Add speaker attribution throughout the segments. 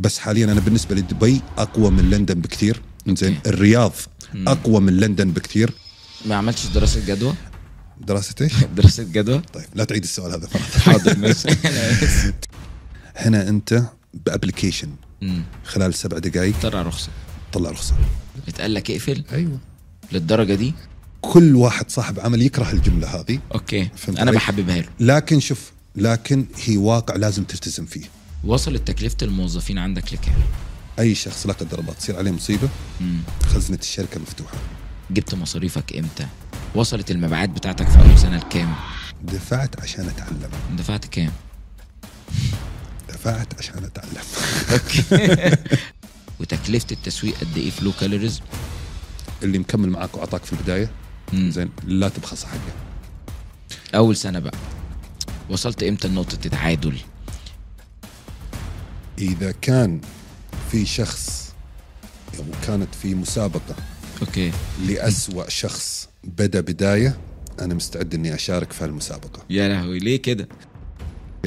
Speaker 1: بس حاليا انا بالنسبه لدبي اقوى من لندن بكثير زين الرياض اقوى من لندن بكثير
Speaker 2: ما عملتش دراسه جدوى
Speaker 1: دراسة ايش؟
Speaker 2: دراسه جدوى
Speaker 1: طيب لا تعيد السؤال هذا فرح.
Speaker 2: حاضر ماشي
Speaker 1: هنا انت بابلكيشن
Speaker 2: أمم.
Speaker 1: خلال سبع دقائق
Speaker 2: طلع رخصه
Speaker 1: تطلع رخصه
Speaker 2: اتقال لك اقفل
Speaker 1: ايوه
Speaker 2: للدرجه دي
Speaker 1: كل واحد صاحب عمل يكره الجمله هذه
Speaker 2: اوكي
Speaker 1: فهمت
Speaker 2: انا
Speaker 1: عليك؟
Speaker 2: بحببها له
Speaker 1: لكن شوف لكن هي واقع لازم تلتزم فيه
Speaker 2: وصلت تكلفه الموظفين عندك إيه؟ لكام؟
Speaker 1: اي شخص لا قدر الله تصير عليه مصيبه
Speaker 2: أمم.
Speaker 1: خزنه الشركه مفتوحه
Speaker 2: جبت مصاريفك امتى؟ وصلت المبيعات بتاعتك في اول سنه لكام؟
Speaker 1: دفعت عشان اتعلم
Speaker 2: دفعت كام؟
Speaker 1: دفعت عشان اتعلم
Speaker 2: وتكلفه التسويق قد ايه في لو كالوريز؟
Speaker 1: اللي مكمل معاك واعطاك في البدايه زين لا تبخس حقه
Speaker 2: اول سنه بقى وصلت امتى لنقطه التعادل؟
Speaker 1: اذا كان في شخص او كانت في مسابقه
Speaker 2: اوكي
Speaker 1: لاسوا شخص بدا بدايه انا مستعد اني اشارك في هالمسابقه
Speaker 2: يا لهوي ليه كده؟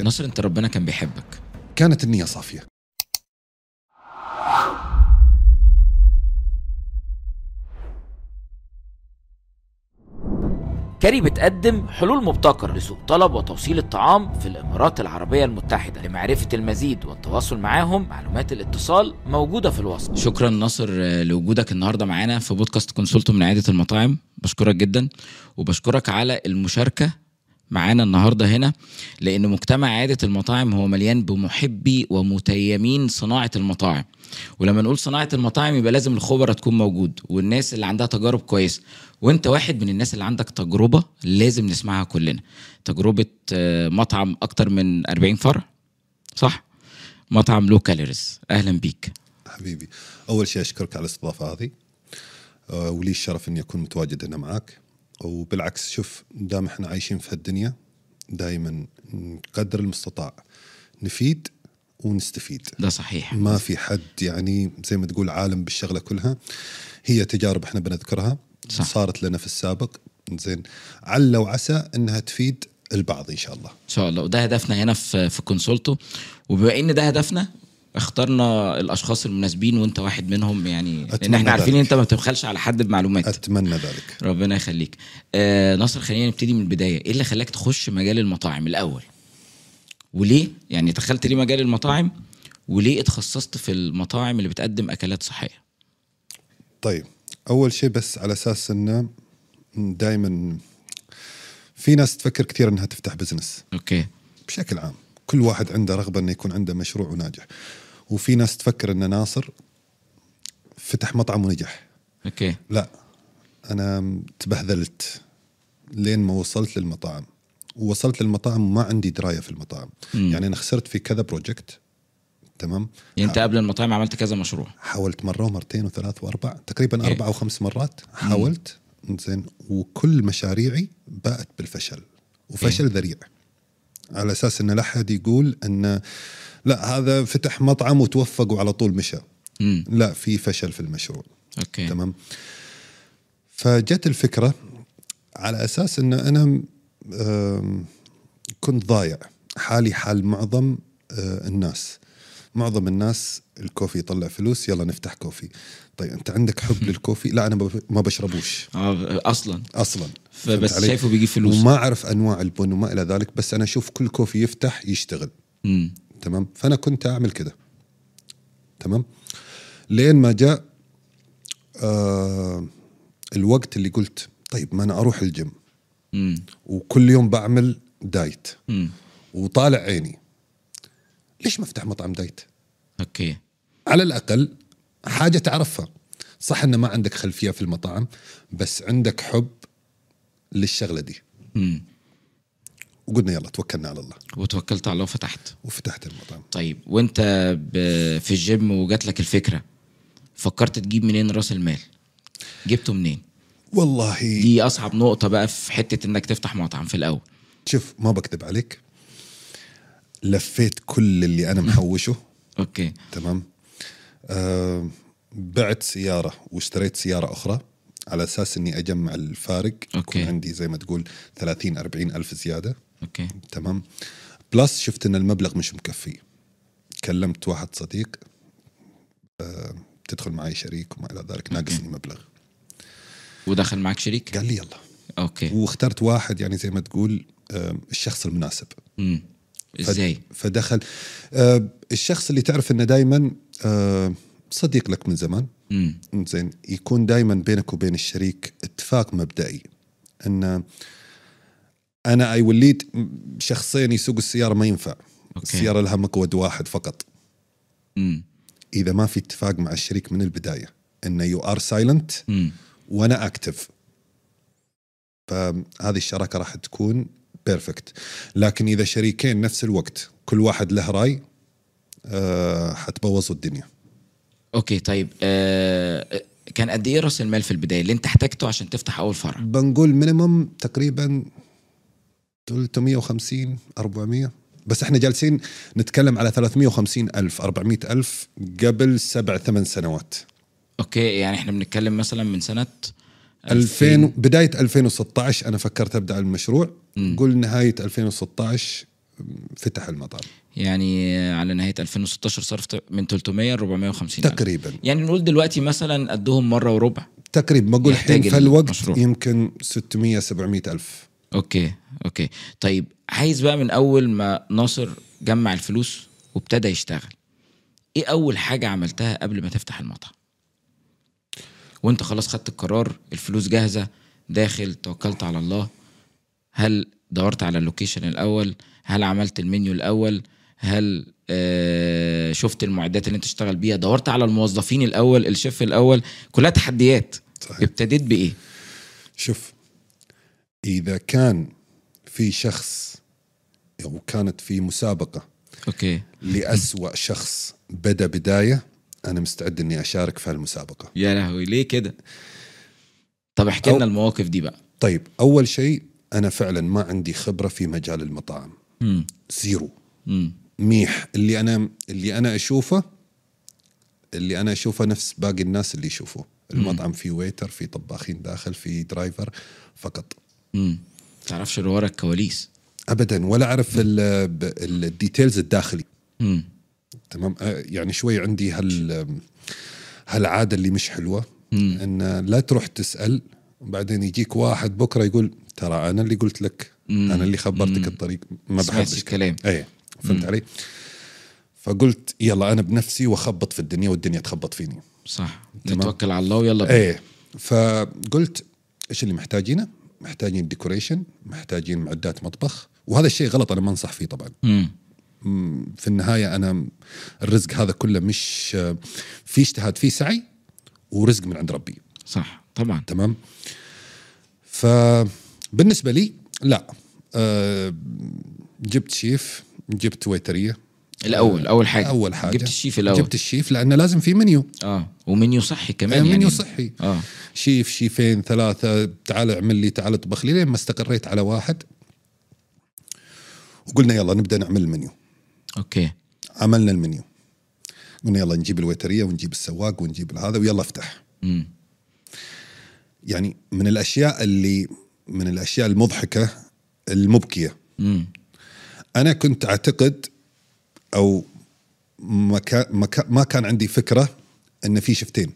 Speaker 2: نصر انت ربنا كان بيحبك
Speaker 1: كانت النيه صافيه
Speaker 3: كاري بتقدم حلول مبتكرة لسوق طلب وتوصيل الطعام في الإمارات العربية المتحدة لمعرفة المزيد والتواصل معاهم معلومات الاتصال موجودة في الوصف
Speaker 2: شكرا ناصر آه، لوجودك النهارده معانا في بودكاست كونسولتو من عياده المطاعم بشكرك جدا وبشكرك على المشاركه معانا النهارده هنا لان مجتمع عياده المطاعم هو مليان بمحبي ومتيمين صناعه المطاعم ولما نقول صناعه المطاعم يبقى لازم الخبره تكون موجود والناس اللي عندها تجارب كويسه وانت واحد من الناس اللي عندك تجربه لازم نسمعها كلنا تجربه آه، مطعم اكتر من 40 فرع صح مطعم لو كالوريز اهلا بيك
Speaker 1: حبيبي اول شيء اشكرك على الاستضافه هذه آه، ولي الشرف اني اكون متواجد هنا معاك وبالعكس شوف دام احنا عايشين في هالدنيا دائما نقدر المستطاع نفيد ونستفيد
Speaker 2: ده صحيح
Speaker 1: ما في حد يعني زي ما تقول عالم بالشغله كلها هي تجارب احنا بنذكرها
Speaker 2: صح.
Speaker 1: صارت لنا في السابق زين عل وعسى انها تفيد البعض ان شاء الله
Speaker 2: ان شاء الله وده هدفنا هنا في في كونسولتو وبما ان ده هدفنا اخترنا الاشخاص المناسبين وانت واحد منهم يعني لان
Speaker 1: أتمنى
Speaker 2: احنا عارفين ان
Speaker 1: ذلك.
Speaker 2: انت ما بتبخلش على حد بمعلومات
Speaker 1: اتمنى ذلك
Speaker 2: ربنا يخليك آه ناصر خلينا نبتدي من البدايه ايه اللي خلاك تخش مجال المطاعم الاول وليه يعني دخلت ليه مجال المطاعم وليه اتخصصت في المطاعم اللي بتقدم اكلات صحيه
Speaker 1: طيب اول شيء بس على اساس انه دائما في ناس تفكر كثير انها تفتح بزنس
Speaker 2: اوكي
Speaker 1: بشكل عام كل واحد عنده رغبه انه يكون عنده مشروع وناجح وفي ناس تفكر ان ناصر فتح مطعم ونجح
Speaker 2: اوكي
Speaker 1: لا انا تبهذلت لين ما وصلت للمطاعم ووصلت للمطاعم وما عندي درايه في المطاعم
Speaker 2: مم.
Speaker 1: يعني انا خسرت في كذا بروجكت تمام
Speaker 2: يعني انت قبل المطاعم عملت كذا مشروع
Speaker 1: حاولت مره ومرتين وثلاث واربع تقريبا
Speaker 2: إيه.
Speaker 1: اربع او خمس مرات حاولت زين وكل مشاريعي باءت بالفشل وفشل
Speaker 2: إيه.
Speaker 1: ذريع على اساس ان لا احد يقول ان لا هذا فتح مطعم وتوفق وعلى طول مشى
Speaker 2: امم
Speaker 1: لا في فشل في المشروع
Speaker 2: اوكي
Speaker 1: تمام فجت الفكره على اساس ان انا آم، كنت ضايع حالي حال معظم آه، الناس معظم الناس الكوفي يطلع فلوس يلا نفتح كوفي طيب انت عندك حب للكوفي لا انا ما ب- ما بشربوش
Speaker 2: آه اصلا
Speaker 1: اصلا فهمت
Speaker 2: فبس
Speaker 1: علي؟
Speaker 2: شايفه بيجيب فلوس
Speaker 1: وما اعرف انواع البن وما الى ذلك بس انا اشوف كل كوفي يفتح يشتغل
Speaker 2: مم.
Speaker 1: تمام فانا كنت اعمل كده تمام لين ما جاء آه الوقت اللي قلت طيب ما انا اروح الجيم
Speaker 2: مم.
Speaker 1: وكل يوم بعمل دايت
Speaker 2: مم.
Speaker 1: وطالع عيني ليش ما افتح مطعم دايت
Speaker 2: اوكي
Speaker 1: على الاقل حاجه تعرفها صح ان ما عندك خلفيه في المطاعم بس عندك حب للشغله دي
Speaker 2: مم.
Speaker 1: وقلنا يلا توكلنا على الله
Speaker 2: وتوكلت على الله وفتحت
Speaker 1: وفتحت المطعم
Speaker 2: طيب وانت ب... في الجيم وجات لك الفكره فكرت تجيب منين راس المال جبته منين
Speaker 1: والله
Speaker 2: دي اصعب نقطه بقى في حته انك تفتح مطعم في الاول
Speaker 1: شوف ما بكذب عليك لفيت كل اللي انا محوشه
Speaker 2: اوكي
Speaker 1: تمام آه بعت سياره واشتريت سياره اخرى على اساس اني اجمع الفارق
Speaker 2: أوكي.
Speaker 1: يكون عندي زي ما تقول 30 40 الف زياده
Speaker 2: اوكي
Speaker 1: تمام بلس شفت ان المبلغ مش مكفي كلمت واحد صديق آه، تدخل معي شريك وما الى ذلك ناقصني مبلغ
Speaker 2: ودخل معاك شريك
Speaker 1: قال لي يلا
Speaker 2: اوكي
Speaker 1: واخترت واحد يعني زي ما تقول آم، الشخص المناسب
Speaker 2: مم.
Speaker 1: فد-
Speaker 2: ازاي
Speaker 1: فدخل آم، الشخص اللي تعرف انه دائما صديق لك من زمان
Speaker 2: مم.
Speaker 1: زين يكون دائما بينك وبين الشريك اتفاق مبدئي ان انا اي وليد شخصين يسوق السياره ما ينفع
Speaker 2: أوكي.
Speaker 1: السياره لها مقود واحد فقط
Speaker 2: مم.
Speaker 1: اذا ما في اتفاق مع الشريك من البدايه انه يو ار سايلنت
Speaker 2: مم.
Speaker 1: وانا اكتف فهذه الشراكه راح تكون بيرفكت لكن اذا شريكين نفس الوقت كل واحد له راي آه، حتبوظوا الدنيا
Speaker 2: اوكي طيب آه كان قد ايه راس المال في البدايه اللي انت احتاجته عشان تفتح اول فرع
Speaker 1: بنقول مينيمم تقريبا 350 400 بس احنا جالسين نتكلم على 350 ألف 400 ألف قبل سبع ثمان سنوات
Speaker 2: اوكي يعني احنا بنتكلم مثلا من سنه
Speaker 1: 2000 بداية 2016 أنا فكرت أبدأ المشروع قول نهاية 2016 فتح المطعم
Speaker 2: يعني على نهايه 2016 صرفت من 300 ل 450 ألف.
Speaker 1: تقريبا
Speaker 2: يعني نقول دلوقتي مثلا قدهم مره وربع
Speaker 1: تقريبا ما أقول الحين
Speaker 2: يحتاج
Speaker 1: في الوقت
Speaker 2: المشروع.
Speaker 1: يمكن 600 700 ألف
Speaker 2: اوكي اوكي طيب عايز بقى من اول ما ناصر جمع الفلوس وابتدى يشتغل ايه اول حاجه عملتها قبل ما تفتح المطعم وانت خلاص خدت القرار الفلوس جاهزه داخل توكلت على الله هل دورت على اللوكيشن الاول هل عملت المنيو الاول هل آه شفت المعدات اللي انت تشتغل بيها دورت على الموظفين الاول الشيف الاول كلها تحديات
Speaker 1: صحيح.
Speaker 2: ابتديت بايه
Speaker 1: شوف إذا كان في شخص أو كانت في مسابقة
Speaker 2: اوكي
Speaker 1: لأسوأ شخص بدا بداية أنا مستعد إني أشارك في هالمسابقة
Speaker 2: يا لهوي ليه كده طب احكي
Speaker 1: أو-
Speaker 2: لنا المواقف دي بقى
Speaker 1: طيب أول شيء أنا فعلا ما عندي خبرة في مجال المطاعم
Speaker 2: امم
Speaker 1: زيرو
Speaker 2: امم
Speaker 1: ميح اللي انا اللي انا اشوفه اللي انا اشوفه نفس باقي الناس اللي يشوفوه المطعم فيه ويتر فيه طباخين داخل فيه درايفر فقط
Speaker 2: امم تعرفش اللي ورا الكواليس
Speaker 1: ابدا ولا اعرف ال- ب- ال- الديتيلز الداخلي
Speaker 2: امم
Speaker 1: تمام أه، يعني شوي عندي هال هالعاده اللي مش حلوه ان لا تروح تسال وبعدين يجيك واحد بكره يقول ترى انا اللي قلت لك انا اللي خبرتك الطريق ما
Speaker 2: سمعتش
Speaker 1: بحبش
Speaker 2: الكلام.
Speaker 1: اي إيه، فهمت علي؟ فقلت يلا انا بنفسي واخبط في الدنيا والدنيا تخبط فيني
Speaker 2: صح
Speaker 1: تمام.
Speaker 2: نتوكل على الله ويلا بينا
Speaker 1: ايه فقلت ايش اللي محتاجينه؟ محتاجين ديكوريشن محتاجين معدات مطبخ وهذا الشيء غلط انا ما انصح فيه طبعا
Speaker 2: امم
Speaker 1: مم، في النهايه انا الرزق هذا كله مش آه، في اجتهاد في سعي ورزق من عند ربي
Speaker 2: صح طبعا
Speaker 1: تمام فبالنسبه لي لا آه، جبت شيف جبت ويتريه
Speaker 2: الاول اول حاجه
Speaker 1: اول حاجه
Speaker 2: إيه. جبت الشيف الاول
Speaker 1: جبت الشيف لانه لازم في منيو
Speaker 2: اه ومنيو صحي كمان
Speaker 1: منيو
Speaker 2: يعني
Speaker 1: صحي
Speaker 2: اه
Speaker 1: شيف شيفين ثلاثة تعال اعمل لي تعال اطبخ لي لين ما استقريت على واحد وقلنا يلا نبدا نعمل المنيو
Speaker 2: اوكي
Speaker 1: عملنا المنيو قلنا يلا نجيب الويتريه ونجيب السواق ونجيب هذا ويلا افتح
Speaker 2: امم
Speaker 1: يعني من الاشياء اللي من الاشياء المضحكه المبكيه
Speaker 2: امم
Speaker 1: انا كنت اعتقد او ما كان ما كان- ما كان عندي فكره ان في شفتين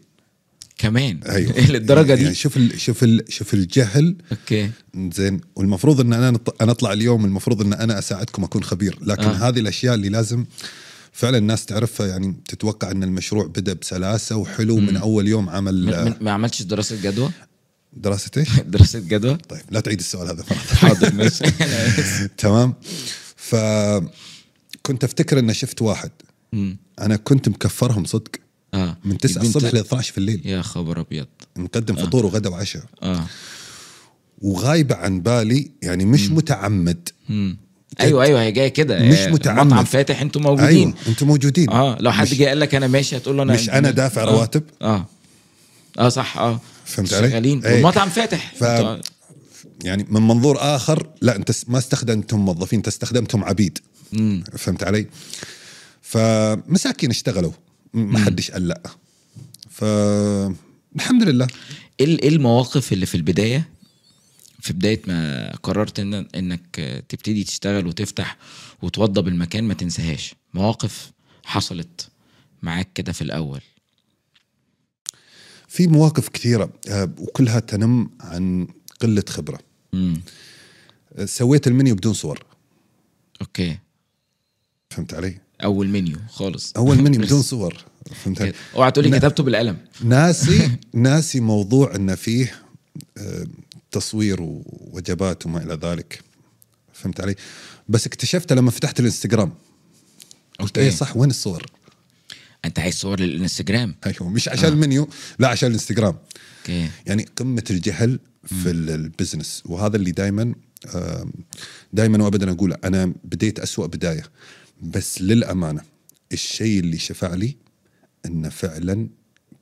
Speaker 2: كمان
Speaker 1: ايوه
Speaker 2: للدرجه
Speaker 1: يعني
Speaker 2: إيه، دي
Speaker 1: شوف ال شوف ال شوف الجهل
Speaker 2: اوكي
Speaker 1: زين والمفروض ان انا نط- انا اطلع اليوم المفروض ان انا اساعدكم اكون خبير لكن
Speaker 2: آه.
Speaker 1: آه. هذه الاشياء اللي لازم فعلا الناس تعرفها يعني تتوقع ان المشروع بدا بسلاسه وحلو من اول يوم
Speaker 2: م-
Speaker 1: عمل
Speaker 2: م- ما عملتش دراسه جدوى
Speaker 1: دراسه ايش؟
Speaker 2: دراسه جدوى
Speaker 1: طيب لا تعيد السؤال هذا مرة.
Speaker 2: حاضر ماشي أنا آسف.
Speaker 1: تمام فكنت افتكر ان شفت واحد
Speaker 2: مم.
Speaker 1: انا كنت مكفرهم صدق
Speaker 2: اه
Speaker 1: من 9
Speaker 2: يبقى أنت-
Speaker 1: الصبح ل 12 في الليل
Speaker 2: يا خبر ابيض
Speaker 1: مقدم فطور وغدا وعشاء
Speaker 2: اه
Speaker 1: وغايبه عن بالي يعني مش متعمد
Speaker 2: مم. ايوه ايوه هي جايه كده
Speaker 1: مش
Speaker 2: آه،
Speaker 1: متعمد.
Speaker 2: مطعم فاتح انتوا موجودين
Speaker 1: ايوه انتم موجودين
Speaker 2: اه لو حد
Speaker 1: مش-
Speaker 2: جه قال لك انا ماشي هتقول له انا
Speaker 1: مش أنا دافع
Speaker 2: آه.
Speaker 1: رواتب.
Speaker 2: اه اه صح اه
Speaker 1: فهمت علي؟
Speaker 2: شغالين
Speaker 1: إيه.
Speaker 2: والمطعم فاتح
Speaker 1: ف-
Speaker 2: أنتوا-
Speaker 1: يعني من منظور اخر لا انت ما استخدمتم موظفين انت استخدمتم عبيد
Speaker 2: مم.
Speaker 1: فهمت علي؟ فمساكين اشتغلوا ما حدش قال لا ف الحمد لله
Speaker 2: ايه ال- إيه المواقف اللي في البدايه في بدايه ما قررت إن انك تبتدي تشتغل وتفتح وتوضب المكان ما تنساهاش مواقف حصلت معاك كده في الاول
Speaker 1: في مواقف كثيره آه، وكلها تنم عن قله خبره
Speaker 2: امم
Speaker 1: آه، سويت المنيو بدون صور
Speaker 2: اوكي
Speaker 1: فهمت علي
Speaker 2: اول منيو خالص
Speaker 1: اول منيو بدون صور فهمت علي
Speaker 2: كده. اوعى تقولي
Speaker 1: لا.
Speaker 2: كتبته بالقلم
Speaker 1: ناسي ناسي موضوع ان فيه آه، تصوير ووجبات وما الى ذلك فهمت علي بس اكتشفته لما فتحت الانستغرام قلت
Speaker 2: أوكي.
Speaker 1: ايه صح وين الصور
Speaker 2: انت عايز صور للانستجرام
Speaker 1: ايوه مش عشان المنيو لا عشان الانستغرام
Speaker 2: اوكي
Speaker 1: يعني قمه الجهل في ال- البزنس وهذا اللي دائما دائما وابدا اقوله انا بديت أسوأ بدايه بس للامانه الشيء اللي شفع لي انه فعلا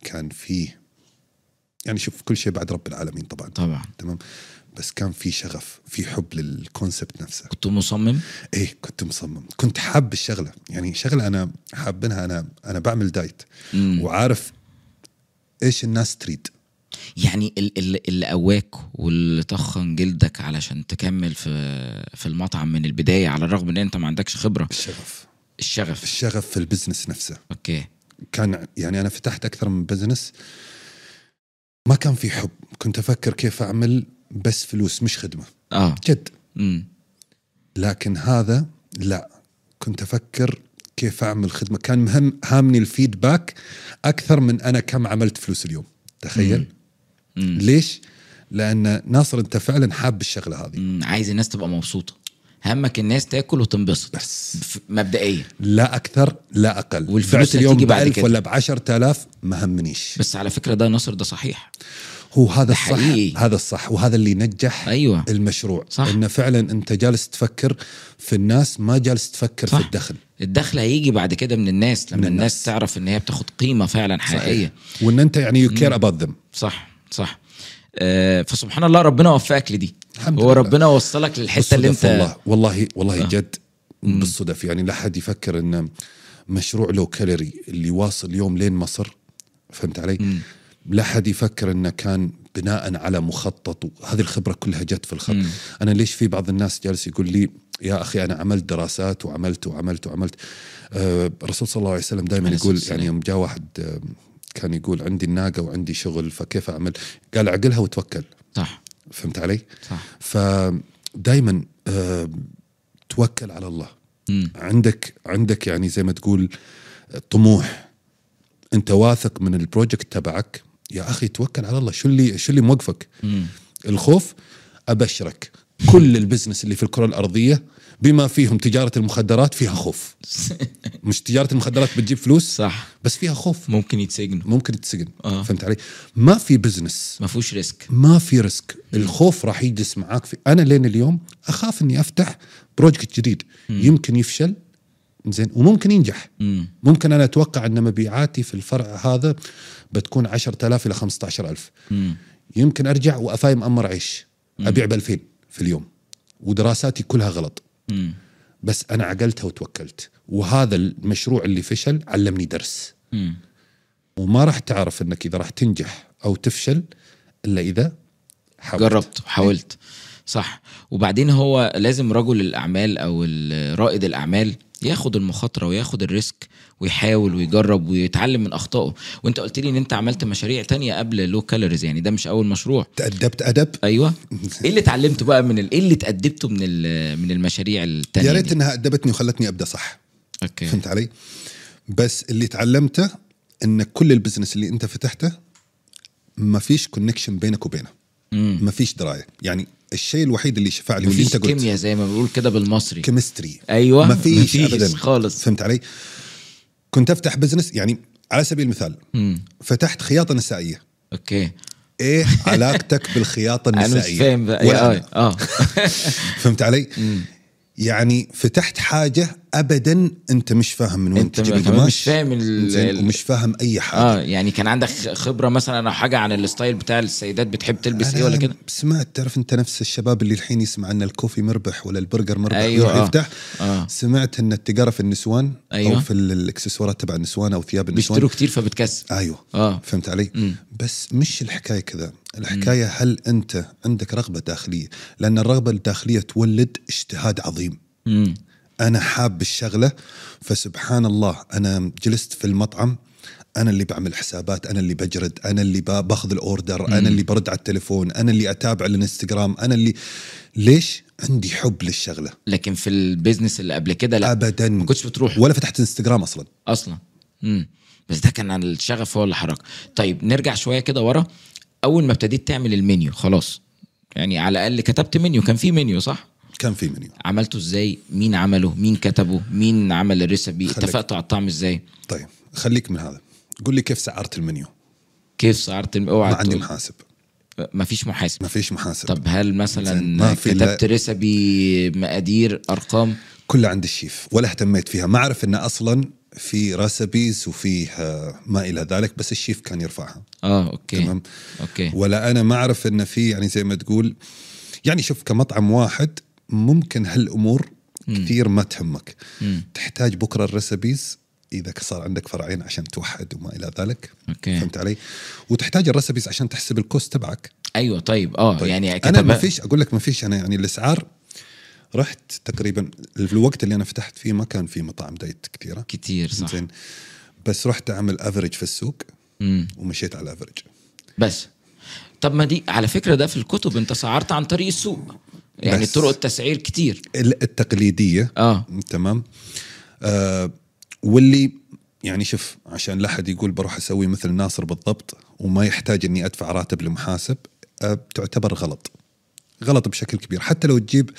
Speaker 1: كان فيه يعني شوف كل شيء بعد رب العالمين طبعا
Speaker 2: طبعا
Speaker 1: تمام بس كان في شغف في حب للكونسبت نفسه
Speaker 2: كنت مصمم
Speaker 1: ايه كنت مصمم كنت حاب الشغله يعني شغله انا حابنها انا انا بعمل دايت
Speaker 2: مم.
Speaker 1: وعارف ايش الناس تريد
Speaker 2: يعني ال- ال- اللي قواك واللي طخن جلدك علشان تكمل في في المطعم من البدايه على الرغم ان انت ما عندكش خبره
Speaker 1: الشغف
Speaker 2: الشغف
Speaker 1: الشغف في البزنس نفسه
Speaker 2: اوكي
Speaker 1: كان يعني انا فتحت اكثر من بزنس ما كان في حب كنت افكر كيف اعمل بس فلوس مش خدمه
Speaker 2: اه
Speaker 1: جد
Speaker 2: امم
Speaker 1: لكن هذا لا كنت افكر كيف اعمل خدمه كان مهم هامني الفيدباك اكثر من انا كم عملت فلوس اليوم تخيل
Speaker 2: مم.
Speaker 1: ليش لان ناصر انت فعلا حاب الشغله هذه
Speaker 2: مم. عايز الناس تبقى مبسوطه همك الناس تاكل وتنبسط
Speaker 1: بس.
Speaker 2: ف- مبدئيا
Speaker 1: لا اكثر لا اقل
Speaker 2: والفلوس
Speaker 1: بعت اليوم
Speaker 2: هتيجي بعد
Speaker 1: بألف
Speaker 2: كده.
Speaker 1: ولا ب 10000 ما همنيش
Speaker 2: بس على فكره ده نصر ده صحيح
Speaker 1: هو هذا الصح
Speaker 2: حقيقي.
Speaker 1: هذا الصح وهذا اللي نجح
Speaker 2: أيوة.
Speaker 1: المشروع
Speaker 2: صح.
Speaker 1: انه فعلا انت جالس تفكر في الناس ما جالس تفكر
Speaker 2: صح.
Speaker 1: في الدخل
Speaker 2: الدخل هيجي بعد كده من الناس لما
Speaker 1: من
Speaker 2: من
Speaker 1: الناس.
Speaker 2: الناس. الناس تعرف ان هي بتاخد قيمه فعلا حقيقيه
Speaker 1: صحيح. وان انت يعني يو كير اباوت ذم
Speaker 2: صح صح آه فسبحان الله ربنا وفقك لدي
Speaker 1: الحمد
Speaker 2: هو
Speaker 1: لله.
Speaker 2: ربنا وصلك للحته اللي آه. انت
Speaker 1: والله والله والله جد بالصدف يعني لا حد يفكر ان مشروع لو كالوري اللي واصل اليوم لين مصر فهمت علي؟ لا حد يفكر انه كان بناء على مخطط وهذه الخبره كلها جت في الخط، انا ليش في بعض الناس جالس يقول لي يا اخي انا عملت دراسات وعملت وعملت وعملت آه، الرسول صلى الله عليه وسلم دائما
Speaker 2: عليه الصلاة
Speaker 1: يقول
Speaker 2: والسلام.
Speaker 1: يعني يوم جاء واحد آه، كان يقول عندي الناقه وعندي شغل فكيف اعمل؟ قال عقلها وتوكل
Speaker 2: صح
Speaker 1: فهمت علي؟
Speaker 2: صح
Speaker 1: فدايما آه، توكل على الله
Speaker 2: مم.
Speaker 1: عندك عندك يعني زي ما تقول طموح انت واثق من البروجكت تبعك يا اخي توكل على الله شو اللي شو اللي موقفك
Speaker 2: مم.
Speaker 1: الخوف ابشرك كل البزنس اللي في الكره الارضيه بما فيهم تجاره المخدرات فيها خوف مش تجاره المخدرات بتجيب فلوس
Speaker 2: صح
Speaker 1: بس فيها خوف
Speaker 2: ممكن يتسجنوا
Speaker 1: ممكن تسجن
Speaker 2: آه.
Speaker 1: فهمت علي ما في بزنس
Speaker 2: ما فيهوش ريسك
Speaker 1: ما في ريسك الخوف راح يجلس معاك في انا لين اليوم اخاف اني افتح بروجكت جديد يمكن يفشل زين وممكن ينجح
Speaker 2: مم.
Speaker 1: ممكن انا اتوقع ان مبيعاتي في الفرع هذا بتكون 10000 الى 15000
Speaker 2: مم.
Speaker 1: يمكن ارجع وافاي مأمر عيش ابيع ب 2000 في اليوم ودراساتي كلها غلط
Speaker 2: مم.
Speaker 1: بس انا عقلتها وتوكلت وهذا المشروع اللي فشل علمني درس
Speaker 2: مم.
Speaker 1: وما راح تعرف انك اذا راح تنجح او تفشل الا اذا حاولت
Speaker 2: جربت وحاولت صح وبعدين هو لازم رجل الاعمال او ال- رائد الاعمال ياخد المخاطره وياخد الريسك ويحاول ويجرب ويتعلم من اخطائه وانت قلت لي ان انت عملت مشاريع تانية قبل لو كالوريز يعني ده مش اول مشروع
Speaker 1: تأدبت أدب
Speaker 2: ايوه ايه اللي اتعلمته بقى من ال... ايه اللي اتادبته من ال... من المشاريع التانية
Speaker 1: يا ريت
Speaker 2: دي؟
Speaker 1: انها ادبتني وخلتني ابدا صح
Speaker 2: اوكي
Speaker 1: فهمت علي بس اللي تعلمته ان كل البزنس اللي انت فتحته ما فيش كونكشن بينك وبينه
Speaker 2: مم.
Speaker 1: ما فيش درايه يعني الشيء الوحيد اللي شفع لي واللي
Speaker 2: مفيش
Speaker 1: انت قلت
Speaker 2: كيمياء زي ما بنقول كده بالمصري
Speaker 1: كيمستري
Speaker 2: ايوه
Speaker 1: ما فيش
Speaker 2: مفيش
Speaker 1: ابدا
Speaker 2: خالص
Speaker 1: فهمت علي كنت افتح بزنس يعني على سبيل المثال
Speaker 2: مم.
Speaker 1: فتحت خياطه نسائيه
Speaker 2: اوكي
Speaker 1: ايه علاقتك بالخياطه
Speaker 2: انا مش
Speaker 1: النسائيه
Speaker 2: فاهم بقى
Speaker 1: أيوة. ولا أنا.
Speaker 2: يا آي. اه
Speaker 1: فهمت علي؟ يعني فتحت حاجه ابدا انت مش فاهم من وين
Speaker 2: أنت
Speaker 1: تجيب
Speaker 2: ما- كمان
Speaker 1: القماش
Speaker 2: مش فاهم ال-
Speaker 1: زين،
Speaker 2: ال-
Speaker 1: ومش فاهم اي حاجه
Speaker 2: اه يعني كان عندك خبره مثلا او حاجه عن الستايل بتاع السيدات بتحب تلبس ايه ولا
Speaker 1: أنا
Speaker 2: كده
Speaker 1: سمعت تعرف انت نفس الشباب اللي الحين يسمع ان الكوفي مربح ولا البرجر مربح
Speaker 2: أيوة،
Speaker 1: يروح
Speaker 2: آه.
Speaker 1: يفتح
Speaker 2: آه.
Speaker 1: سمعت ان التجاره في النسوان او
Speaker 2: أيوة.
Speaker 1: في ال- الاكسسوارات تبع النسوان او ثياب النسوان
Speaker 2: بيشتروا كتير فبتكسب
Speaker 1: ايوه
Speaker 2: آه.
Speaker 1: فهمت علي؟ مم. بس مش الحكايه كذا، الحكايه مم. هل انت عندك رغبه داخليه؟ لان الرغبه الداخليه تولد اجتهاد عظيم.
Speaker 2: امم
Speaker 1: انا حاب الشغله فسبحان الله انا جلست في المطعم انا اللي بعمل حسابات انا اللي بجرد انا اللي ب- باخذ الاوردر انا اللي برد على التليفون انا اللي اتابع الانستغرام انا اللي ليش عندي حب للشغله
Speaker 2: لكن في البيزنس اللي قبل كده لا
Speaker 1: ابدا
Speaker 2: ما كنتش بتروح
Speaker 1: ولا فتحت انستغرام اصلا
Speaker 2: اصلا امم بس ده كان عن الشغف هو اللي حرك طيب نرجع شويه كده ورا اول ما ابتديت تعمل المنيو خلاص يعني على الاقل كتبت منيو كان في منيو صح
Speaker 1: كان في منيو
Speaker 2: عملته ازاي مين عمله مين كتبه مين عمل الريسبي
Speaker 1: خليك.
Speaker 2: اتفقتوا على الطعم ازاي
Speaker 1: طيب خليك من هذا قول لي كيف سعرت المنيو
Speaker 2: كيف سعرت الم- اوعى
Speaker 1: ما عندي
Speaker 2: تقول-
Speaker 1: محاسب
Speaker 2: مفيش محاسب
Speaker 1: ما فيش محاسب
Speaker 2: طب هل
Speaker 1: ما
Speaker 2: مثلا
Speaker 1: في لا-
Speaker 2: كتبت ريسبي مقادير ارقام
Speaker 1: كلها عند الشيف ولا اهتميت فيها ما اعرف ان اصلا في رسبيز وفيه آه، ما الى ذلك بس الشيف كان يرفعها
Speaker 2: اه اوكي
Speaker 1: تمام.
Speaker 2: اوكي
Speaker 1: ولا انا ما اعرف ان في يعني زي ما تقول يعني شوف كمطعم واحد ممكن هالامور كثير ما تهمك
Speaker 2: مم.
Speaker 1: تحتاج بكره الرسبيز اذا صار عندك فرعين عشان توحد وما الى ذلك
Speaker 2: أوكي.
Speaker 1: فهمت علي وتحتاج الرسبيز عشان تحسب الكوست تبعك
Speaker 2: ايوه طيب اه
Speaker 1: طيب.
Speaker 2: يعني
Speaker 1: انا ما
Speaker 2: كتبها-
Speaker 1: فيش اقول لك ما فيش انا يعني الاسعار رحت تقريبا في الوقت اللي انا فتحت فيه ما كان في مطاعم دايت كثيره
Speaker 2: كتير صح
Speaker 1: زين بس رحت اعمل افرج في السوق
Speaker 2: مم.
Speaker 1: ومشيت على الافرج
Speaker 2: بس طب ما دي على فكره ده في الكتب انت سعرت عن طريق السوق يعني
Speaker 1: بس.
Speaker 2: طرق التسعير كتير
Speaker 1: ال- التقليديه
Speaker 2: اه
Speaker 1: تمام آه واللي يعني شوف عشان لا احد يقول بروح اسوي مثل ناصر بالضبط وما يحتاج اني ادفع راتب لمحاسب آه تعتبر غلط غلط بشكل كبير حتى لو تجيب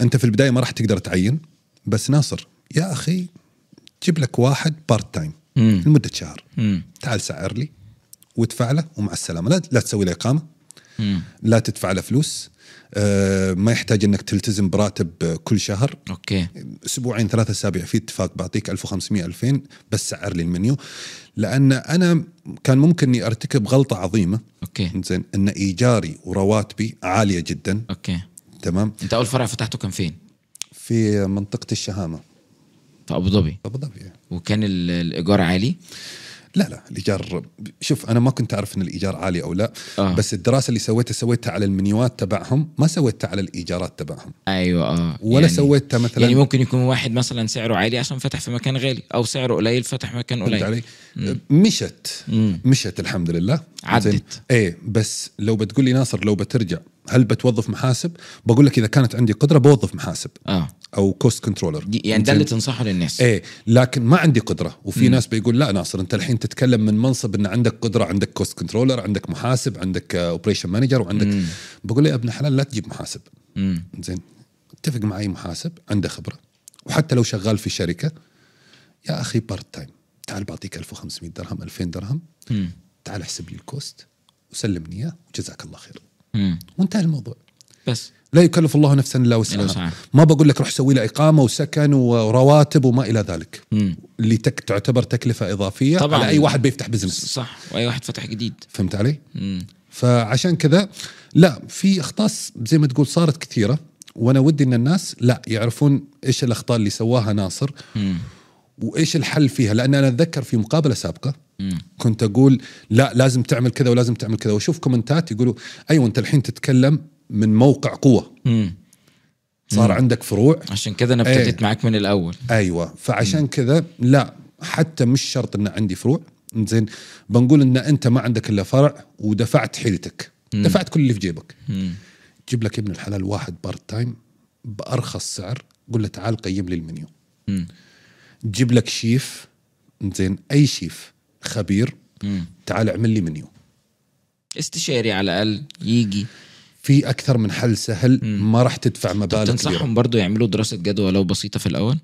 Speaker 1: انت في البدايه ما راح تقدر تعين بس ناصر يا اخي جيب لك واحد بارت تايم
Speaker 2: مم.
Speaker 1: لمده شهر
Speaker 2: مم.
Speaker 1: تعال سعر لي وادفع له ومع السلامه لا, لا تسوي له اقامه
Speaker 2: مم.
Speaker 1: لا تدفع له فلوس آه ما يحتاج انك تلتزم براتب آه، كل شهر
Speaker 2: اوكي
Speaker 1: اسبوعين ثلاثة اسابيع في اتفاق بعطيك 1500 2000 بس سعر لي المنيو لان انا كان ممكن اني ارتكب غلطه عظيمه
Speaker 2: اوكي
Speaker 1: زين ان ايجاري ورواتبي عاليه جدا
Speaker 2: اوكي
Speaker 1: تمام
Speaker 2: انت اول فرع فتحته كان فين؟
Speaker 1: في منطقه الشهامه
Speaker 2: في ابو ظبي
Speaker 1: ابو ظبي
Speaker 2: وكان ال- الايجار عالي
Speaker 1: لا لا الايجار شوف انا ما كنت اعرف ان الايجار عالي او لا
Speaker 2: آه.
Speaker 1: آه. بس الدراسه اللي سويتها سويتها على المنيوات تبعهم ما سويتها على الايجارات تبعهم
Speaker 2: ايوه اه
Speaker 1: ولا يعني سويتها مثلا
Speaker 2: يعني ممكن يكون واحد مثلا سعره عالي عشان فتح في مكان غالي او سعره قليل فتح مكان
Speaker 1: فهمت
Speaker 2: قليل
Speaker 1: علي؟ مشت
Speaker 2: مم.
Speaker 1: مشت الحمد لله
Speaker 2: عدت.
Speaker 1: زين. ايه بس لو بتقول لي ناصر لو بترجع هل بتوظف محاسب؟ بقول لك اذا كانت عندي قدره بوظف محاسب
Speaker 2: اه
Speaker 1: او كوست كنترولر
Speaker 2: دي- يعني ده اللي تنصحه للناس
Speaker 1: ايه لكن ما عندي قدره وفي ناس بيقول لا ناصر انت الحين تتكلم من منصب ان عندك قدره عندك كوست كنترولر عندك محاسب عندك اوبريشن مانجر وعندك بقول له يا ابن الحلال لا تجيب محاسب
Speaker 2: مم.
Speaker 1: زين اتفق مع اي محاسب عنده خبره وحتى لو شغال في شركه يا اخي بارت تايم تعال بعطيك 1500 درهم 2000 درهم
Speaker 2: مم.
Speaker 1: تعال احسب لي الكوست وسلمني اياه وجزاك الله خير
Speaker 2: مم.
Speaker 1: وانتهى الموضوع
Speaker 2: بس
Speaker 1: لا يكلف الله نفسا الا
Speaker 2: إلا
Speaker 1: وسعها
Speaker 2: وسعها.
Speaker 1: ما بقول لك روح سوي له اقامه وسكن ورواتب وما الى ذلك
Speaker 2: مم.
Speaker 1: اللي تك تعتبر تكلفه اضافيه
Speaker 2: طبعاً.
Speaker 1: طبعا على اي واحد بيفتح بزنس
Speaker 2: صح واي واحد فتح جديد
Speaker 1: فهمت علي؟
Speaker 2: مم.
Speaker 1: فعشان كذا لا في اخطاء س- زي ما تقول صارت كثيره وانا ودي ان الناس لا يعرفون ايش الاخطاء اللي سواها ناصر
Speaker 2: مم.
Speaker 1: وايش الحل فيها لان انا اتذكر في مقابله سابقه
Speaker 2: مم.
Speaker 1: كنت اقول لا لازم تعمل كذا ولازم تعمل كذا واشوف كومنتات يقولوا ايوه انت الحين تتكلم من موقع قوه
Speaker 2: مم.
Speaker 1: صار عندك فروع
Speaker 2: عشان كده انا
Speaker 1: إيه.
Speaker 2: ابتديت معاك من الاول
Speaker 1: ايوه فعشان كذا لا حتى مش شرط ان عندي فروع زين بنقول ان انت ما عندك الا فرع ودفعت حيلتك دفعت كل اللي في جيبك
Speaker 2: مم.
Speaker 1: جيب لك ابن الحلال واحد بارت تايم بارخص سعر قول له تعال قيم لي المنيو
Speaker 2: مم.
Speaker 1: جيب لك شيف زين اي شيف خبير
Speaker 2: مم.
Speaker 1: تعال اعمل لي منيو
Speaker 2: استشاري على الاقل يجي
Speaker 1: في اكثر من حل سهل ما راح تدفع
Speaker 2: طب
Speaker 1: مبالغ كبيره
Speaker 2: تنصحهم برضو يعملوا دراسه جدوى لو بسيطه في الاول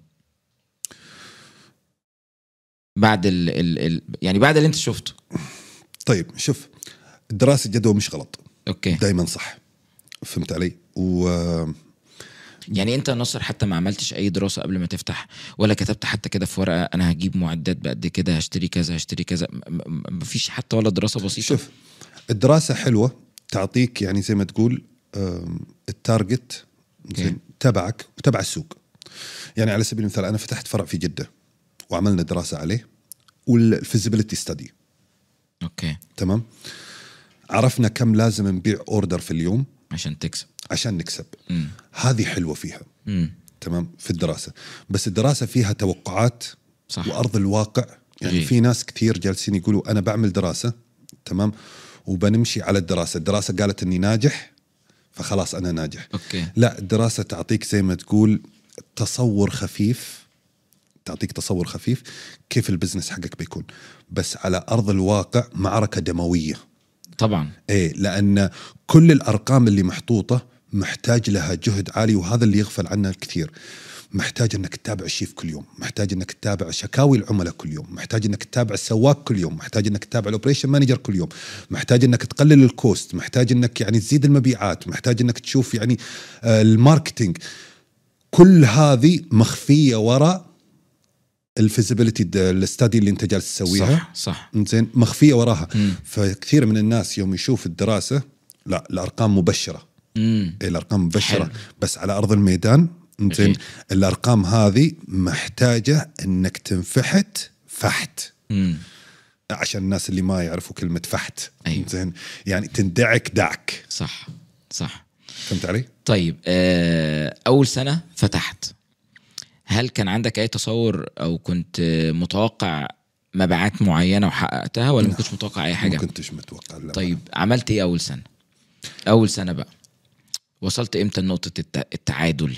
Speaker 2: بعد ال ال ال يعني بعد اللي انت شفته
Speaker 1: طيب شوف دراسه جدوى مش غلط
Speaker 2: اوكي
Speaker 1: دائما صح فهمت علي و
Speaker 2: يعني انت يا ناصر حتى ما عملتش اي دراسه قبل ما تفتح ولا كتبت حتى كده في ورقه انا هجيب معدات بقد كده هشتري كذا هشتري كذا م- م- مفيش حتى ولا دراسه بسيطه
Speaker 1: شوف الدراسه حلوه تعطيك يعني زي ما تقول أم، التارجت زين تبعك وتبع السوق يعني على سبيل المثال انا فتحت فرع في جده وعملنا دراسه عليه والفيزيبيليتي ستدي
Speaker 2: اوكي
Speaker 1: تمام عرفنا كم لازم نبيع اوردر في اليوم
Speaker 2: عشان تكسب
Speaker 1: عشان نكسب
Speaker 2: مم.
Speaker 1: هذه حلوه فيها
Speaker 2: مم.
Speaker 1: تمام في الدراسه بس الدراسه فيها توقعات
Speaker 2: صح.
Speaker 1: وارض الواقع يعني
Speaker 2: إيه.
Speaker 1: في ناس كثير جالسين يقولوا انا بعمل دراسه تمام وبنمشي على الدراسه، الدراسه قالت اني ناجح فخلاص انا ناجح.
Speaker 2: اوكي
Speaker 1: لا الدراسه تعطيك زي ما تقول تصور خفيف تعطيك تصور خفيف كيف البزنس حقك بيكون بس على ارض الواقع معركه دمويه
Speaker 2: طبعا
Speaker 1: ايه لان كل الارقام اللي محطوطه محتاج لها جهد عالي وهذا اللي يغفل عنه الكثير محتاج انك تتابع الشيف كل يوم محتاج انك تتابع شكاوي العملاء كل يوم محتاج انك تتابع السواق كل يوم محتاج انك تتابع الاوبريشن مانجر كل يوم محتاج انك تقلل الكوست محتاج انك يعني تزيد المبيعات محتاج انك تشوف يعني آه، الماركتينج كل هذه مخفيه وراء الفيزيبيليتي الاستادي اللي انت جالس تسويها
Speaker 2: صح صح
Speaker 1: زين مخفيه وراها فكثير من الناس يوم يشوف الدراسه لا الارقام مبشره
Speaker 2: امم
Speaker 1: إيه الارقام مبشره
Speaker 2: حلو.
Speaker 1: بس على ارض الميدان زين
Speaker 2: أكيد.
Speaker 1: الارقام هذه محتاجه انك تنفحت فحت
Speaker 2: امم
Speaker 1: عشان الناس اللي ما يعرفوا كلمه فحت
Speaker 2: أيوة.
Speaker 1: زين يعني تندعك دعك
Speaker 2: صح صح
Speaker 1: فهمت علي؟
Speaker 2: طيب آه، اول سنه فتحت هل كان عندك اي تصور او كنت آه، متوقع مبيعات معينه وحققتها ولا ما كنتش متوقع اي
Speaker 1: ما
Speaker 2: حاجه
Speaker 1: كنتش متوقع لا.
Speaker 2: طيب عملت ايه اول سنه اول سنه بقى وصلت امتى لنقطه الت- التعادل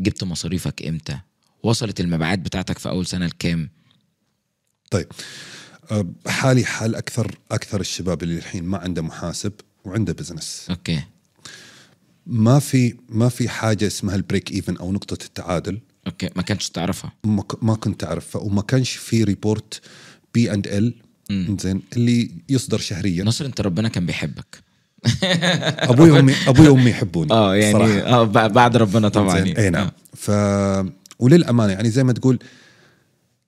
Speaker 2: جبت مصاريفك امتى وصلت المبيعات بتاعتك في اول سنه لكام
Speaker 1: طيب أه، حالي حال اكثر اكثر الشباب اللي الحين ما عنده محاسب وعنده بزنس
Speaker 2: اوكي
Speaker 1: ما في ما في حاجه اسمها البريك ايفن او نقطه التعادل
Speaker 2: اوكي ما كانتش تعرفها
Speaker 1: ما ك- ما كنت اعرفها وما كانش في ريبورت بي اند ال زين اللي يصدر شهريا
Speaker 2: نصر انت ربنا كان بيحبك
Speaker 1: ابوي وامي ابوي وامي يحبوني
Speaker 2: اه يعني
Speaker 1: صراحة.
Speaker 2: اه ب- بعد ربنا طبعا
Speaker 1: زين،
Speaker 2: يعني.
Speaker 1: اي نعم ف وللامانه يعني زي ما تقول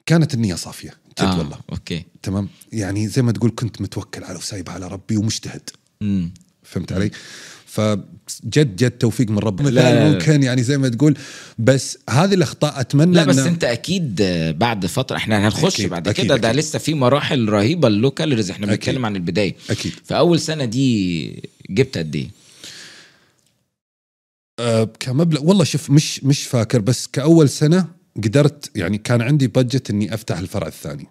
Speaker 1: كانت النيه صافيه جد
Speaker 2: آه.
Speaker 1: والله
Speaker 2: اوكي
Speaker 1: تمام يعني زي ما تقول كنت متوكل على وسايبها على ربي ومجتهد
Speaker 2: امم
Speaker 1: فهمت علي؟ فجد جد توفيق من ربنا
Speaker 2: لا، لا،
Speaker 1: مثلا
Speaker 2: لا.
Speaker 1: ممكن يعني زي ما تقول بس هذه الاخطاء اتمنى
Speaker 2: لا بس
Speaker 1: إنه-
Speaker 2: انت اكيد بعد فتره احنا هنخش
Speaker 1: أكيد،
Speaker 2: بعد
Speaker 1: أكيد،
Speaker 2: كده ده
Speaker 1: أكيد.
Speaker 2: لسه في مراحل رهيبه اللوكالز احنا
Speaker 1: أكيد.
Speaker 2: بنتكلم عن البدايه
Speaker 1: اكيد
Speaker 2: فاول سنه دي جبت قد ايه؟
Speaker 1: آه، كمبلغ والله شوف مش مش فاكر بس كاول سنه قدرت يعني كان عندي بادجت اني افتح الفرع الثاني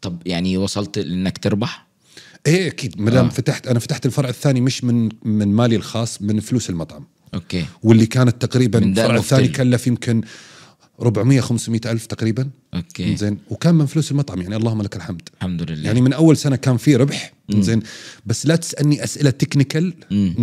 Speaker 2: طب يعني وصلت لانك تربح؟
Speaker 1: ايه اكيد ما دام
Speaker 2: آه.
Speaker 1: آه. فتحت انا فتحت الفرع الثاني مش من من مالي الخاص من فلوس المطعم
Speaker 2: اوكي
Speaker 1: واللي كانت تقريبا
Speaker 2: من داء
Speaker 1: الفرع
Speaker 2: مفتري.
Speaker 1: الثاني كلف يمكن 400 500 الف تقريبا
Speaker 2: اوكي
Speaker 1: زين وكان من فلوس المطعم يعني اللهم لك الحمد
Speaker 2: الحمد لله
Speaker 1: يعني من اول سنه كان في ربح زين بس لا تسالني اسئله تكنيكال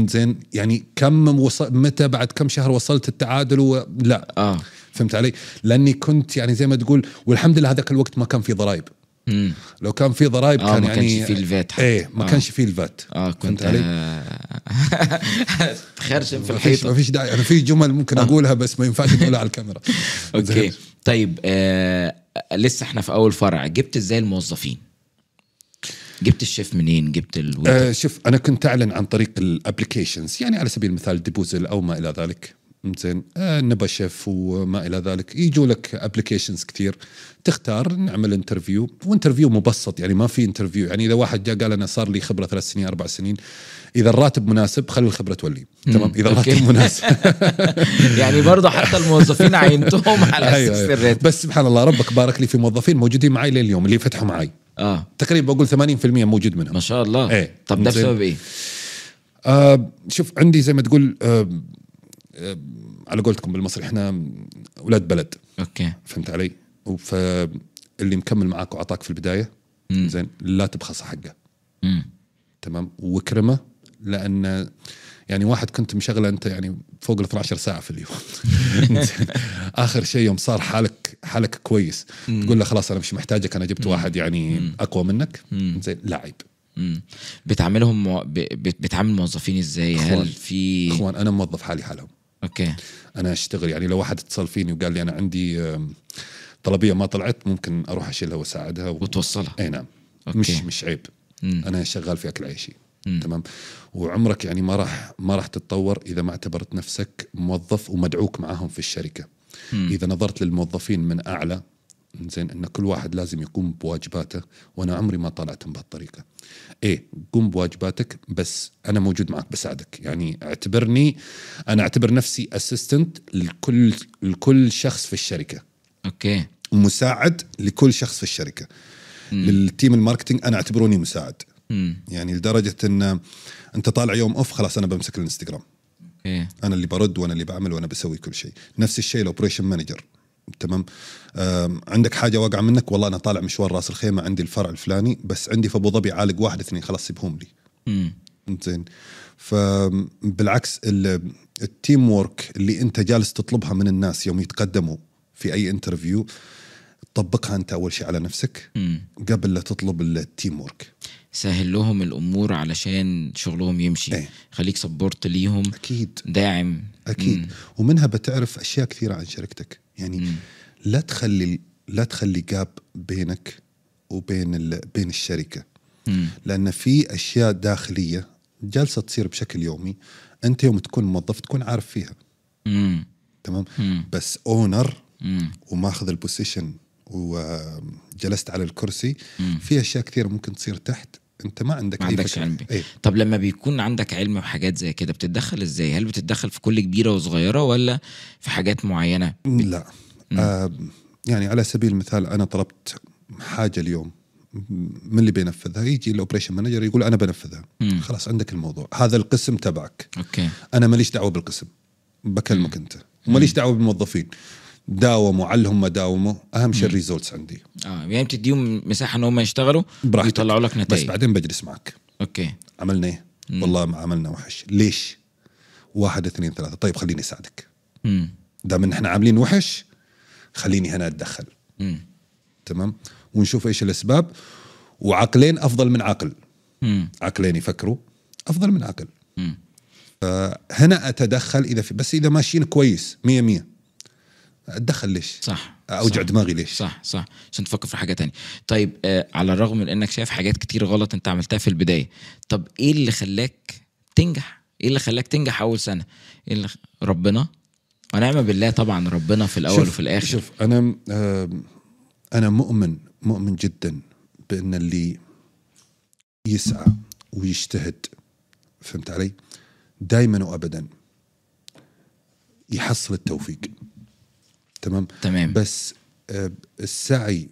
Speaker 1: زين يعني كم وص... متى بعد كم شهر وصلت التعادل و... لا
Speaker 2: اه
Speaker 1: فهمت علي؟ لاني كنت يعني زي ما تقول والحمد لله هذاك الوقت ما كان في ضرائب
Speaker 2: امم
Speaker 1: لو كان في ضرائب
Speaker 2: آه،
Speaker 1: كان
Speaker 2: ما كانش
Speaker 1: يعني
Speaker 2: في الفات حتى.
Speaker 1: ايه ما
Speaker 2: آه.
Speaker 1: كانش في الفات
Speaker 2: اه
Speaker 1: فهمت
Speaker 2: كنت
Speaker 1: علي؟
Speaker 2: آه، خرشم في آه.
Speaker 1: ما فيش ما
Speaker 2: الحيطه
Speaker 1: فيش داعي انا في جمل ممكن اقولها بس ما ينفعش اقولها على الكاميرا
Speaker 2: اوكي
Speaker 1: زين.
Speaker 2: طيب آه لسه احنا في اول فرع جبت ازاي الموظفين؟ جبت الشيف منين؟ جبت الويتر؟
Speaker 1: آه شوف انا كنت اعلن عن طريق الابلكيشنز يعني على سبيل المثال ديبوزل او ما الى ذلك زين آه نبا شيف وما الى ذلك يجوا لك ابلكيشنز كثير تختار نعمل انترفيو وانترفيو مبسط يعني ما في انترفيو يعني اذا واحد جاء قال انا صار لي خبره ثلاث سنين اربع سنين اذا الراتب مناسب خلي الخبره تولي تمام اذا
Speaker 2: أوكي.
Speaker 1: الراتب مناسب
Speaker 2: يعني برضه حتى الموظفين عينتهم على
Speaker 1: أيوة،
Speaker 2: اساس
Speaker 1: أيوة.
Speaker 2: الراتب
Speaker 1: بس سبحان الله ربك بارك لي في موظفين موجودين معي لليوم اللي فتحوا معي
Speaker 2: اه
Speaker 1: تقريبا بقول 80% موجود منهم
Speaker 2: ما شاء الله
Speaker 1: آه. إيه.
Speaker 2: طب ده
Speaker 1: زين.
Speaker 2: بسبب ايه؟
Speaker 1: آه شوف عندي زي ما تقول آه آه على قولتكم بالمصري احنا اولاد بلد
Speaker 2: اوكي
Speaker 1: فهمت علي؟ ف اللي مكمل معاك وعطاك في البدايه زين لا تبخس حقه
Speaker 2: مم.
Speaker 1: تمام واكرمه لان يعني واحد كنت مشغله انت يعني فوق ال 12 ساعه في اليوم زين. اخر شيء يوم صار حالك حالك كويس تقول له خلاص انا مش محتاجك انا جبت واحد يعني اقوى منك زين لا عيب
Speaker 2: مم. بتعاملهم مو... ب... بت- بتعامل موظفين ازاي؟ هل
Speaker 1: إخوان.
Speaker 2: في
Speaker 1: اخوان انا موظف حالي حالهم
Speaker 2: اوكي
Speaker 1: انا اشتغل يعني لو واحد اتصل فيني وقال لي انا عندي آم، طلبيه ما طلعت ممكن اروح اشيلها واساعدها و...
Speaker 2: وتوصلها
Speaker 1: اي نعم
Speaker 2: أوكي.
Speaker 1: مش مش عيب
Speaker 2: مم.
Speaker 1: انا شغال في اكل عيشي تمام وعمرك يعني ما راح ما راح تتطور اذا ما اعتبرت نفسك موظف ومدعوك معاهم في الشركه اذا نظرت للموظفين من اعلى زين ان كل واحد لازم يقوم بواجباته وانا عمري ما طلعت بهالطريقه ايه قوم بواجباتك بس انا موجود معك بساعدك يعني اعتبرني انا اعتبر نفسي اسيستنت لكل لكل شخص في الشركه
Speaker 2: اوكي
Speaker 1: مساعد لكل شخص في الشركه للتيم الماركتينج انا اعتبروني مساعد
Speaker 2: امم
Speaker 1: يعني لدرجه ان انت طالع يوم اوف خلاص انا بمسك الانستغرام
Speaker 2: اوكي
Speaker 1: انا اللي برد وانا اللي بعمل وانا بسوي كل شيء نفس الشيء الاوبريشن مانجر تمام أم، عندك حاجه واقعه منك والله انا طالع مشوار راس الخيمه عندي الفرع الفلاني بس عندي في ابو ظبي عالق واحد اثنين خلاص سيبهم لي
Speaker 2: امم
Speaker 1: زين فبالعكس ال- التيم وورك اللي انت جالس تطلبها من الناس يوم يتقدموا في اي انترفيو طبقها انت اول شيء على نفسك
Speaker 2: امم
Speaker 1: قبل لا تطلب التيم وورك
Speaker 2: سهل لهم الامور علشان شغلهم يمشي
Speaker 1: إيه.
Speaker 2: خليك سبورت ليهم
Speaker 1: اكيد
Speaker 2: داعم
Speaker 1: اكيد
Speaker 2: مم.
Speaker 1: ومنها بتعرف اشياء كثيره عن شركتك يعني
Speaker 2: مم.
Speaker 1: لا تخلي لا تخلي جاب بينك وبين ال... بين الشركه
Speaker 2: مم.
Speaker 1: لان في اشياء داخليه جالسه تصير بشكل يومي انت يوم تكون موظف تكون عارف فيها
Speaker 2: مم.
Speaker 1: تمام
Speaker 2: مم.
Speaker 1: بس اونر
Speaker 2: مم.
Speaker 1: وماخذ البوزيشن وجلست على الكرسي في اشياء كثيره ممكن تصير تحت انت ما عندك
Speaker 2: ما
Speaker 1: أي
Speaker 2: عندكش
Speaker 1: فكرة. إيه.
Speaker 2: علم
Speaker 1: أي.
Speaker 2: بيه. طب لما بيكون عندك علم بحاجات زي كده بتتدخل ازاي هل بتتدخل في كل كبيره وصغيره ولا في حاجات معينه
Speaker 1: لا آه يعني على سبيل المثال انا طلبت حاجه اليوم من اللي بينفذها يجي الاوبريشن مانجر يقول انا بنفذها
Speaker 2: مم.
Speaker 1: خلاص عندك الموضوع هذا القسم تبعك
Speaker 2: اوكي
Speaker 1: انا ماليش دعوه بالقسم بكلمك انت وماليش دعوه بالموظفين داوموا علهم ما داوموا اهم شيء الريزولتس عندي
Speaker 2: اه يعني بتديهم مساحه ان هم يشتغلوا
Speaker 1: براحتك.
Speaker 2: ويطلعوا لك
Speaker 1: بس
Speaker 2: نتائج
Speaker 1: بعدين بجلس معك
Speaker 2: اوكي
Speaker 1: عملنا ايه والله ما عملنا وحش ليش واحد اثنين ثلاثه طيب خليني اساعدك
Speaker 2: مم.
Speaker 1: دام ان احنا عاملين وحش خليني هنا اتدخل
Speaker 2: مم.
Speaker 1: تمام ونشوف ايش الاسباب وعقلين افضل من عقل
Speaker 2: مم.
Speaker 1: عقلين يفكروا افضل من عقل
Speaker 2: مم.
Speaker 1: هنا اتدخل اذا في بس اذا ماشيين كويس 100 100 اتدخل ليش
Speaker 2: صح
Speaker 1: اوجع
Speaker 2: صح.
Speaker 1: دماغي ليش
Speaker 2: صح صح عشان تفكر في حاجه تانية طيب آه على الرغم من انك شايف حاجات كتير غلط انت عملتها في البدايه طب ايه اللي خلاك تنجح ايه اللي خلاك تنجح اول سنه ايه اللي خ... ربنا ونعم بالله طبعا ربنا في الاول
Speaker 1: شوف-
Speaker 2: وفي الاخر
Speaker 1: شوف انا آم، انا مؤمن مؤمن جدا بان اللي يسعى ويجتهد فهمت علي؟ دائما وابدا يحصل التوفيق تمام؟
Speaker 2: تمام
Speaker 1: بس آه، السعي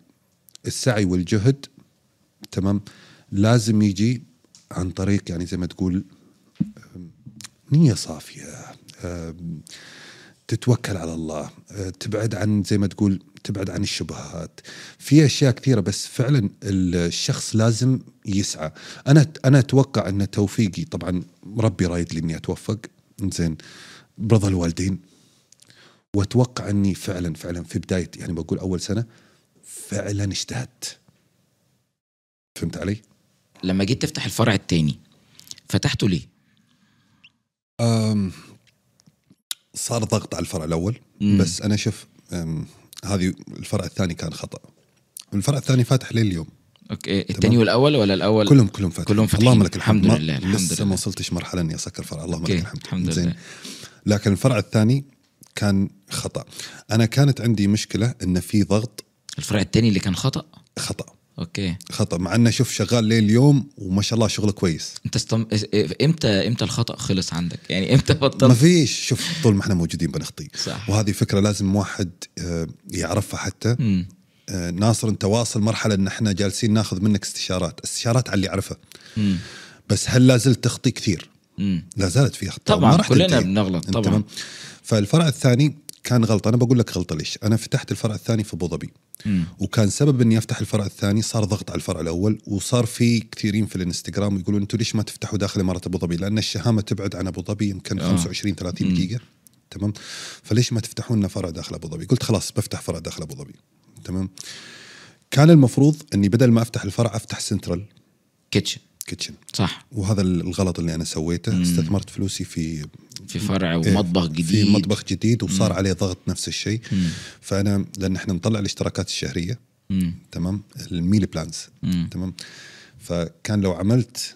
Speaker 1: السعي والجهد تمام لازم يجي عن طريق يعني زي ما تقول آم، نية صافية آم، تتوكل على الله آه، تبعد عن زي ما تقول تبعد عن الشبهات في اشياء كثيره بس فعلا الشخص لازم يسعى انا انا اتوقع ان توفيقي طبعا ربي رايد لي اني اتوفق زين برضا الوالدين واتوقع اني فعلا فعلا في بدايه يعني بقول اول سنه فعلا اجتهدت فهمت علي؟
Speaker 2: لما جيت تفتح الفرع التاني فتحته ليه؟
Speaker 1: أم صار ضغط على الفرع الاول
Speaker 2: مم.
Speaker 1: بس انا شوف أم، هذه الفرع الثاني كان خطا الفرع الثاني فاتح لليوم
Speaker 2: اوكي التاني والاول ولا الاول؟
Speaker 1: كلهم كلهم فاتحين
Speaker 2: كلهم فاتحين.
Speaker 1: اللهم لك الحمد
Speaker 2: الحمد
Speaker 1: ما-
Speaker 2: لله، الحمد
Speaker 1: لسه
Speaker 2: لله.
Speaker 1: ما وصلتش مرحله اني اسكر فرع اللهم لك
Speaker 2: أوكي،
Speaker 1: الحمد
Speaker 2: الحمد
Speaker 1: زين.
Speaker 2: لله.
Speaker 1: لكن الفرع الثاني كان خطا انا كانت عندي مشكله ان في ضغط
Speaker 2: الفرع التاني اللي كان خطا
Speaker 1: خطا
Speaker 2: اوكي
Speaker 1: خطا مع انه شوف شغال ليل اليوم وما شاء الله شغله كويس
Speaker 2: انت استم... امتى امتى الخطا خلص عندك؟ يعني امتى
Speaker 1: ما
Speaker 2: بطلت؟
Speaker 1: فيش شوف طول ما احنا موجودين بنخطي
Speaker 2: صح.
Speaker 1: وهذه فكره لازم واحد آه، يعرفها حتى
Speaker 2: مم.
Speaker 1: آه، ناصر انت واصل مرحله ان احنا جالسين ناخذ منك استشارات استشارات على اللي يعرفها
Speaker 2: مم.
Speaker 1: بس هل لا زلت تخطي كثير
Speaker 2: مم.
Speaker 1: لا زالت في اخطاء
Speaker 2: طبعاً،
Speaker 1: ما راح
Speaker 2: كلنا
Speaker 1: تنتهي.
Speaker 2: بنغلط، طبعاً.
Speaker 1: تمام؟ فالفرع الثاني كان غلط انا بقول لك غلطه ليش انا فتحت الفرع الثاني في ابو ظبي
Speaker 2: مم.
Speaker 1: وكان سبب اني افتح الفرع الثاني صار ضغط على الفرع الاول وصار في كثيرين في الانستغرام يقولون انتم ليش ما تفتحوا داخل اماره ابو ظبي؟ لان الشهامه تبعد عن ابو ظبي يمكن 25 30 دقيقه تمام؟ فليش ما تفتحوا لنا فرع داخل ابو ظبي؟ قلت خلاص بفتح فرع داخل ابو ظبي تمام؟ كان المفروض اني بدل ما افتح الفرع افتح سنترال
Speaker 2: كيتشن
Speaker 1: كيتشن
Speaker 2: صح
Speaker 1: وهذا الغلط اللي انا سويته استثمرت فلوسي في
Speaker 2: في فرع
Speaker 1: إيه،
Speaker 2: ومطبخ جديد
Speaker 1: في مطبخ جديد وصار عليه ضغط نفس الشيء فانا لان احنا نطلع الاشتراكات الشهريه
Speaker 2: مم.
Speaker 1: تمام الميل بلانز
Speaker 2: مم.
Speaker 1: تمام فكان لو عملت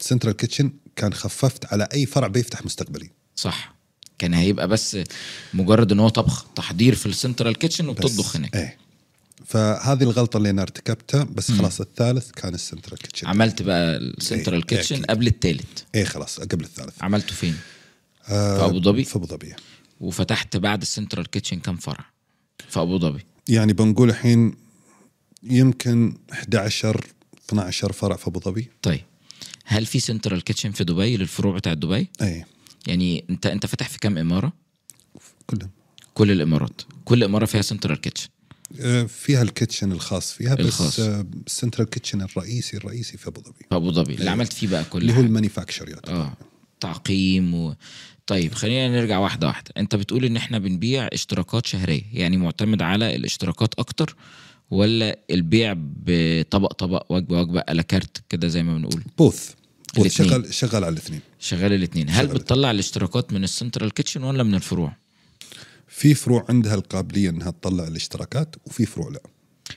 Speaker 1: سنترال كيتشن كان خففت على اي فرع بيفتح مستقبلي
Speaker 2: صح كان هيبقى بس مجرد ان هو طبخ تحضير في السنترال كيتشن
Speaker 1: بس.
Speaker 2: وبتطبخ هناك
Speaker 1: ايه فهذه الغلطه اللي انا ارتكبتها بس خلاص الثالث كان السنترال كيتشن
Speaker 2: عملت بقى السنترال
Speaker 1: إيه،
Speaker 2: كيتشن
Speaker 1: أكيد.
Speaker 2: قبل التالت
Speaker 1: ايه خلاص قبل الثالث
Speaker 2: عملته فين؟
Speaker 1: آه،
Speaker 2: في أبو ظبي؟
Speaker 1: في ابو ظبي
Speaker 2: وفتحت بعد السنترال كيتشن كام فرع؟ في ابو ظبي
Speaker 1: يعني بنقول الحين يمكن 11 12 فرع في ابو ظبي
Speaker 2: طيب هل في سنترال كيتشن في دبي للفروع بتاع دبي
Speaker 1: اي
Speaker 2: يعني انت انت فاتح في كام اماره
Speaker 1: كلهم
Speaker 2: كل الامارات كل اماره فيها سنترال كيتشن
Speaker 1: آه، فيها الكيتشن الخاص فيها
Speaker 2: الخاص.
Speaker 1: بس آه، السنترال كيتشن الرئيسي الرئيسي في ابو ظبي
Speaker 2: في ابو ظبي اللي
Speaker 1: أيوة.
Speaker 2: عملت فيه بقى كل
Speaker 1: اللي هو يعني.
Speaker 2: حاجة.
Speaker 1: المانيفاكتشر يعتبر
Speaker 2: اه تعقيم و... طيب خلينا نرجع واحدة واحدة انت بتقول ان احنا بنبيع اشتراكات شهرية يعني معتمد على الاشتراكات اكتر ولا البيع بطبق طبق وجبة وجبة على كارت كده زي ما بنقول
Speaker 1: بوث بوث
Speaker 2: الاتنين.
Speaker 1: شغل شغل على الاثنين
Speaker 2: شغال الاتنين هل
Speaker 1: شغال.
Speaker 2: بتطلع الاشتراكات من السنترال كيتشن ولا من الفروع
Speaker 1: في فروع عندها القابليه انها تطلع الاشتراكات وفي فروع لا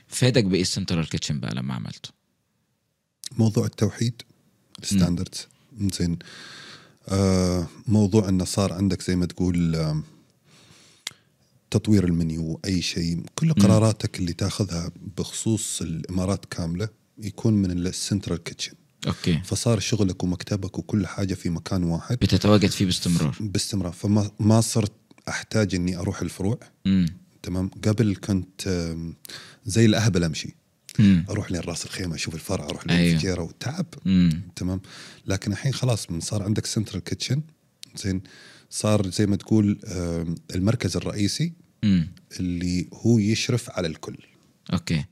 Speaker 2: فادك بايه السنترال كيتشن بقى لما عملته
Speaker 1: موضوع التوحيد الستاندردز زين آه موضوع انه صار عندك زي ما تقول آم، تطوير المنيو اي شيء كل قراراتك اللي تاخذها بخصوص الامارات كامله يكون من السنترال كيتشن
Speaker 2: اوكي
Speaker 1: فصار شغلك ومكتبك وكل حاجه في مكان واحد
Speaker 2: بتتواجد فيه باستمرار
Speaker 1: باستمرار فما ما صرت احتاج اني اروح الفروع
Speaker 2: امم
Speaker 1: تمام قبل كنت آم، زي الاهبل امشي
Speaker 2: امم
Speaker 1: اروح لين راس الخيمه اشوف الفرع اروح
Speaker 2: أيوه.
Speaker 1: للفجيره وتعب
Speaker 2: امم
Speaker 1: تمام لكن الحين خلاص من صار عندك سنترال كيتشن زين صار زي ما تقول آم، المركز الرئيسي
Speaker 2: امم
Speaker 1: اللي هو يشرف على الكل
Speaker 2: اوكي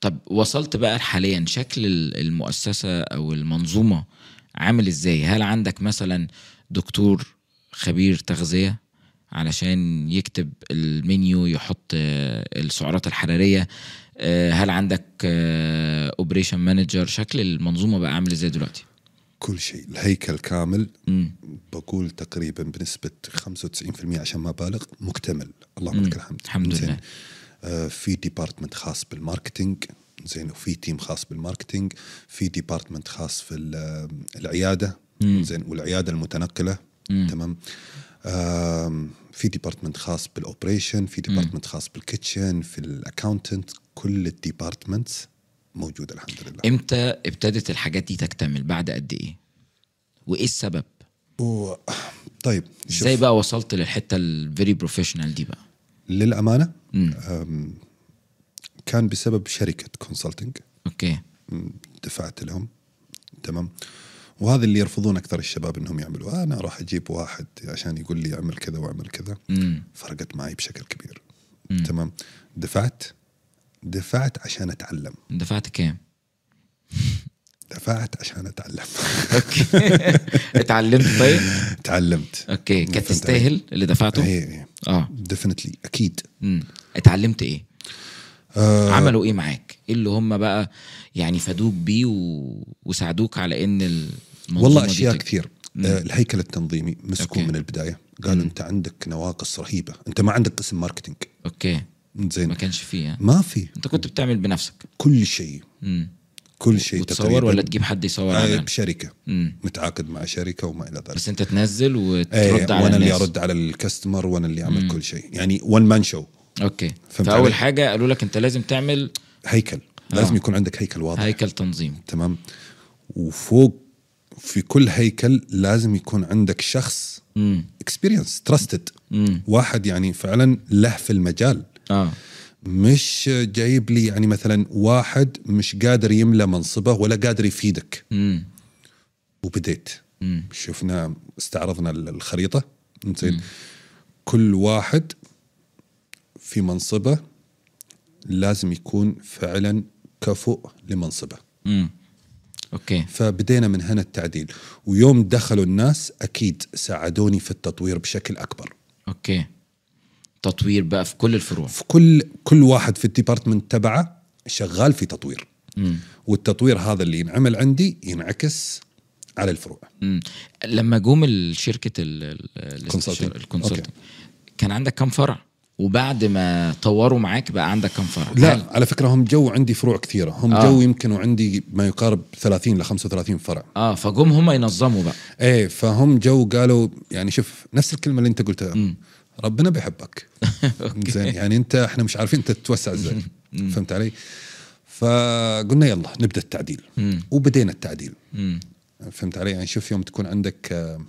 Speaker 2: طب وصلت بقى حاليا شكل ال- المؤسسه او المنظومه عامل ازاي هل عندك مثلا دكتور خبير تغذيه علشان يكتب المنيو يحط آه، السعرات الحراريه آه، هل عندك اوبريشن مانجر شكل المنظومه بقى عامل ازاي دلوقتي
Speaker 1: كل شيء الهيكل كامل
Speaker 2: امم
Speaker 1: بقول تقريبا بنسبه 95% عشان ما بالغ مكتمل اللهم
Speaker 2: مم.
Speaker 1: لك الحمد
Speaker 2: الحمد
Speaker 1: زين.
Speaker 2: لله.
Speaker 1: آه، في ديبارتمنت خاص بالماركتينج زين وفي تيم خاص بالماركتينج في ديبارتمنت خاص في ال- العياده زين والعياده المتنقله تمام آم، في ديبارتمنت خاص بالاوبريشن في ديبارتمنت خاص بالكيتشن في الاكاونتنت كل الديبارتمنتس موجوده الحمد لله
Speaker 2: امتى ابتدت الحاجات دي تكتمل بعد قد ايه وايه السبب
Speaker 1: و- طيب شوف.
Speaker 2: ازاي بقى وصلت للحته الفيري بروفيشنال دي بقى
Speaker 1: للامانه
Speaker 2: مم.
Speaker 1: أم، كان بسبب شركه كونسلتنج
Speaker 2: اوكي
Speaker 1: دفعت لهم تمام وهذا اللي يرفضون اكثر الشباب انهم يعملوا انا راح اجيب واحد عشان يقول لي اعمل كذا واعمل كذا
Speaker 2: امم
Speaker 1: فرقت معي بشكل كبير تمام دفعت دفعت عشان اتعلم
Speaker 2: دفعت كام
Speaker 1: دفعت عشان اتعلم
Speaker 2: اوكي اتعلمت طيب
Speaker 1: تعلمت إيه،
Speaker 2: اوكي كانت
Speaker 1: فهمت
Speaker 2: تستاهل اللي دفعته
Speaker 1: اي
Speaker 2: اه
Speaker 1: ديفنتلي اكيد
Speaker 2: امم اتعلمت ايه
Speaker 1: آه،
Speaker 2: عملوا ايه معاك ايه اللي هم بقى يعني فادوك بيه و... وساعدوك على ان المنظومه
Speaker 1: والله
Speaker 2: دي
Speaker 1: اشياء
Speaker 2: تك-
Speaker 1: كثير
Speaker 2: مم.
Speaker 1: آه، الهيكل التنظيمي مسكون
Speaker 2: أوكي.
Speaker 1: من البدايه قالوا انت عندك نواقص رهيبه انت ما عندك قسم ماركتينج
Speaker 2: اوكي ما
Speaker 1: زين
Speaker 2: كانش فيه ها؟
Speaker 1: ما في
Speaker 2: انت كنت بتعمل بنفسك
Speaker 1: كل شيء
Speaker 2: امم
Speaker 1: كل شيء
Speaker 2: وتصور
Speaker 1: إيه، تقريباً.
Speaker 2: ولا تجيب حد يصور
Speaker 1: آه،
Speaker 2: على
Speaker 1: بشركه
Speaker 2: امم
Speaker 1: متعاقد مع شركه وما الى ذلك
Speaker 2: بس انت تنزل
Speaker 1: إيه،
Speaker 2: وترد على
Speaker 1: وانا اللي
Speaker 2: الناس
Speaker 1: ارد على الكاستمر وانا اللي اعمل كل شيء يعني ون مان شو
Speaker 2: اوكي
Speaker 1: فهمت
Speaker 2: فاول
Speaker 1: علي؟
Speaker 2: حاجه قالوا لك انت لازم تعمل
Speaker 1: هيكل لازم يكون عندك هيكل واضح
Speaker 2: آه. هيكل تنظيم
Speaker 1: تمام وفوق في كل هيكل لازم يكون عندك شخص
Speaker 2: امم
Speaker 1: اكسبيرينس تراستد
Speaker 2: امم
Speaker 1: واحد يعني فعلا له في المجال
Speaker 2: اه
Speaker 1: مش جايب لي يعني مثلا واحد مش قادر يملى منصبه ولا قادر يفيدك
Speaker 2: امم
Speaker 1: وبديت
Speaker 2: امم
Speaker 1: شفنا استعرضنا ال- الخريطه زين كل واحد في منصبه لازم يكون فعلا كفؤ لمنصبه
Speaker 2: امم اوكي
Speaker 1: فبدينا من هنا التعديل ويوم دخلوا الناس اكيد ساعدوني في التطوير بشكل اكبر
Speaker 2: اوكي تطوير بقى في كل الفروع
Speaker 1: في كل كل واحد في الديبارتمنت تبعه شغال في تطوير
Speaker 2: امم
Speaker 1: والتطوير هذا اللي ينعمل عندي ينعكس على الفروع
Speaker 2: امم لما جم ال- شركه ال- ال-
Speaker 1: Consulting.
Speaker 2: الكونسلتنج كان عندك كم فرع وبعد ما طوروا معاك بقى عندك كم فرع هل-
Speaker 1: لا على فكره هم جو عندي فروع كثيره هم
Speaker 2: آه.
Speaker 1: آه. جو يمكن وعندي ما يقارب 30 ل 35 فرع
Speaker 2: اه فجم هم ينظموا بقى
Speaker 1: ايه فهم جو قالوا يعني شوف نفس الكلمه اللي انت قلتها ربنا بيحبك زين يعني انت احنا مش عارفين انت تتوسع ازاي فهمت علي؟ فقلنا يلا نبدا التعديل وبدينا التعديل
Speaker 2: امم
Speaker 1: فهمت علي؟ يعني شوف يوم تكون عندك آه،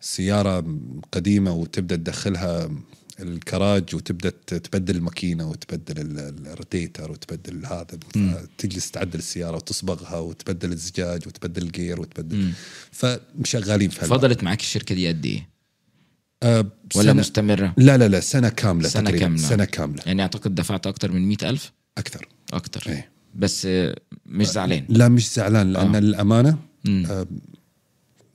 Speaker 1: سياره قديمه وتبدا تدخلها الكراج وتبدا ت- تبدل الماكينه وتبدل ال- الريديتر وتبدل هذا تجلس تعدل السياره وتصبغها وتبدل الزجاج وتبدل الجير وتبدل فمشغالين في هالوقت.
Speaker 2: فضلت معاك الشركه دي قد ايه
Speaker 1: آه،
Speaker 2: ولا
Speaker 1: سنة-
Speaker 2: مستمره
Speaker 1: لا لا لا سنه كامله
Speaker 2: سنة
Speaker 1: تقريبا
Speaker 2: كاملة.
Speaker 1: سنه كامله
Speaker 2: يعني اعتقد دفعت اكتر من مئة الف
Speaker 1: اكثر
Speaker 2: اكتر
Speaker 1: إيه.
Speaker 2: بس آه، مش زعلان
Speaker 1: لا مش زعلان لان
Speaker 2: آه.
Speaker 1: آه. الامانه
Speaker 2: مم.
Speaker 1: آه،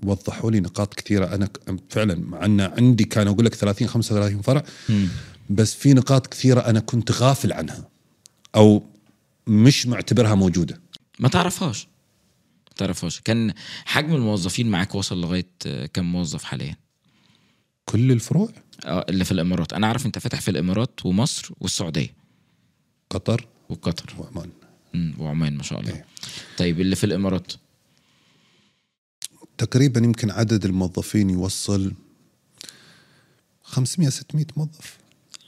Speaker 1: وضحوا لي نقاط كثيره انا ك- فعلا مع ان عندي كان اقول لك 30 35 فرع
Speaker 2: مم.
Speaker 1: بس في نقاط كثيره انا كنت غافل عنها او مش معتبرها موجوده
Speaker 2: ما تعرفهاش ما تعرفهاش كان حجم الموظفين معاك وصل لغايه آه، كم موظف حاليا
Speaker 1: كل الفروع
Speaker 2: آه، اللي في الامارات انا عارف انت فاتح في الامارات ومصر والسعوديه
Speaker 1: قطر
Speaker 2: وقطر
Speaker 1: وعمان
Speaker 2: مم، وعمان ما شاء الله
Speaker 1: إيه.
Speaker 2: طيب اللي في الامارات
Speaker 1: تقريبا يمكن عدد الموظفين يوصل 500 600 موظف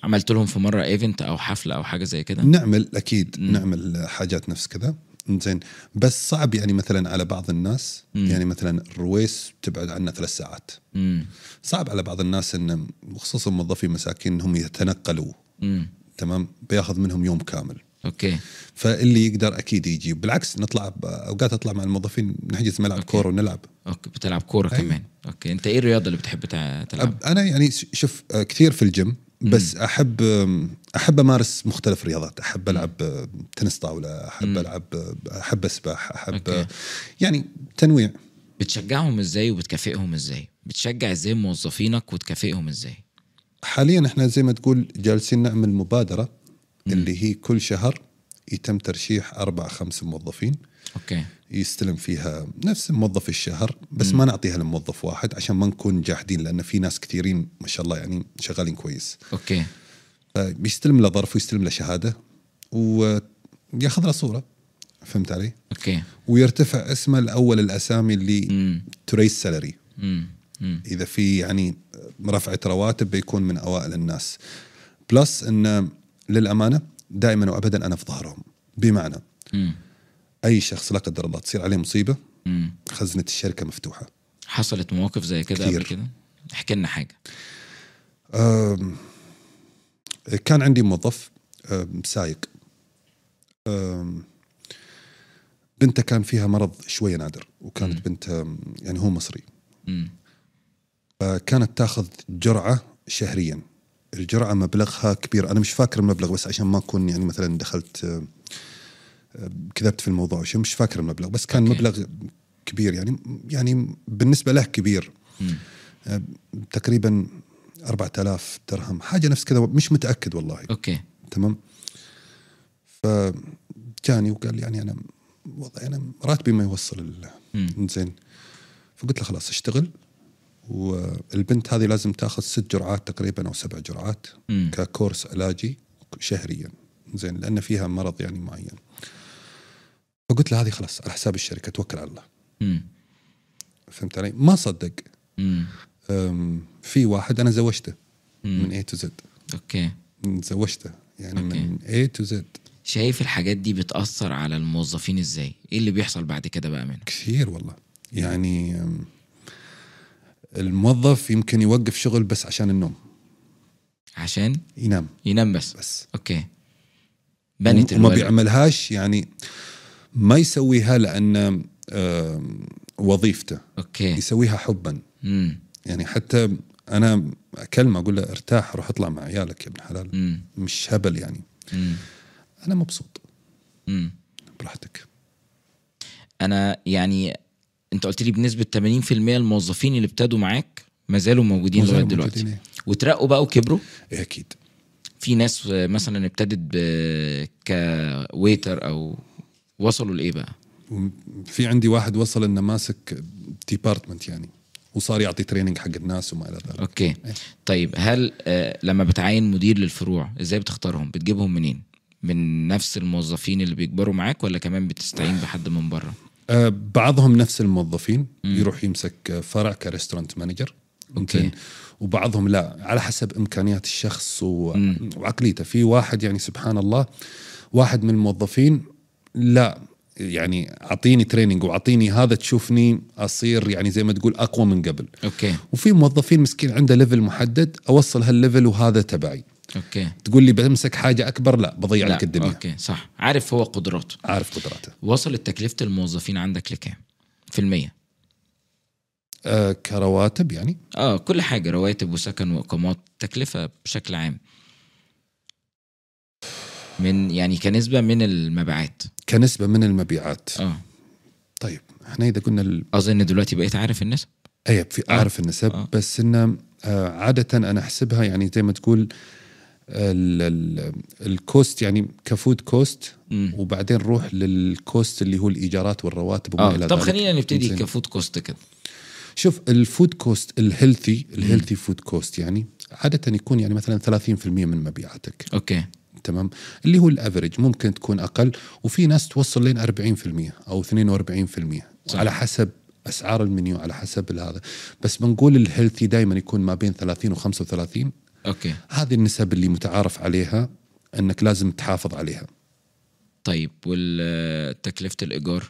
Speaker 2: عملت لهم في مره ايفنت او حفله او حاجه زي كده
Speaker 1: نعمل اكيد
Speaker 2: مم.
Speaker 1: م. نعمل حاجات نفس كذا زين بس صعب يعني مثلا على بعض الناس
Speaker 2: مم.
Speaker 1: م. يعني مثلا الرويس تبعد عنا ثلاث ساعات
Speaker 2: مم.
Speaker 1: صعب على بعض الناس ان خصوصا موظفين مساكين انهم يتنقلوا
Speaker 2: مم.
Speaker 1: تمام بياخذ منهم يوم كامل
Speaker 2: اوكي
Speaker 1: فاللي يقدر اكيد يجي بالعكس نطلع ب- اوقات اطلع مع الموظفين نحجز ملعب
Speaker 2: أوكي.
Speaker 1: كوره ونلعب
Speaker 2: اوكي بتلعب كوره
Speaker 1: أيوة.
Speaker 2: كمان اوكي انت ايه الرياضه اللي بتحب تع- تلعبها
Speaker 1: أب- انا يعني ش- شوف آه، كثير في الجيم بس احب آم، احب امارس مختلف الرياضات احب العب آه، تنس طاوله احب العب آه، احب اسبح احب
Speaker 2: أوكي.
Speaker 1: آه، يعني تنويع
Speaker 2: بتشجعهم ازاي وبتكافئهم ازاي بتشجع ازاي موظفينك وتكافئهم ازاي
Speaker 1: حاليا احنا زي ما تقول جالسين نعمل مبادره اللي هي كل شهر يتم ترشيح اربع خمس موظفين
Speaker 2: اوكي
Speaker 1: يستلم فيها نفس موظف الشهر بس ما نعطيها لموظف واحد عشان ما نكون جاحدين لان في ناس كثيرين ما شاء الله يعني شغالين كويس
Speaker 2: اوكي
Speaker 1: يستلم له ظرف ويستلم له شهاده وياخذ له صوره فهمت علي؟
Speaker 2: اوكي
Speaker 1: ويرتفع اسمه لاول الاسامي اللي
Speaker 2: امم
Speaker 1: تريس سالري
Speaker 2: امم امم
Speaker 1: اذا في يعني رفعه رواتب بيكون من اوائل الناس. بلس انه للامانه دائما وابدا انا في ظهرهم بمعنى
Speaker 2: امم
Speaker 1: اي شخص لا قدر الله تصير عليه مصيبه
Speaker 2: امم
Speaker 1: خزنه الشركه مفتوحه.
Speaker 2: حصلت مواقف زي كده قبل
Speaker 1: كتير.
Speaker 2: كده احكي لنا حاجه
Speaker 1: أم، كان عندي موظف أم، سايق أم، بنته كان فيها مرض شويه نادر وكانت بنته أم، يعني هو مصري
Speaker 2: امم
Speaker 1: فكانت تاخذ جرعه شهريا الجرعه مبلغها كبير انا مش فاكر المبلغ بس عشان ما اكون يعني مثلا دخلت أم، أم، كذبت في الموضوع وشي مش فاكر المبلغ بس كان
Speaker 2: أوكي.
Speaker 1: مبلغ كبير يعني يعني بالنسبه له كبير
Speaker 2: امم
Speaker 1: تقريبا 4000 درهم حاجه نفس كذا مش متاكد والله
Speaker 2: اوكي
Speaker 1: تمام فجاني وقال لي يعني انا وضعي انا راتبي ما يوصل
Speaker 2: مم.
Speaker 1: ال- زين فقلت له خلاص اشتغل والبنت هذه لازم تاخذ ست جرعات تقريبا او سبع جرعات
Speaker 2: مم.
Speaker 1: ككورس علاجي شهريا زين لان فيها مرض يعني معين فقلت له هذه خلاص على حساب الشركه توكل على الله
Speaker 2: امم
Speaker 1: فهمت علي؟ ما صدق
Speaker 2: امم
Speaker 1: أم، في واحد انا زوجته من اي تو زد
Speaker 2: اوكي
Speaker 1: زوجته يعني
Speaker 2: أوكي.
Speaker 1: من اي تو زد
Speaker 2: شايف الحاجات دي بتأثر على الموظفين ازاي؟ ايه اللي بيحصل بعد كده بقى منك؟
Speaker 1: كثير والله يعني أم، الموظف يمكن يوقف شغل بس عشان النوم
Speaker 2: عشان
Speaker 1: ينام
Speaker 2: ينام بس
Speaker 1: بس
Speaker 2: اوكي بنت
Speaker 1: وما
Speaker 2: الوالد
Speaker 1: بيعملهاش يعني ما يسويها لان أم، وظيفته
Speaker 2: اوكي
Speaker 1: يسويها حبا
Speaker 2: امم
Speaker 1: يعني حتى انا اكلمه اقول له ارتاح روح اطلع مع عيالك يا ابن حلال
Speaker 2: امم
Speaker 1: مش هبل يعني
Speaker 2: امم
Speaker 1: انا مبسوط
Speaker 2: امم
Speaker 1: براحتك
Speaker 2: انا يعني انت قلت لي بنسبه 80% الموظفين اللي ابتدوا معاك ما زالوا موجودين
Speaker 1: ما زالوا
Speaker 2: لغايه دلوقتي
Speaker 1: موجودين،
Speaker 2: وترقوا بقى وكبروا
Speaker 1: إيه، اكيد
Speaker 2: في ناس آه، مثلا ابتدت ب كويتر او وصلوا لايه بقى
Speaker 1: في عندي واحد وصل انه ماسك ديبارتمنت يعني وصار يعطي تريننج حق الناس وما الى ذلك
Speaker 2: اوكي طيب هل آه، لما بتعين مدير للفروع ازاي بتختارهم بتجيبهم منين من نفس الموظفين اللي بيكبروا معاك ولا كمان بتستعين بحد من بره
Speaker 1: آه، بعضهم نفس الموظفين يروح يمسك آه، فرع كريستورانت مانجر
Speaker 2: أوكي.
Speaker 1: ممكن وبعضهم لا على حسب امكانيات الشخص و... وعقليته في واحد يعني سبحان الله واحد من الموظفين لا يعني اعطيني تريننج واعطيني هذا تشوفني اصير يعني زي ما تقول اقوى من قبل
Speaker 2: اوكي
Speaker 1: وفي موظفين مسكين عنده ليفل محدد اوصل هالليفل وهذا تبعي
Speaker 2: اوكي
Speaker 1: تقول لي بمسك حاجه اكبر لا بضيع
Speaker 2: لا،
Speaker 1: لك الدنيا
Speaker 2: اوكي صح عارف هو قدراته
Speaker 1: عارف قدراته
Speaker 2: وصلت تكلفه الموظفين عندك لكام في المية
Speaker 1: آه كرواتب يعني
Speaker 2: اه كل حاجه رواتب وسكن واقامات تكلفه بشكل عام من يعني كنسبه من المبيعات
Speaker 1: كنسبه من المبيعات
Speaker 2: اه
Speaker 1: طيب احنا اذا قلنا ال-
Speaker 2: اظن دلوقتي بقيت عارف النسب
Speaker 1: اي في اعرف النسب
Speaker 2: آه.
Speaker 1: بس انه آه، عاده انا احسبها يعني زي ما تقول ال- ال- الكوست يعني كفود كوست
Speaker 2: مم.
Speaker 1: وبعدين نروح للكوست اللي هو الايجارات والرواتب وما
Speaker 2: اه
Speaker 1: الى
Speaker 2: طب
Speaker 1: ذلك.
Speaker 2: خلينا نبتدي
Speaker 1: زين.
Speaker 2: كفود كوست كده
Speaker 1: شوف الفود كوست الهيلثي الهيلثي فود كوست يعني عاده يكون يعني مثلا 30% من مبيعاتك
Speaker 2: اوكي
Speaker 1: تمام اللي هو الافرج ممكن تكون اقل وفي ناس توصل لين 40% او 42%
Speaker 2: صح.
Speaker 1: صح. على حسب اسعار المنيو على حسب هذا بس بنقول الهيلثي دائما يكون ما بين 30 و35
Speaker 2: اوكي
Speaker 1: هذه النسب اللي متعارف عليها انك لازم تحافظ عليها
Speaker 2: طيب والتكلفه الايجار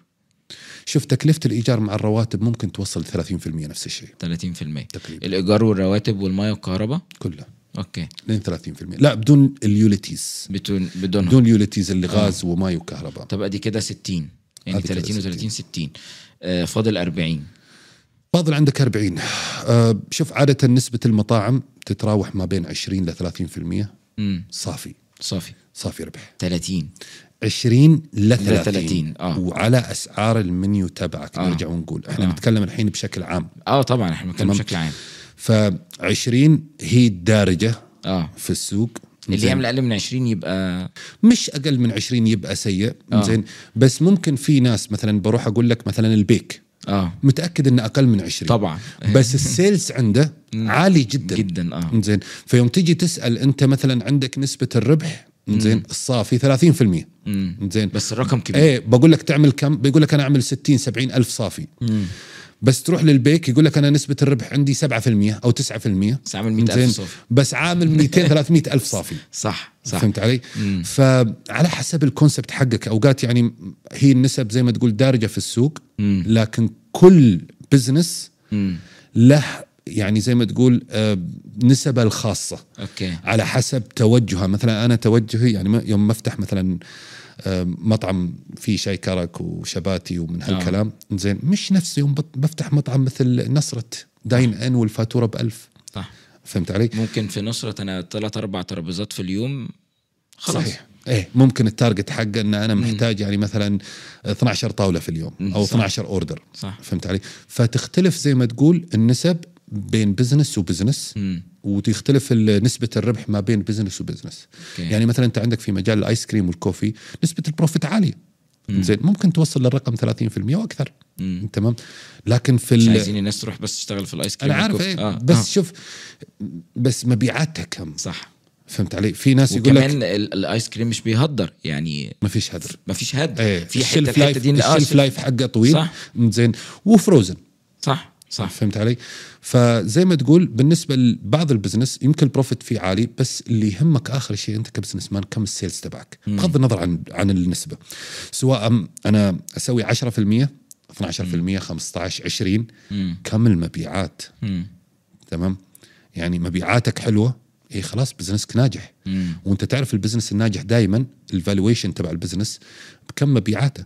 Speaker 1: شوف تكلفه الايجار مع الرواتب ممكن توصل 30% نفس الشيء
Speaker 2: 30%
Speaker 1: تقريبا
Speaker 2: الايجار والرواتب والميه والكهرباء
Speaker 1: كله
Speaker 2: اوكي
Speaker 1: لين 30% لا بدون اليوليتيز
Speaker 2: بدون بدونها
Speaker 1: بدون اليوليتيز اللي غاز وماي وكهرباء
Speaker 2: طب ادي كده 60 يعني
Speaker 1: أدي كده
Speaker 2: 30 و30 60 آه، فاضل 40
Speaker 1: فاضل عندك 40 آه، شوف عادة نسبة المطاعم تتراوح ما بين 20 ل 30%
Speaker 2: امم
Speaker 1: صافي
Speaker 2: صافي
Speaker 1: صافي ربح
Speaker 2: 30
Speaker 1: 20 ل
Speaker 2: 30.
Speaker 1: 30
Speaker 2: آه.
Speaker 1: وعلى اسعار المنيو تبعك
Speaker 2: آه.
Speaker 1: نرجع ونقول احنا
Speaker 2: آه.
Speaker 1: آه. نتكلم الحين بشكل عام
Speaker 2: اه طبعا احنا بنتكلم
Speaker 1: تمام.
Speaker 2: بشكل عام
Speaker 1: ف 20 هي الدارجة
Speaker 2: اه
Speaker 1: في السوق
Speaker 2: اللي
Speaker 1: زين.
Speaker 2: يعمل اقل من 20 يبقى
Speaker 1: مش اقل من 20 يبقى سيء
Speaker 2: آه.
Speaker 1: زين بس ممكن في ناس مثلا بروح اقول لك مثلا البيك
Speaker 2: اه
Speaker 1: متاكد انه اقل من 20
Speaker 2: طبعا
Speaker 1: بس السيلز عنده عالي جدا
Speaker 2: جدا اه
Speaker 1: زين فيوم تيجي تسال انت مثلا عندك نسبه الربح زين الصافي 30%
Speaker 2: مم.
Speaker 1: زين
Speaker 2: بس الرقم كبير
Speaker 1: ايه بقول لك تعمل كم بيقول لك انا اعمل 60 70 الف صافي
Speaker 2: مم.
Speaker 1: بس تروح للبيك يقول لك انا نسبه الربح عندي 7% او 9%
Speaker 2: بس عامل 100000
Speaker 1: زين.
Speaker 2: صافي
Speaker 1: بس عامل 200 300 الف صافي
Speaker 2: صح
Speaker 1: صح.
Speaker 2: صح
Speaker 1: فهمت علي؟
Speaker 2: مم.
Speaker 1: فعلى حسب الكونسبت حقك اوقات يعني هي النسب زي ما تقول دارجه في السوق
Speaker 2: مم.
Speaker 1: لكن كل بزنس
Speaker 2: مم.
Speaker 1: له يعني زي ما تقول آه، نسبه الخاصه
Speaker 2: اوكي
Speaker 1: على حسب توجهها مثلا انا توجهي يعني م- يوم مفتح مثلا آه، مطعم فيه شاي كرك وشباتي ومن
Speaker 2: نعم.
Speaker 1: هالكلام زين مش نفس يوم بط- بفتح مطعم مثل نصرة داين
Speaker 2: نعم.
Speaker 1: ان والفاتوره بألف
Speaker 2: صح
Speaker 1: فهمت علي؟
Speaker 2: ممكن في نصرة انا ثلاث اربع ترابيزات في اليوم خلاص
Speaker 1: صحيح ايه ممكن التارجت حقه ان انا محتاج يعني مثلا 12 طاوله في اليوم
Speaker 2: مم،
Speaker 1: او
Speaker 2: صح.
Speaker 1: 12 اوردر
Speaker 2: صح
Speaker 1: فهمت علي؟ فتختلف زي ما تقول النسب بين بزنس وبزنس
Speaker 2: مم.
Speaker 1: وتختلف ال- نسبه الربح ما بين بزنس وبزنس
Speaker 2: اوكي
Speaker 1: يعني مثلا انت عندك في مجال الايس كريم والكوفي نسبه البروفيت عاليه زين ممكن توصل للرقم 30% واكثر
Speaker 2: مم.
Speaker 1: تمام لكن في
Speaker 2: مش
Speaker 1: ال...
Speaker 2: عايزين الناس تروح بس تشتغل في الايس كريم آه،
Speaker 1: انا عارف
Speaker 2: والكوفي.
Speaker 1: ايه بس شوف بس مبيعاتها كم
Speaker 2: صح
Speaker 1: فهمت علي في ناس يقول لك
Speaker 2: وكمان ال- الايس كريم مش بيهدر يعني
Speaker 1: ما فيش هدر
Speaker 2: ما فيش هد
Speaker 1: ايه
Speaker 2: في حته
Speaker 1: الشلف
Speaker 2: الحته
Speaker 1: لايف
Speaker 2: دي إن- آه،
Speaker 1: الشلف لايف حقه طويل
Speaker 2: صح.
Speaker 1: صح زين وفروزن
Speaker 2: صح صح
Speaker 1: فهمت علي؟ فزي ما تقول بالنسبه لبعض البزنس يمكن البروفيت فيه عالي بس اللي يهمك اخر شيء انت كبزنس مان كم السيلز تبعك بغض النظر عن عن النسبه سواء انا اسوي 10% 12% 15 20
Speaker 2: مم.
Speaker 1: كم المبيعات
Speaker 2: مم.
Speaker 1: تمام يعني مبيعاتك حلوه اي خلاص بزنسك ناجح
Speaker 2: مم.
Speaker 1: وانت تعرف البزنس الناجح دائما الفالويشن تبع البزنس بكم مبيعاته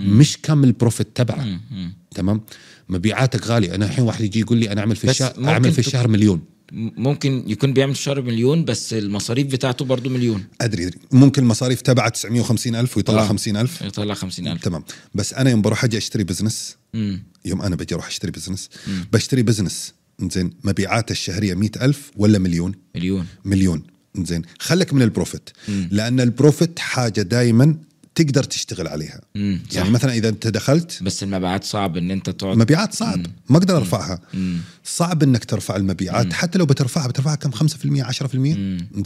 Speaker 1: مش كم البروفيت تبعه
Speaker 2: مم. مم.
Speaker 1: تمام مبيعاتك غاليه انا الحين واحد يجي يقول لي انا اعمل في
Speaker 2: بس
Speaker 1: الشهر
Speaker 2: ممكن
Speaker 1: اعمل في
Speaker 2: تك-
Speaker 1: الشهر مليون
Speaker 2: ممكن يكون بيعمل في الشهر مليون بس المصاريف بتاعته برضو مليون
Speaker 1: ادري ادري ممكن المصاريف تبعه 950 الف
Speaker 2: آه.
Speaker 1: ويطلع 50 الف
Speaker 2: يطلع 50000
Speaker 1: تمام بس انا يوم بروح اجي اشتري بزنس
Speaker 2: مم.
Speaker 1: يوم انا بجي اروح اشتري بزنس بشتري بزنس زين مبيعاته الشهريه 100 الف ولا مليون
Speaker 2: مليون
Speaker 1: مليون زين خلك من البروفيت لان البروفيت حاجه دائما تقدر تشتغل عليها
Speaker 2: مم.
Speaker 1: يعني مثلا اذا انت دخلت
Speaker 2: بس المبيعات صعب ان انت تقعد
Speaker 1: مبيعات صعب ما اقدر ارفعها صعب انك ترفع المبيعات حتى لو بترفعها بترفعها كم 5% 10%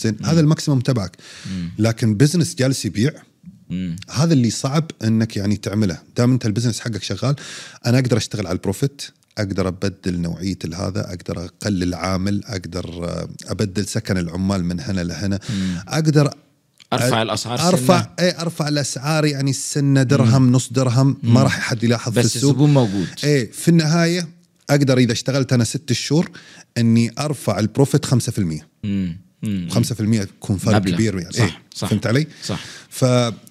Speaker 1: زين هذا الماكسيمم تبعك لكن بزنس جالس يبيع
Speaker 2: مم.
Speaker 1: هذا اللي صعب انك يعني تعمله دام انت البزنس حقك شغال انا اقدر اشتغل على البروفيت اقدر ابدل نوعيه الهذا اقدر اقلل عامل اقدر آه، ابدل سكن العمال من هنا لهنا اقدر
Speaker 2: ارفع الاسعار
Speaker 1: ارفع
Speaker 2: سنة.
Speaker 1: اي ارفع الاسعار إيه، يعني السنه درهم نص درهم ما راح حد يلاحظ في
Speaker 2: بس
Speaker 1: السوق
Speaker 2: الزبون موجود
Speaker 1: ايه في النهايه اقدر اذا اشتغلت انا ست شهور اني ارفع البروفيت 5%
Speaker 2: مم. مم.
Speaker 1: 5% يكون فرق
Speaker 2: مبلغ.
Speaker 1: كبير يعني
Speaker 2: صح،
Speaker 1: إيه.
Speaker 2: صح.
Speaker 1: فهمت علي؟
Speaker 2: صح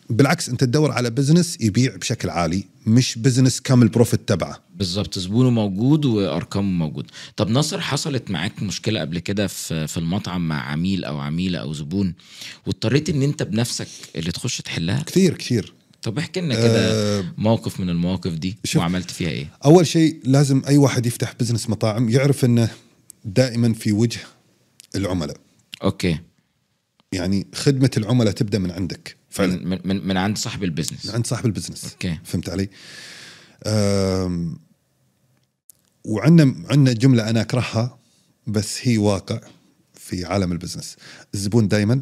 Speaker 1: فبالعكس انت تدور على بزنس يبيع بشكل عالي مش بزنس كم البروفيت تبعه
Speaker 2: بالظبط زبونه موجود وارقامه موجود طب ناصر حصلت معاك مشكله قبل كده في في المطعم مع عميل او عميله او زبون واضطريت ان انت بنفسك اللي تخش تحلها
Speaker 1: كثير كثير
Speaker 2: طب احكي لنا كده
Speaker 1: آه،
Speaker 2: موقف من المواقف دي
Speaker 1: شوف.
Speaker 2: وعملت فيها ايه
Speaker 1: اول شيء لازم اي واحد يفتح بزنس مطاعم يعرف انه دائما في وجه العملاء
Speaker 2: اوكي
Speaker 1: يعني خدمه العملاء تبدا من عندك فعلا
Speaker 2: من من, من عند صاحب
Speaker 1: من
Speaker 2: البيزنس
Speaker 1: عند صاحب البزنس
Speaker 2: اوكي
Speaker 1: فهمت علي؟ أم، وعندنا عندنا جمله انا اكرهها بس هي واقع في عالم البزنس الزبون دائما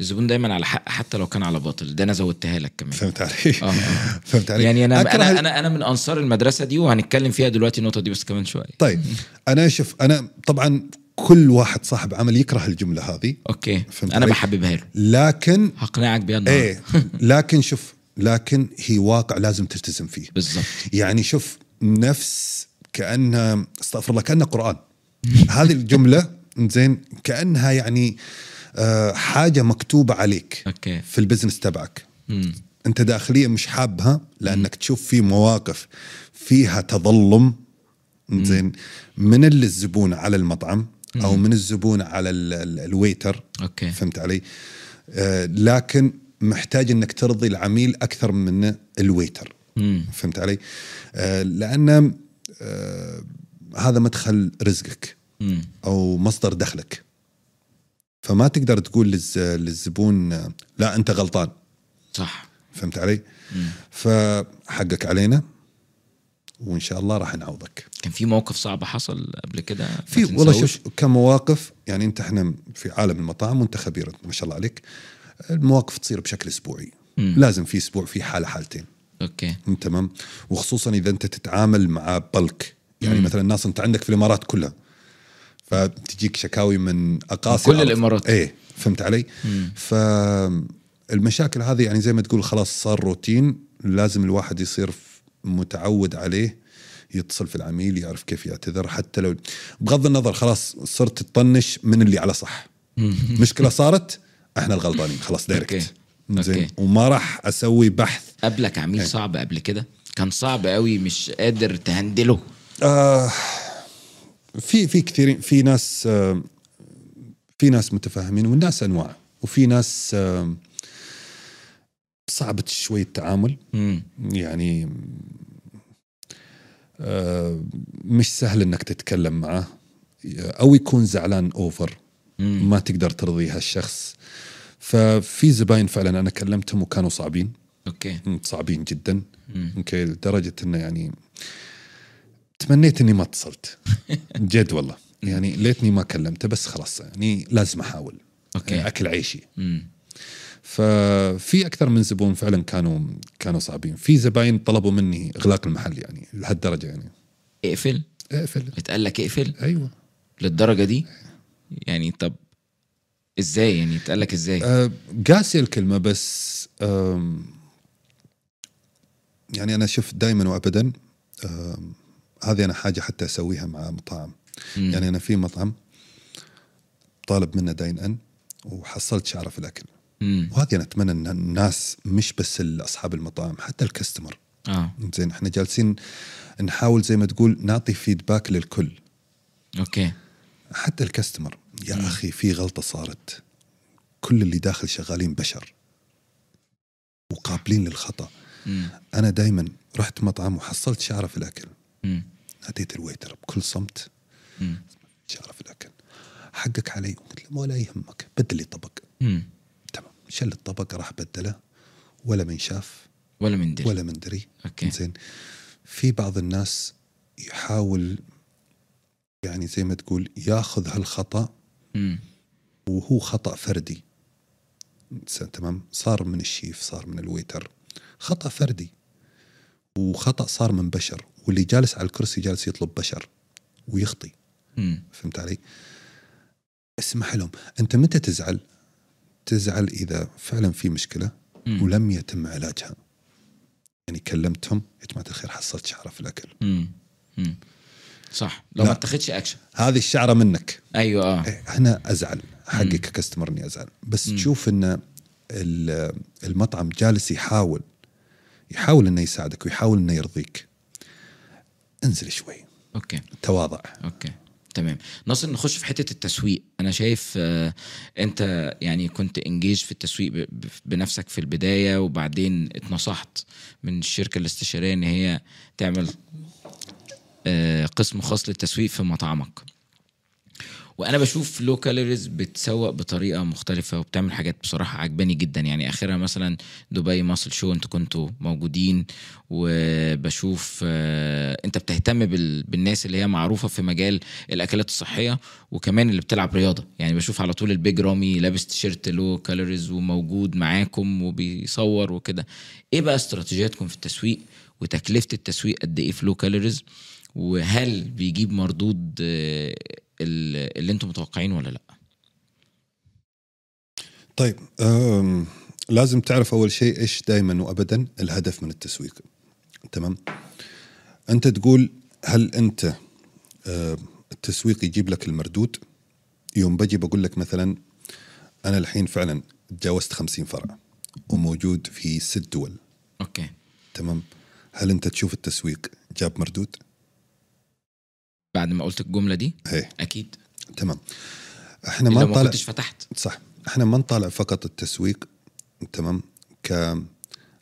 Speaker 2: الزبون دايما على حق حتى لو كان على باطل ده انا زودتها لك كمان
Speaker 1: فهمت علي؟
Speaker 2: آه، آه.
Speaker 1: فهمت علي؟
Speaker 2: يعني انا
Speaker 1: أكره ال-
Speaker 2: انا انا انا من انصار المدرسه دي وهنتكلم فيها دلوقتي النقطه دي بس كمان شويه
Speaker 1: طيب انا شوف انا طبعا كل واحد صاحب عمل يكره الجمله هذه
Speaker 2: اوكي
Speaker 1: فهمت
Speaker 2: انا
Speaker 1: عليك.
Speaker 2: بحببها له
Speaker 1: لكن
Speaker 2: هقنعك بيها النهارده
Speaker 1: ايه لكن شوف لكن هي واقع لازم تلتزم فيه
Speaker 2: بالظبط
Speaker 1: يعني شوف نفس كانها استغفر الله كانها قران هذه الجمله زين كانها يعني آه، حاجه مكتوبه عليك
Speaker 2: اوكي
Speaker 1: في البزنس تبعك
Speaker 2: مم.
Speaker 1: انت داخليا مش حابها لانك تشوف في مواقف فيها تظلم زين من ال- الزبون على المطعم او من الزبون على ال- ال- الويتر
Speaker 2: اوكي
Speaker 1: فهمت علي آه، لكن محتاج انك ترضي العميل اكثر من الويتر
Speaker 2: مم.
Speaker 1: فهمت علي؟ آه، لان آه، هذا مدخل رزقك
Speaker 2: مم.
Speaker 1: او مصدر دخلك. فما تقدر تقول للز- للزبون آه، لا انت غلطان،
Speaker 2: صح
Speaker 1: فهمت علي؟
Speaker 2: مم.
Speaker 1: فحقك علينا وان شاء الله راح نعوضك.
Speaker 2: كان في موقف صعب حصل قبل كده ما
Speaker 1: في والله
Speaker 2: تنساهوش؟
Speaker 1: شوف كمواقف يعني انت احنا في عالم المطاعم وانت خبير ما شاء الله عليك. المواقف تصير بشكل اسبوعي.
Speaker 2: مم.
Speaker 1: لازم في اسبوع في حاله حالتين.
Speaker 2: اوكي
Speaker 1: مم، تمام وخصوصا اذا انت تتعامل مع بلك يعني مثلا الناس انت عندك في الامارات كلها فتجيك شكاوي من اقاصي
Speaker 2: من كل الإمارات.
Speaker 1: ايه فهمت علي فالمشاكل هذه يعني زي ما تقول خلاص صار روتين لازم الواحد يصير ف- متعود عليه يتصل في العميل يعرف كيف يعتذر حتى لو بغض النظر خلاص صرت تطنش من اللي على صح مشكله صارت احنا الغلطانين خلاص
Speaker 2: أوكي.
Speaker 1: دايركت زين
Speaker 2: أوكي.
Speaker 1: وما راح اسوي بحث
Speaker 2: قبلك عميل
Speaker 1: إيه.
Speaker 2: صعب قبل كده كان صعب قوي مش قادر تهندله
Speaker 1: آه، في في كثيرين في ناس آه، في ناس متفاهمين والناس انواع وفي ناس آه، صعبة شوي التعامل
Speaker 2: مم.
Speaker 1: يعني آه، مش سهل انك تتكلم معه او يكون زعلان اوفر
Speaker 2: مم.
Speaker 1: ما تقدر ترضي هالشخص ففي زباين فعلا انا كلمتهم وكانوا صعبين
Speaker 2: اوكي
Speaker 1: صعبين جدا
Speaker 2: مم.
Speaker 1: اوكي لدرجه انه يعني تمنيت اني ما اتصلت جد والله يعني ليتني ما كلمته بس خلاص يعني لازم احاول
Speaker 2: اوكي
Speaker 1: اكل عيشي
Speaker 2: مم.
Speaker 1: ففي اكثر من زبون فعلا كانوا كانوا صعبين في زباين طلبوا مني اغلاق المحل يعني لهالدرجه يعني
Speaker 2: اقفل
Speaker 1: اقفل
Speaker 2: اتقال لك اقفل
Speaker 1: ايوه
Speaker 2: للدرجه دي يعني طب ازاي يعني اتقال لك ازاي
Speaker 1: أه، قاسي الكلمه بس أم، يعني انا شفت دائما وابدا أم، هذه انا حاجه حتى اسويها مع مطاعم
Speaker 2: مم.
Speaker 1: يعني انا في مطعم طالب منه داين ان وحصلت شعره في الاكل
Speaker 2: مم.
Speaker 1: وهذه انا اتمنى ان الناس مش بس اصحاب المطاعم حتى الكاستمر
Speaker 2: اه
Speaker 1: زين احنا جالسين نحاول زي ما تقول نعطي فيدباك للكل
Speaker 2: اوكي
Speaker 1: حتى الكاستمر يا اخي في غلطه صارت كل اللي داخل شغالين بشر وقابلين للخطا
Speaker 2: مم.
Speaker 1: انا دائما رحت مطعم وحصلت شعره في الاكل
Speaker 2: مم.
Speaker 1: ناديت الويتر بكل صمت
Speaker 2: مم.
Speaker 1: شعره في الاكل حقك علي قلت له ولا يهمك بدل لي طبق
Speaker 2: مم.
Speaker 1: تمام شل الطبق راح بدله ولا من شاف
Speaker 2: ولا من دل
Speaker 1: ولا من دري
Speaker 2: اوكي
Speaker 1: زين في بعض الناس يحاول يعني زي ما تقول ياخذ هالخطا
Speaker 2: مم.
Speaker 1: وهو خطا فردي س- تمام صار من الشيف صار من الويتر خطا فردي وخطا صار من بشر واللي جالس على الكرسي جالس يطلب بشر ويخطي
Speaker 2: مم.
Speaker 1: فهمت علي اسمح لهم انت متى تزعل تزعل اذا فعلا في مشكله
Speaker 2: مم.
Speaker 1: ولم يتم علاجها يعني كلمتهم يا جماعه الخير حصلت شعره في الاكل
Speaker 2: مم. مم. صح لو
Speaker 1: لا.
Speaker 2: ما اتخذش اكشن
Speaker 1: هذه الشعره منك
Speaker 2: ايوه اه
Speaker 1: إيه، انا ازعل
Speaker 2: مم.
Speaker 1: حقي ككاستمر اني ازعل بس
Speaker 2: مم.
Speaker 1: تشوف ان ال- المطعم جالس يحاول يحاول انه يساعدك ويحاول انه يرضيك انزل شوي
Speaker 2: اوكي
Speaker 1: تواضع
Speaker 2: اوكي تمام ناصر نخش في حته التسويق انا شايف آه، انت يعني كنت انجيج في التسويق ب- ب- بنفسك في البدايه وبعدين اتنصحت من الشركه الاستشاريه ان هي تعمل آه، قسم خاص للتسويق في مطعمك وانا بشوف لو كالوريز بتسوق بطريقه مختلفه وبتعمل حاجات بصراحه عجباني جدا يعني اخرها مثلا دبي ماسل شو انتوا كنتوا موجودين وبشوف آه، انت بتهتم بال- بالناس اللي هي معروفه في مجال الاكلات الصحيه وكمان اللي بتلعب رياضه يعني بشوف على طول البيج رامي لابس تيشيرت لو كالوريز وموجود معاكم وبيصور وكده ايه بقى استراتيجياتكم في التسويق وتكلفه التسويق قد ايه في لو كالوريز وهل بيجيب مردود آه، ال- اللي انتم متوقعينه ولا لا
Speaker 1: طيب أم لازم تعرف اول شيء ايش دائما وابدا الهدف من التسويق تمام انت تقول هل انت أم، التسويق يجيب لك المردود يوم بجي بقول لك مثلا انا الحين فعلا تجاوزت 50 فرع وموجود في ست دول
Speaker 2: اوكي
Speaker 1: تمام هل انت تشوف التسويق جاب مردود؟
Speaker 2: بعد ما قلت الجمله دي
Speaker 1: ايه
Speaker 2: اكيد
Speaker 1: تمام احنا ما
Speaker 2: لو ما
Speaker 1: نطالع
Speaker 2: كنتش فتحت
Speaker 1: صح احنا ما نطالع فقط التسويق تمام ك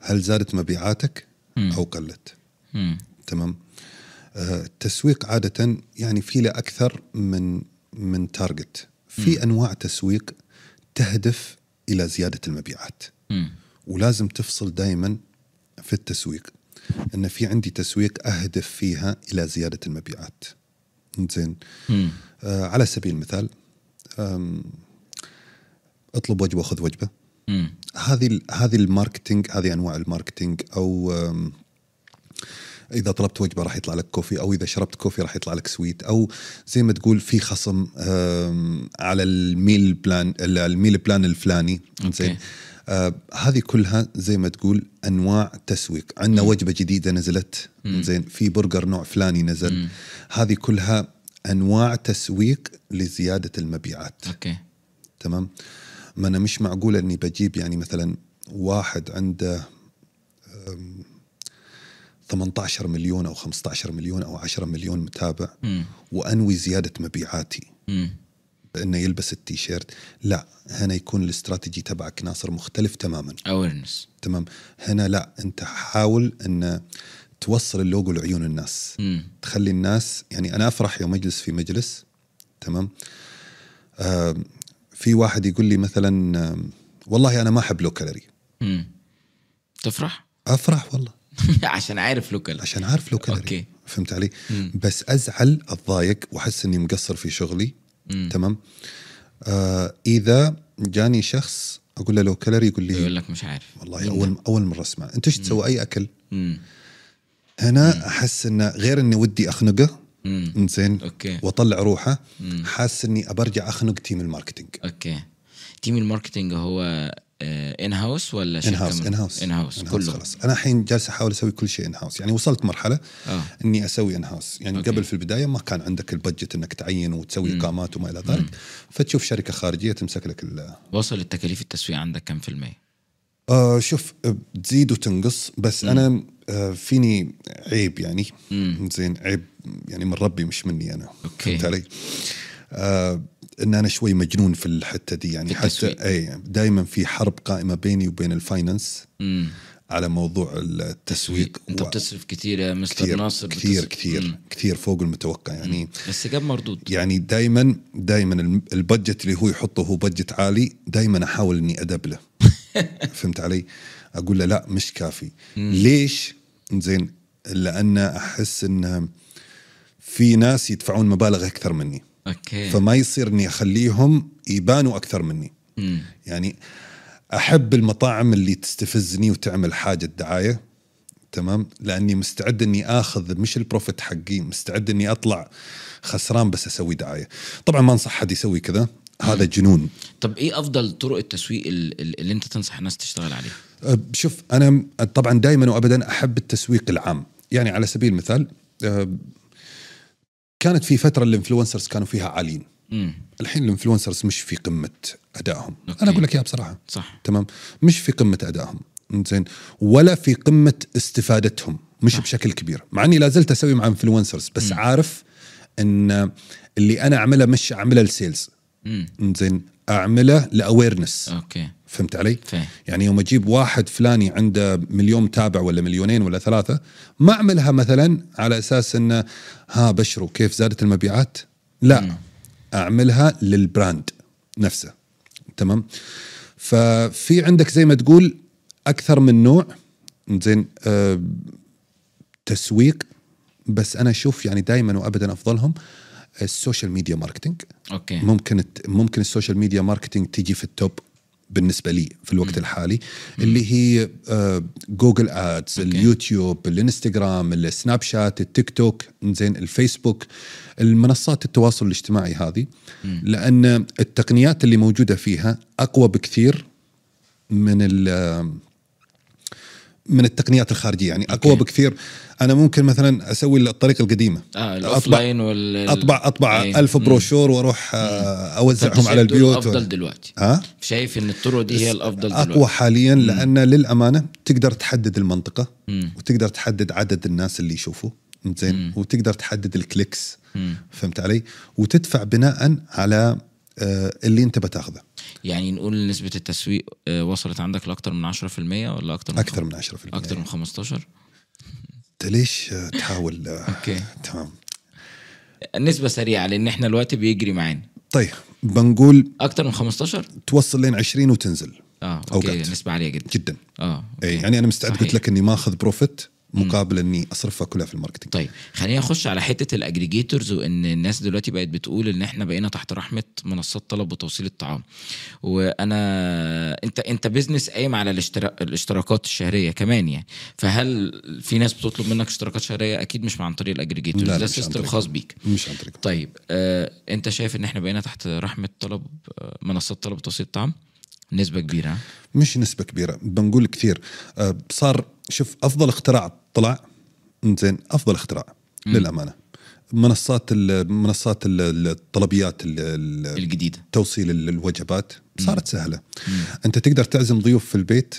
Speaker 1: هل زادت مبيعاتك
Speaker 2: مم.
Speaker 1: او قلت
Speaker 2: مم.
Speaker 1: تمام آه، التسويق عاده يعني في له اكثر من من تارجت في انواع تسويق تهدف الى زياده المبيعات
Speaker 2: مم.
Speaker 1: ولازم تفصل دائما في التسويق ان في عندي تسويق اهدف فيها الى زياده المبيعات زين
Speaker 2: مم.
Speaker 1: آه على سبيل المثال آم، اطلب وجبه وخذ وجبه
Speaker 2: مم.
Speaker 1: هذه ال- هذه الماركتينج هذه انواع الماركتينج او آم، اذا طلبت وجبه راح يطلع لك كوفي او اذا شربت كوفي راح يطلع لك سويت او زي ما تقول في خصم آم، على الميل بلان ال- الميل بلان الفلاني زين
Speaker 2: أوكي.
Speaker 1: آه، هذه كلها زي ما تقول انواع تسويق عندنا وجبه جديده نزلت زين في برجر نوع فلاني نزل هذه كلها انواع تسويق لزياده المبيعات
Speaker 2: اوكي
Speaker 1: تمام ما انا مش معقول اني بجيب يعني مثلا واحد عنده أم، 18 مليون او 15 مليون او 10 مليون متابع
Speaker 2: مم.
Speaker 1: وانوي زياده مبيعاتي
Speaker 2: مم.
Speaker 1: بانه يلبس التيشيرت لا هنا يكون الاستراتيجي تبعك ناصر مختلف تماما
Speaker 2: awareness
Speaker 1: تمام هنا لا انت حاول ان توصل اللوجو لعيون الناس
Speaker 2: مم.
Speaker 1: تخلي الناس يعني انا افرح يوم اجلس في مجلس تمام آه في واحد يقول لي مثلا آم، والله انا ما احب لو كالوري
Speaker 2: مم. تفرح
Speaker 1: افرح والله
Speaker 2: عشان عارف لوكال
Speaker 1: عشان عارف لو كالوري
Speaker 2: أوكي.
Speaker 1: فهمت علي بس ازعل اتضايق واحس اني مقصر في شغلي تمام آه اذا جاني شخص اقول له لو كالوري يقول لي
Speaker 2: يقول لك مش عارف
Speaker 1: والله اول اول مره اسمع انت ايش تسوي اي اكل
Speaker 2: مم.
Speaker 1: هنا احس انه غير اني ودي اخنقه
Speaker 2: مم.
Speaker 1: زين
Speaker 2: أوكي.
Speaker 1: واطلع روحه حاسس اني ابرجع اخنق تيم الماركتينج
Speaker 2: اوكي تيم الماركتنج هو ان هاوس ولا
Speaker 1: ان
Speaker 2: شركه
Speaker 1: هاوس ان هاوس
Speaker 2: ان هاوس كله
Speaker 1: خلاص انا الحين جالس احاول اسوي كل شيء ان هاوس يعني وصلت مرحله
Speaker 2: آه.
Speaker 1: اني اسوي ان هاوس يعني
Speaker 2: أوكي.
Speaker 1: أوكي. قبل في البدايه ما كان عندك البجت انك تعين وتسوي اقامات وما الى ذلك فتشوف شركه خارجيه تمسك لك ال-
Speaker 2: وصل التكاليف التسويق عندك كام في المية
Speaker 1: آه شوف آه، تزيد وتنقص بس انا آه فيني عيب يعني زين عيب يعني من ربي مش مني انا
Speaker 2: أوكي.
Speaker 1: فهمت علي؟ آه ان انا شوي مجنون في الحته دي يعني
Speaker 2: في
Speaker 1: حتى
Speaker 2: التسويق.
Speaker 1: اي دائما في حرب قائمه بيني وبين الفاينانس
Speaker 2: مم.
Speaker 1: على موضوع التسويق
Speaker 2: انت
Speaker 1: و-
Speaker 2: بتصرف كتير يا مستر
Speaker 1: كثير
Speaker 2: ناصر
Speaker 1: كثير
Speaker 2: بتصرف-
Speaker 1: كثير
Speaker 2: مم.
Speaker 1: كثير فوق المتوقع يعني
Speaker 2: بس جاب مردود
Speaker 1: يعني دائما دائما الم- البجت اللي هو يحطه هو بجت عالي دائما احاول اني ادبله فهمت علي؟ اقول له لا مش كافي ليش؟ زين لان احس ان في ناس يدفعون مبالغ اكثر مني
Speaker 2: اوكي
Speaker 1: فما يصير اني اخليهم يبانوا اكثر مني
Speaker 2: مم.
Speaker 1: يعني احب المطاعم اللي تستفزني وتعمل حاجه دعايه تمام لاني مستعد اني اخذ مش البروفيت حقي مستعد اني اطلع خسران بس اسوي دعايه طبعا ما انصح حد يسوي كذا هذا جنون
Speaker 2: طب ايه افضل طرق التسويق ال- ال- اللي انت تنصح الناس تشتغل عليها
Speaker 1: أه، شوف انا م- طبعا دائما وابدا احب التسويق العام يعني على سبيل المثال أه، كانت في فتره الانفلونسرز كانوا فيها عاليين
Speaker 2: امم
Speaker 1: الحين الانفلونسرز مش في قمه ادائهم
Speaker 2: أوكي.
Speaker 1: انا اقول لك يا بصراحه
Speaker 2: صح
Speaker 1: تمام مش في قمه ادائهم زين ولا في قمه استفادتهم مش بشكل كبير مع اني لا زلت اسوي مع انفلونسرز بس
Speaker 2: مم.
Speaker 1: عارف ان اللي انا اعمله مش اعمله لسيلز
Speaker 2: امم
Speaker 1: زين اعمله لاويرنس
Speaker 2: اوكي
Speaker 1: فهمت علي؟
Speaker 2: فاهم
Speaker 1: يعني يوم اجيب واحد فلاني عنده مليون متابع ولا مليونين ولا ثلاثه ما اعملها مثلا على اساس انه ها بشروا كيف زادت المبيعات لا
Speaker 2: مم.
Speaker 1: اعملها للبراند نفسه تمام ففي عندك زي ما تقول اكثر من نوع زين آه، تسويق بس انا اشوف يعني دائما وابدا افضلهم السوشيال ميديا ماركتينج
Speaker 2: اوكي
Speaker 1: ممكن الت- ممكن السوشيال ميديا ماركتينج تجي في التوب بالنسبه لي في الوقت الحالي اللي هي آه، جوجل ادز اليوتيوب الانستغرام السناب شات التيك توك زين الفيسبوك المنصات التواصل الاجتماعي هذه لان التقنيات اللي موجوده فيها اقوى بكثير من ال- آه، من التقنيات الخارجيه يعني اقوى
Speaker 2: أوكي.
Speaker 1: بكثير انا ممكن مثلا اسوي الطريقه القديمه
Speaker 2: اه
Speaker 1: أطبع-
Speaker 2: الاوفلاين وال ال-
Speaker 1: اطبع اطبع
Speaker 2: أيوة.
Speaker 1: ألف
Speaker 2: مم.
Speaker 1: بروشور واروح آه،
Speaker 2: طب
Speaker 1: اوزعهم على
Speaker 2: شايف دول
Speaker 1: البيوت
Speaker 2: افضل
Speaker 1: و...
Speaker 2: دلوقتي
Speaker 1: ها
Speaker 2: شايف ان الطرق دي هي الافضل
Speaker 1: اقوى
Speaker 2: دلوقتي
Speaker 1: حاليا لان للامانه تقدر تحدد المنطقه
Speaker 2: مم.
Speaker 1: وتقدر تحدد عدد الناس اللي يشوفوا زين وتقدر تحدد الكليكس
Speaker 2: مم.
Speaker 1: فهمت علي وتدفع بناء على آه، اللي انت بتاخذه
Speaker 2: يعني نقول نسبه التسويق آه، وصلت عندك لاكتر من 10% ولا اكتر من
Speaker 1: اكثر من 10%
Speaker 2: اكتر من 15
Speaker 1: انت ليش آه، تحاول آه،
Speaker 2: أوكي.
Speaker 1: تمام
Speaker 2: نسبه سريعه لان احنا الوقت بيجري معانا
Speaker 1: طيب بنقول
Speaker 2: اكتر من 15
Speaker 1: توصل لين 20 وتنزل
Speaker 2: اه اوكي
Speaker 1: أوقات.
Speaker 2: نسبه عاليه جدا
Speaker 1: جدا
Speaker 2: اه
Speaker 1: أي
Speaker 2: أوكي.
Speaker 1: يعني انا مستعد
Speaker 2: صحيح.
Speaker 1: قلت لك اني ماخذ بروفيت مقابل اني اصرفها كلها في الماركتينج
Speaker 2: طيب خلينا نخش على حته الاجريجيتورز وان الناس دلوقتي بقت بتقول ان احنا بقينا تحت رحمه منصات طلب وتوصيل الطعام وانا انت انت بيزنس قايم على الاشترا... الاشتراكات الشهريه كمان يعني فهل في ناس بتطلب منك اشتراكات شهريه اكيد مش عن طريق الاجريجيتورز
Speaker 1: لا،
Speaker 2: ده
Speaker 1: مش عن
Speaker 2: سيستم
Speaker 1: طريقهم.
Speaker 2: خاص بيك
Speaker 1: مش عن طريق
Speaker 2: طيب آه، انت شايف ان احنا بقينا تحت رحمه طلب آه، منصات طلب وتوصيل الطعام نسبه كبيره ها؟
Speaker 1: مش نسبة كبيرة بنقول كثير آه، صار شوف أفضل اختراع طلع زين أفضل اختراع
Speaker 2: مم.
Speaker 1: للأمانة منصات ال- منصات ال- الطلبيات ال- ال-
Speaker 2: الجديده
Speaker 1: توصيل ال- الوجبات صارت سهلة أنت تقدر تعزم ضيوف في البيت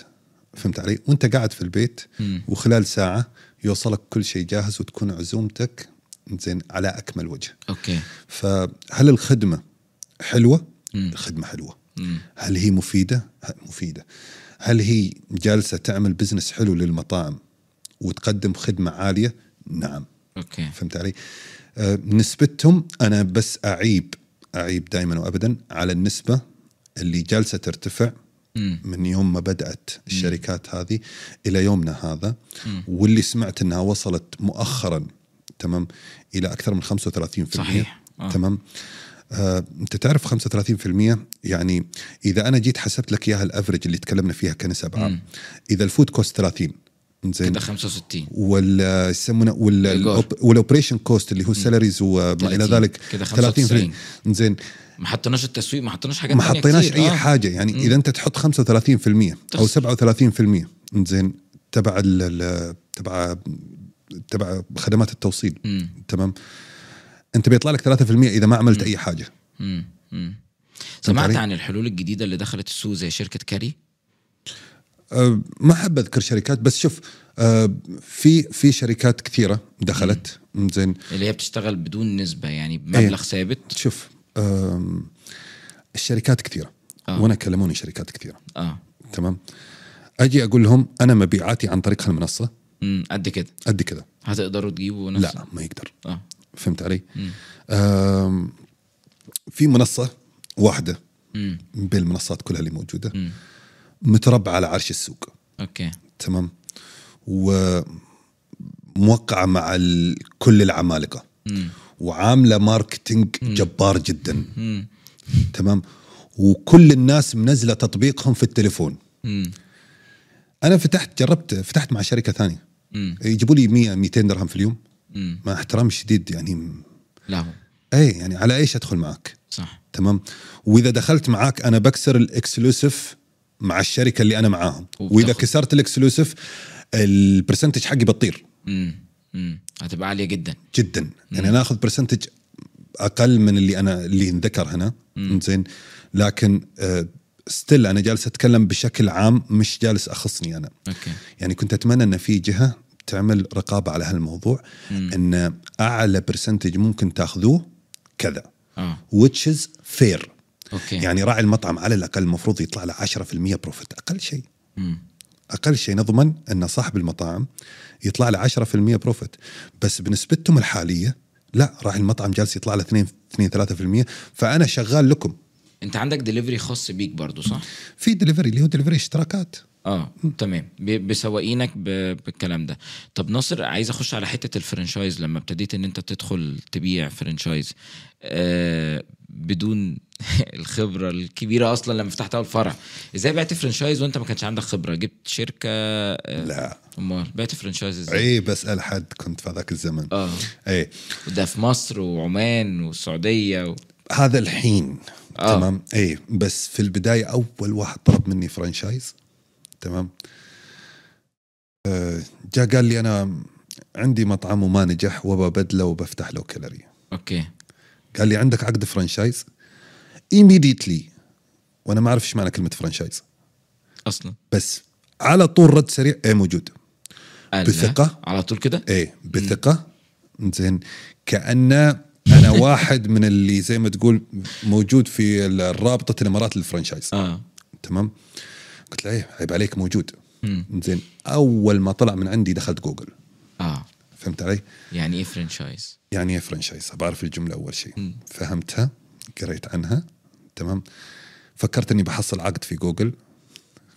Speaker 1: فهمت علي وأنت قاعد في البيت
Speaker 2: مم.
Speaker 1: وخلال ساعة يوصلك كل شيء جاهز وتكون عزومتك زين على أكمل وجه
Speaker 2: اوكي
Speaker 1: فهل الخدمة حلوة؟
Speaker 2: مم.
Speaker 1: الخدمة حلوة
Speaker 2: مم.
Speaker 1: هل هي مفيدة؟ ه- مفيدة هل هي جالسة تعمل بزنس حلو للمطاعم وتقدم خدمة عالية؟ نعم
Speaker 2: اوكي
Speaker 1: فهمت علي؟ آه، نسبتهم أنا بس أعيب أعيب دائما وأبدا على النسبة اللي جالسة ترتفع
Speaker 2: مم.
Speaker 1: من يوم ما بدأت الشركات هذه إلى يومنا هذا واللي سمعت أنها وصلت مؤخرا تمام إلى أكثر من 35%
Speaker 2: صحيح. آه.
Speaker 1: تمام آه، انت تعرف 35% يعني اذا انا جيت حسبت لك اياها الافرج اللي تكلمنا فيها كنسب عام اذا الفود كوست 30 زين
Speaker 2: كده 65
Speaker 1: وال يسمونه وال
Speaker 2: الإيجار.
Speaker 1: الأوب- والاوبريشن كوست اللي هو سالاريز وما الى
Speaker 2: 30.
Speaker 1: ذلك
Speaker 2: كده
Speaker 1: 30 زين
Speaker 2: ما حطيناش التسويق ما حطيناش حاجات
Speaker 1: ما
Speaker 2: تانية
Speaker 1: حطيناش
Speaker 2: كتير.
Speaker 1: اي
Speaker 2: آه.
Speaker 1: حاجه يعني اذا انت تحط 35% او 37% زين تبع ال- ال- تبع تبع خدمات التوصيل
Speaker 2: مم.
Speaker 1: تمام انت بيطلع لك 3% اذا ما عملت اي حاجه
Speaker 2: مم. مم.
Speaker 1: فهمت
Speaker 2: سمعت
Speaker 1: علي؟
Speaker 2: عن الحلول الجديده اللي دخلت السوق زي شركه كاري
Speaker 1: أه، ما حاب اذكر شركات بس شوف أه، في في شركات كثيره دخلت زين
Speaker 2: اللي هي بتشتغل بدون نسبه
Speaker 1: إيه.
Speaker 2: يعني بمبلغ ثابت
Speaker 1: شوف أم، الشركات كثيره
Speaker 2: آه.
Speaker 1: وانا كلموني شركات كثيره
Speaker 2: اه
Speaker 1: تمام اجي اقول لهم انا مبيعاتي عن طريق هالمنصه
Speaker 2: مم. قد كده
Speaker 1: قد كذا
Speaker 2: هتقدروا تجيبوا نفس
Speaker 1: لا ما يقدر
Speaker 2: اه
Speaker 1: فهمت علي؟ أم، في منصه واحده
Speaker 2: مم.
Speaker 1: بالمنصات كلها اللي موجوده
Speaker 2: مم.
Speaker 1: متربعه على عرش السوق
Speaker 2: اوكي
Speaker 1: تمام وموقعه مع ال- كل العمالقه
Speaker 2: مم.
Speaker 1: وعامله ماركتينج جبار جدا
Speaker 2: مم.
Speaker 1: تمام وكل الناس منزله تطبيقهم في التليفون
Speaker 2: مم.
Speaker 1: انا فتحت جربت فتحت مع شركه ثانيه
Speaker 2: مم.
Speaker 1: يجيبوا لي 100 200 درهم في اليوم
Speaker 2: مم.
Speaker 1: مع احترامي الشديد يعني م-
Speaker 2: لا هو
Speaker 1: اي يعني على ايش ادخل معك
Speaker 2: صح
Speaker 1: تمام واذا دخلت معاك انا بكسر الاكسلوسيف مع الشركه اللي انا معاهم
Speaker 2: وبتاخد.
Speaker 1: واذا كسرت الاكسلوسيف البرسنتج حقي بتطير
Speaker 2: امم امم هتبقى عاليه جدا
Speaker 1: جدا يعني انا اخذ برسنتج اقل من اللي انا اللي انذكر هنا زين لكن ستيل انا جالس اتكلم بشكل عام مش جالس اخصني انا
Speaker 2: اوكي
Speaker 1: يعني كنت اتمنى ان في جهه تعمل رقابه على هالموضوع ان اعلى برسنتج ممكن تاخذوه كذا
Speaker 2: اه
Speaker 1: which is fair
Speaker 2: اوكي يعني
Speaker 1: يعني راعي المطعم على الاقل المفروض يطلع له 10% بروفيت اقل شيء اقل شيء نضمن ان صاحب المطعم يطلع له 10% بروفيت بس بنسبتهم الحاليه لا راعي المطعم جالس يطلع له 2 2 3% فانا شغال لكم
Speaker 2: انت عندك دليفري خاص بيك برضو صح؟
Speaker 1: في دليفري اللي هو دليفري اشتراكات
Speaker 2: اه تمام ب- بسواقينك ب- بالكلام ده طب ناصر عايز اخش على حته الفرنشايز لما ابتديت ان انت تدخل تبيع فرنشايز آه بدون الخبره الكبيره اصلا لما فتحت اول فرع ازاي بعت فرنشايز وانت ما كانش عندك خبره جبت شركه آه
Speaker 1: لا
Speaker 2: امال بعت فرنشايز ازاي
Speaker 1: اي بسال إيه، حد كنت في هذاك الزمن إيه،
Speaker 2: اه
Speaker 1: اي
Speaker 2: وده في مصر وعمان والسعوديه و...
Speaker 1: هذا الحين
Speaker 2: آه.
Speaker 1: آه. تمام اي بس في البدايه اول واحد طلب مني فرانشايز تمام آه، جاء قال لي انا عندي مطعم وما نجح وببدله وبفتح له كالوري
Speaker 2: اوكي
Speaker 1: قال لي عندك عقد فرانشايز immediately وانا ما اعرف ايش معنى كلمه فرانشايز
Speaker 2: اصلا
Speaker 1: بس على طول رد سريع ايه موجود
Speaker 2: قال لا.
Speaker 1: بثقة؟
Speaker 2: على طول كده
Speaker 1: ايه بثقه زين كانه انا واحد من اللي زي ما تقول موجود في رابطه الامارات للفرانشايز
Speaker 2: اه
Speaker 1: تمام قلت له ايه عيب عليك موجود زين اول ما طلع من عندي دخلت جوجل
Speaker 2: اه
Speaker 1: فهمت علي؟
Speaker 2: يعني ايه فرنشايز
Speaker 1: يعني ايه فرانشايز؟ بعرف الجمله اول شيء فهمتها قريت عنها تمام فكرت اني بحصل عقد في جوجل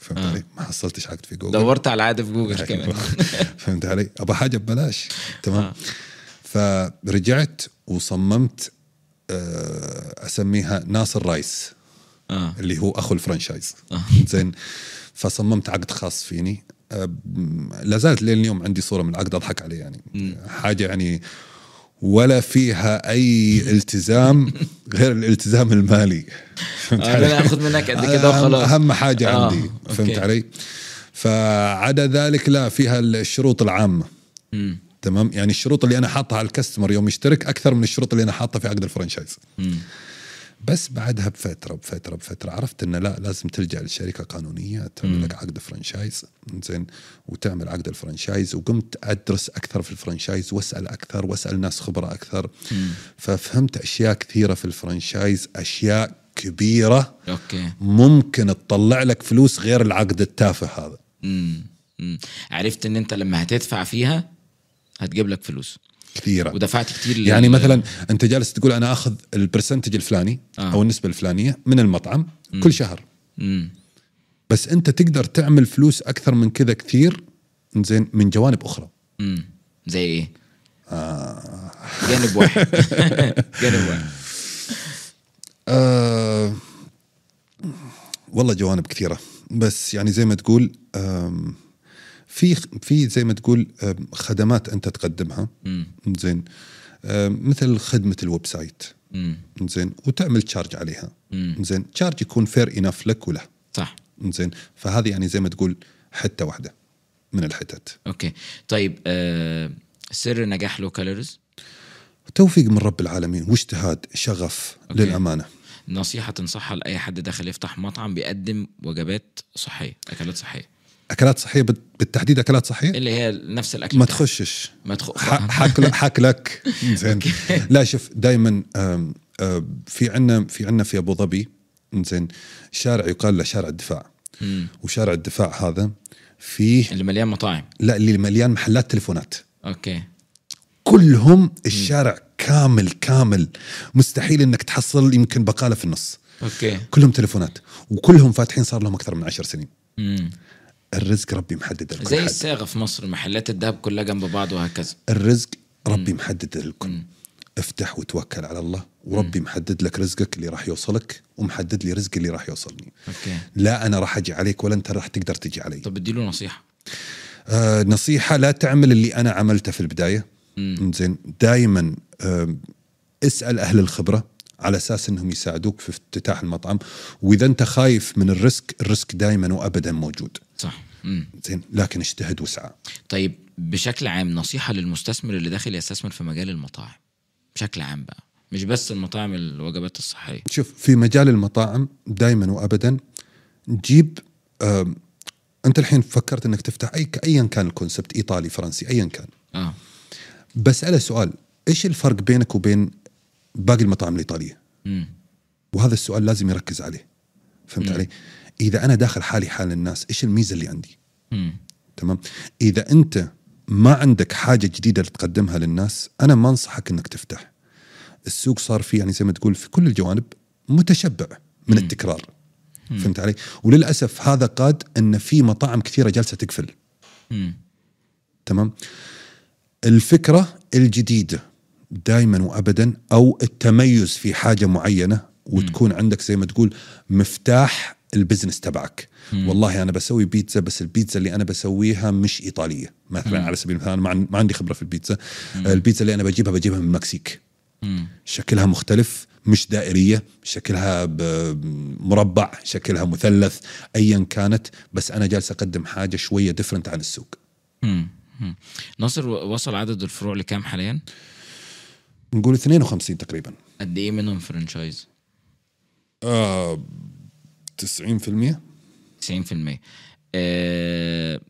Speaker 1: فهمت علي؟ ما حصلتش عقد في جوجل
Speaker 2: آه.
Speaker 1: أيوة.
Speaker 2: دورت على العقد في جوجل كمان
Speaker 1: فهمت علي؟ ابى حاجه ببلاش تمام
Speaker 2: آه.
Speaker 1: فرجعت وصممت آه، اسميها ناصر رايس
Speaker 2: اه
Speaker 1: اللي هو اخو الفرنشايز
Speaker 2: آه.
Speaker 1: زين فصممت عقد خاص فيني أم، لا زالت لين اليوم عندي صوره من العقد اضحك عليه يعني حاجه يعني ولا فيها اي التزام غير الالتزام المالي فهمت
Speaker 2: آه، أنا آخذ منك قد كده
Speaker 1: أهم-
Speaker 2: وخلاص.
Speaker 1: اهم حاجه
Speaker 2: آه،
Speaker 1: عندي فهمت
Speaker 2: أوكي.
Speaker 1: علي فعدا ذلك لا فيها الشروط العامه
Speaker 2: مم.
Speaker 1: تمام يعني الشروط اللي انا حاطها على الكاستمر يوم يشترك اكثر من الشروط اللي انا حاطها في عقد الفرنشايز
Speaker 2: مم.
Speaker 1: بس بعدها بفتره بفتره بفتره عرفت انه لا لازم تلجا لشركه قانونيه تعمل لك عقد فرانشايز زين وتعمل عقد الفرانشايز وقمت ادرس اكثر في الفرانشايز واسال اكثر واسال ناس خبره اكثر ففهمت اشياء كثيره في الفرانشايز اشياء كبيره
Speaker 2: اوكي
Speaker 1: ممكن تطلع لك فلوس غير العقد التافه هذا
Speaker 2: مم. مم. عرفت ان انت لما هتدفع فيها هتجيب لك فلوس
Speaker 1: كثيره
Speaker 2: ودفعت كتير لل-
Speaker 1: يعني مثلا انت جالس تقول انا اخذ البرسنتج الفلاني
Speaker 2: آه.
Speaker 1: او النسبه الفلانيه من المطعم كل شهر
Speaker 2: مم.
Speaker 1: بس انت تقدر تعمل فلوس اكثر من كذا كثير زين من جوانب اخرى
Speaker 2: مم. زي ايه؟ آه. جانب واحد جانب واحد
Speaker 1: أه والله جوانب كثيره بس يعني زي ما تقول آم، في في زي ما تقول آم، خدمات انت تقدمها زين آم، مثل خدمه الويب سايت
Speaker 2: مم.
Speaker 1: زين وتعمل تشارج عليها
Speaker 2: مم.
Speaker 1: زين تشارج يكون فير انف لك وله
Speaker 2: صح
Speaker 1: زين فهذه يعني زي ما تقول حته واحده من الحتت
Speaker 2: اوكي طيب آه. سر نجاح لو كالوريز
Speaker 1: توفيق من رب العالمين واجتهاد شغف
Speaker 2: أوكي.
Speaker 1: للامانه
Speaker 2: نصيحه تنصحها لاي حد داخل يفتح مطعم بيقدم وجبات صحيه اكلات صحيه
Speaker 1: اكلات صحيه بت- بالتحديد اكلات صحيه
Speaker 2: اللي هي نفس الاكل
Speaker 1: ما
Speaker 2: بتاعك.
Speaker 1: تخشش
Speaker 2: ما تخ...
Speaker 1: ح- حك حك لك زين لا شوف دائما في عندنا في عندنا في ابو ظبي زين شارع يقال له شارع الدفاع
Speaker 2: مم.
Speaker 1: وشارع الدفاع هذا فيه
Speaker 2: اللي مليان مطاعم
Speaker 1: لا اللي مليان محلات تليفونات
Speaker 2: اوكي
Speaker 1: كلهم الشارع كامل كامل مستحيل انك تحصل يمكن بقاله في النص
Speaker 2: اوكي
Speaker 1: كلهم تليفونات وكلهم فاتحين صار لهم اكثر من عشر سنين
Speaker 2: مم.
Speaker 1: الرزق ربي محدد لكل
Speaker 2: زي
Speaker 1: حد.
Speaker 2: الصاغه في مصر محلات الذهب كلها جنب بعض وهكذا
Speaker 1: الرزق ربي محدد للكل افتح وتوكل على الله وربي محدد لك رزقك اللي راح يوصلك ومحدد لي رزقي اللي راح يوصلني
Speaker 2: اوكي
Speaker 1: لا انا راح اجي عليك ولا انت راح تقدر تجي علي
Speaker 2: طب اديله نصيحه
Speaker 1: آه نصيحه لا تعمل اللي انا عملته في البدايه زين دائما آه اسال اهل الخبره على اساس انهم يساعدوك في افتتاح المطعم واذا انت خايف من الريسك الريسك دائما وابدا موجود
Speaker 2: صح مم.
Speaker 1: زين لكن اجتهد واسعى
Speaker 2: طيب بشكل عام نصيحه للمستثمر اللي داخل يستثمر في مجال المطاعم بشكل عام بقى مش بس المطاعم الوجبات الصحيه
Speaker 1: شوف في مجال المطاعم دائما وابدا جيب آم، انت الحين فكرت انك تفتح اي ايا كان الكونسبت ايطالي فرنسي ايا كان
Speaker 2: اه
Speaker 1: بساله سؤال ايش الفرق بينك وبين باقي المطاعم الايطاليه؟
Speaker 2: مم.
Speaker 1: وهذا السؤال لازم يركز عليه فهمت
Speaker 2: مم.
Speaker 1: علي؟ اذا انا داخل حالي حال الناس ايش الميزه اللي عندي؟
Speaker 2: مم.
Speaker 1: تمام؟ اذا انت ما عندك حاجه جديده تقدمها للناس انا ما انصحك انك تفتح. السوق صار فيه يعني زي ما تقول في كل الجوانب متشبع من التكرار. فهمت علي؟ وللاسف هذا قاد ان في مطاعم كثيره جالسه تقفل.
Speaker 2: مم.
Speaker 1: تمام الفكره الجديده دائما وابدا او التميز في حاجه معينه وتكون عندك زي ما تقول مفتاح البزنس تبعك والله انا بسوي بيتزا بس البيتزا اللي انا بسويها مش ايطاليه مثلا على سبيل المثال ما عن- ما عندي خبره في البيتزا البيتزا اللي انا بجيبها بجيبها من المكسيك
Speaker 2: مم.
Speaker 1: شكلها مختلف مش دائرية شكلها ب- مربع شكلها مثلث أيا كانت بس أنا جالس أقدم حاجة شوية ديفرنت عن السوق
Speaker 2: مم. مم. ناصر و- وصل عدد الفروع لكام حاليا؟
Speaker 1: نقول 52 تقريبا
Speaker 2: قد ايه منهم فرانشايز؟
Speaker 1: آه، 90%
Speaker 2: 90% آه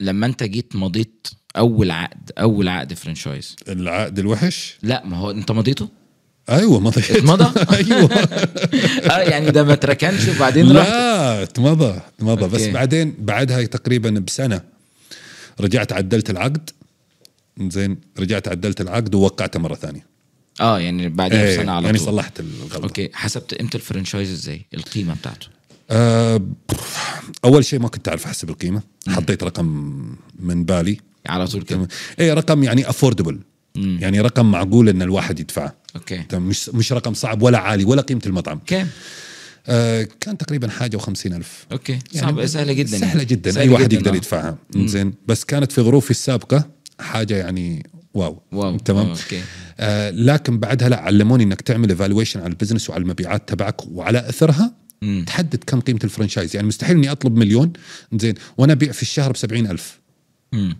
Speaker 2: لما انت جيت مضيت اول عقد اول عقد فرانشايز
Speaker 1: العقد الوحش
Speaker 2: لا ما هو انت مضيته؟
Speaker 1: ايوه مضى
Speaker 2: اتمضى؟
Speaker 1: ايوه
Speaker 2: اه يعني ده ما تركنش وبعدين رحت
Speaker 1: لا تمضى تمضى بس
Speaker 2: أوكي.
Speaker 1: بعدين بعدها تقريبا بسنه رجعت عدلت العقد زين رجعت عدلت العقد ووقعته مره ثانيه
Speaker 2: اه يعني بعدين
Speaker 1: إيه،
Speaker 2: بسنه على
Speaker 1: يعني
Speaker 2: طول
Speaker 1: صلحت الغلطه
Speaker 2: اوكي حسبت قيمه الفرانشايز ازاي؟ القيمه بتاعته
Speaker 1: آه، اول شيء ما كنت اعرف احسب القيمه حطيت رقم من بالي
Speaker 2: على طول كده
Speaker 1: تمام اي رقم يعني افوردبل يعني رقم معقول ان الواحد يدفعه
Speaker 2: اوكي
Speaker 1: تمام، مش مش رقم صعب ولا عالي ولا قيمه المطعم
Speaker 2: كام؟
Speaker 1: آه، كان تقريبا حاجه و50000
Speaker 2: اوكي صعب سهله جدا يعني.
Speaker 1: سهله جدا
Speaker 2: سهلة
Speaker 1: اي واحد يقدر
Speaker 2: آه.
Speaker 1: يدفعها زين بس كانت في ظروفي السابقه حاجه يعني واو
Speaker 2: واو،
Speaker 1: تمام
Speaker 2: واو، أوكي.
Speaker 1: آه لكن بعدها لا علموني انك تعمل ايفالويشن على البزنس وعلى المبيعات تبعك وعلى اثرها تحدد كم قيمه الفرنشايز يعني مستحيل اني اطلب مليون زين وانا ابيع في الشهر ب 70000
Speaker 2: مم.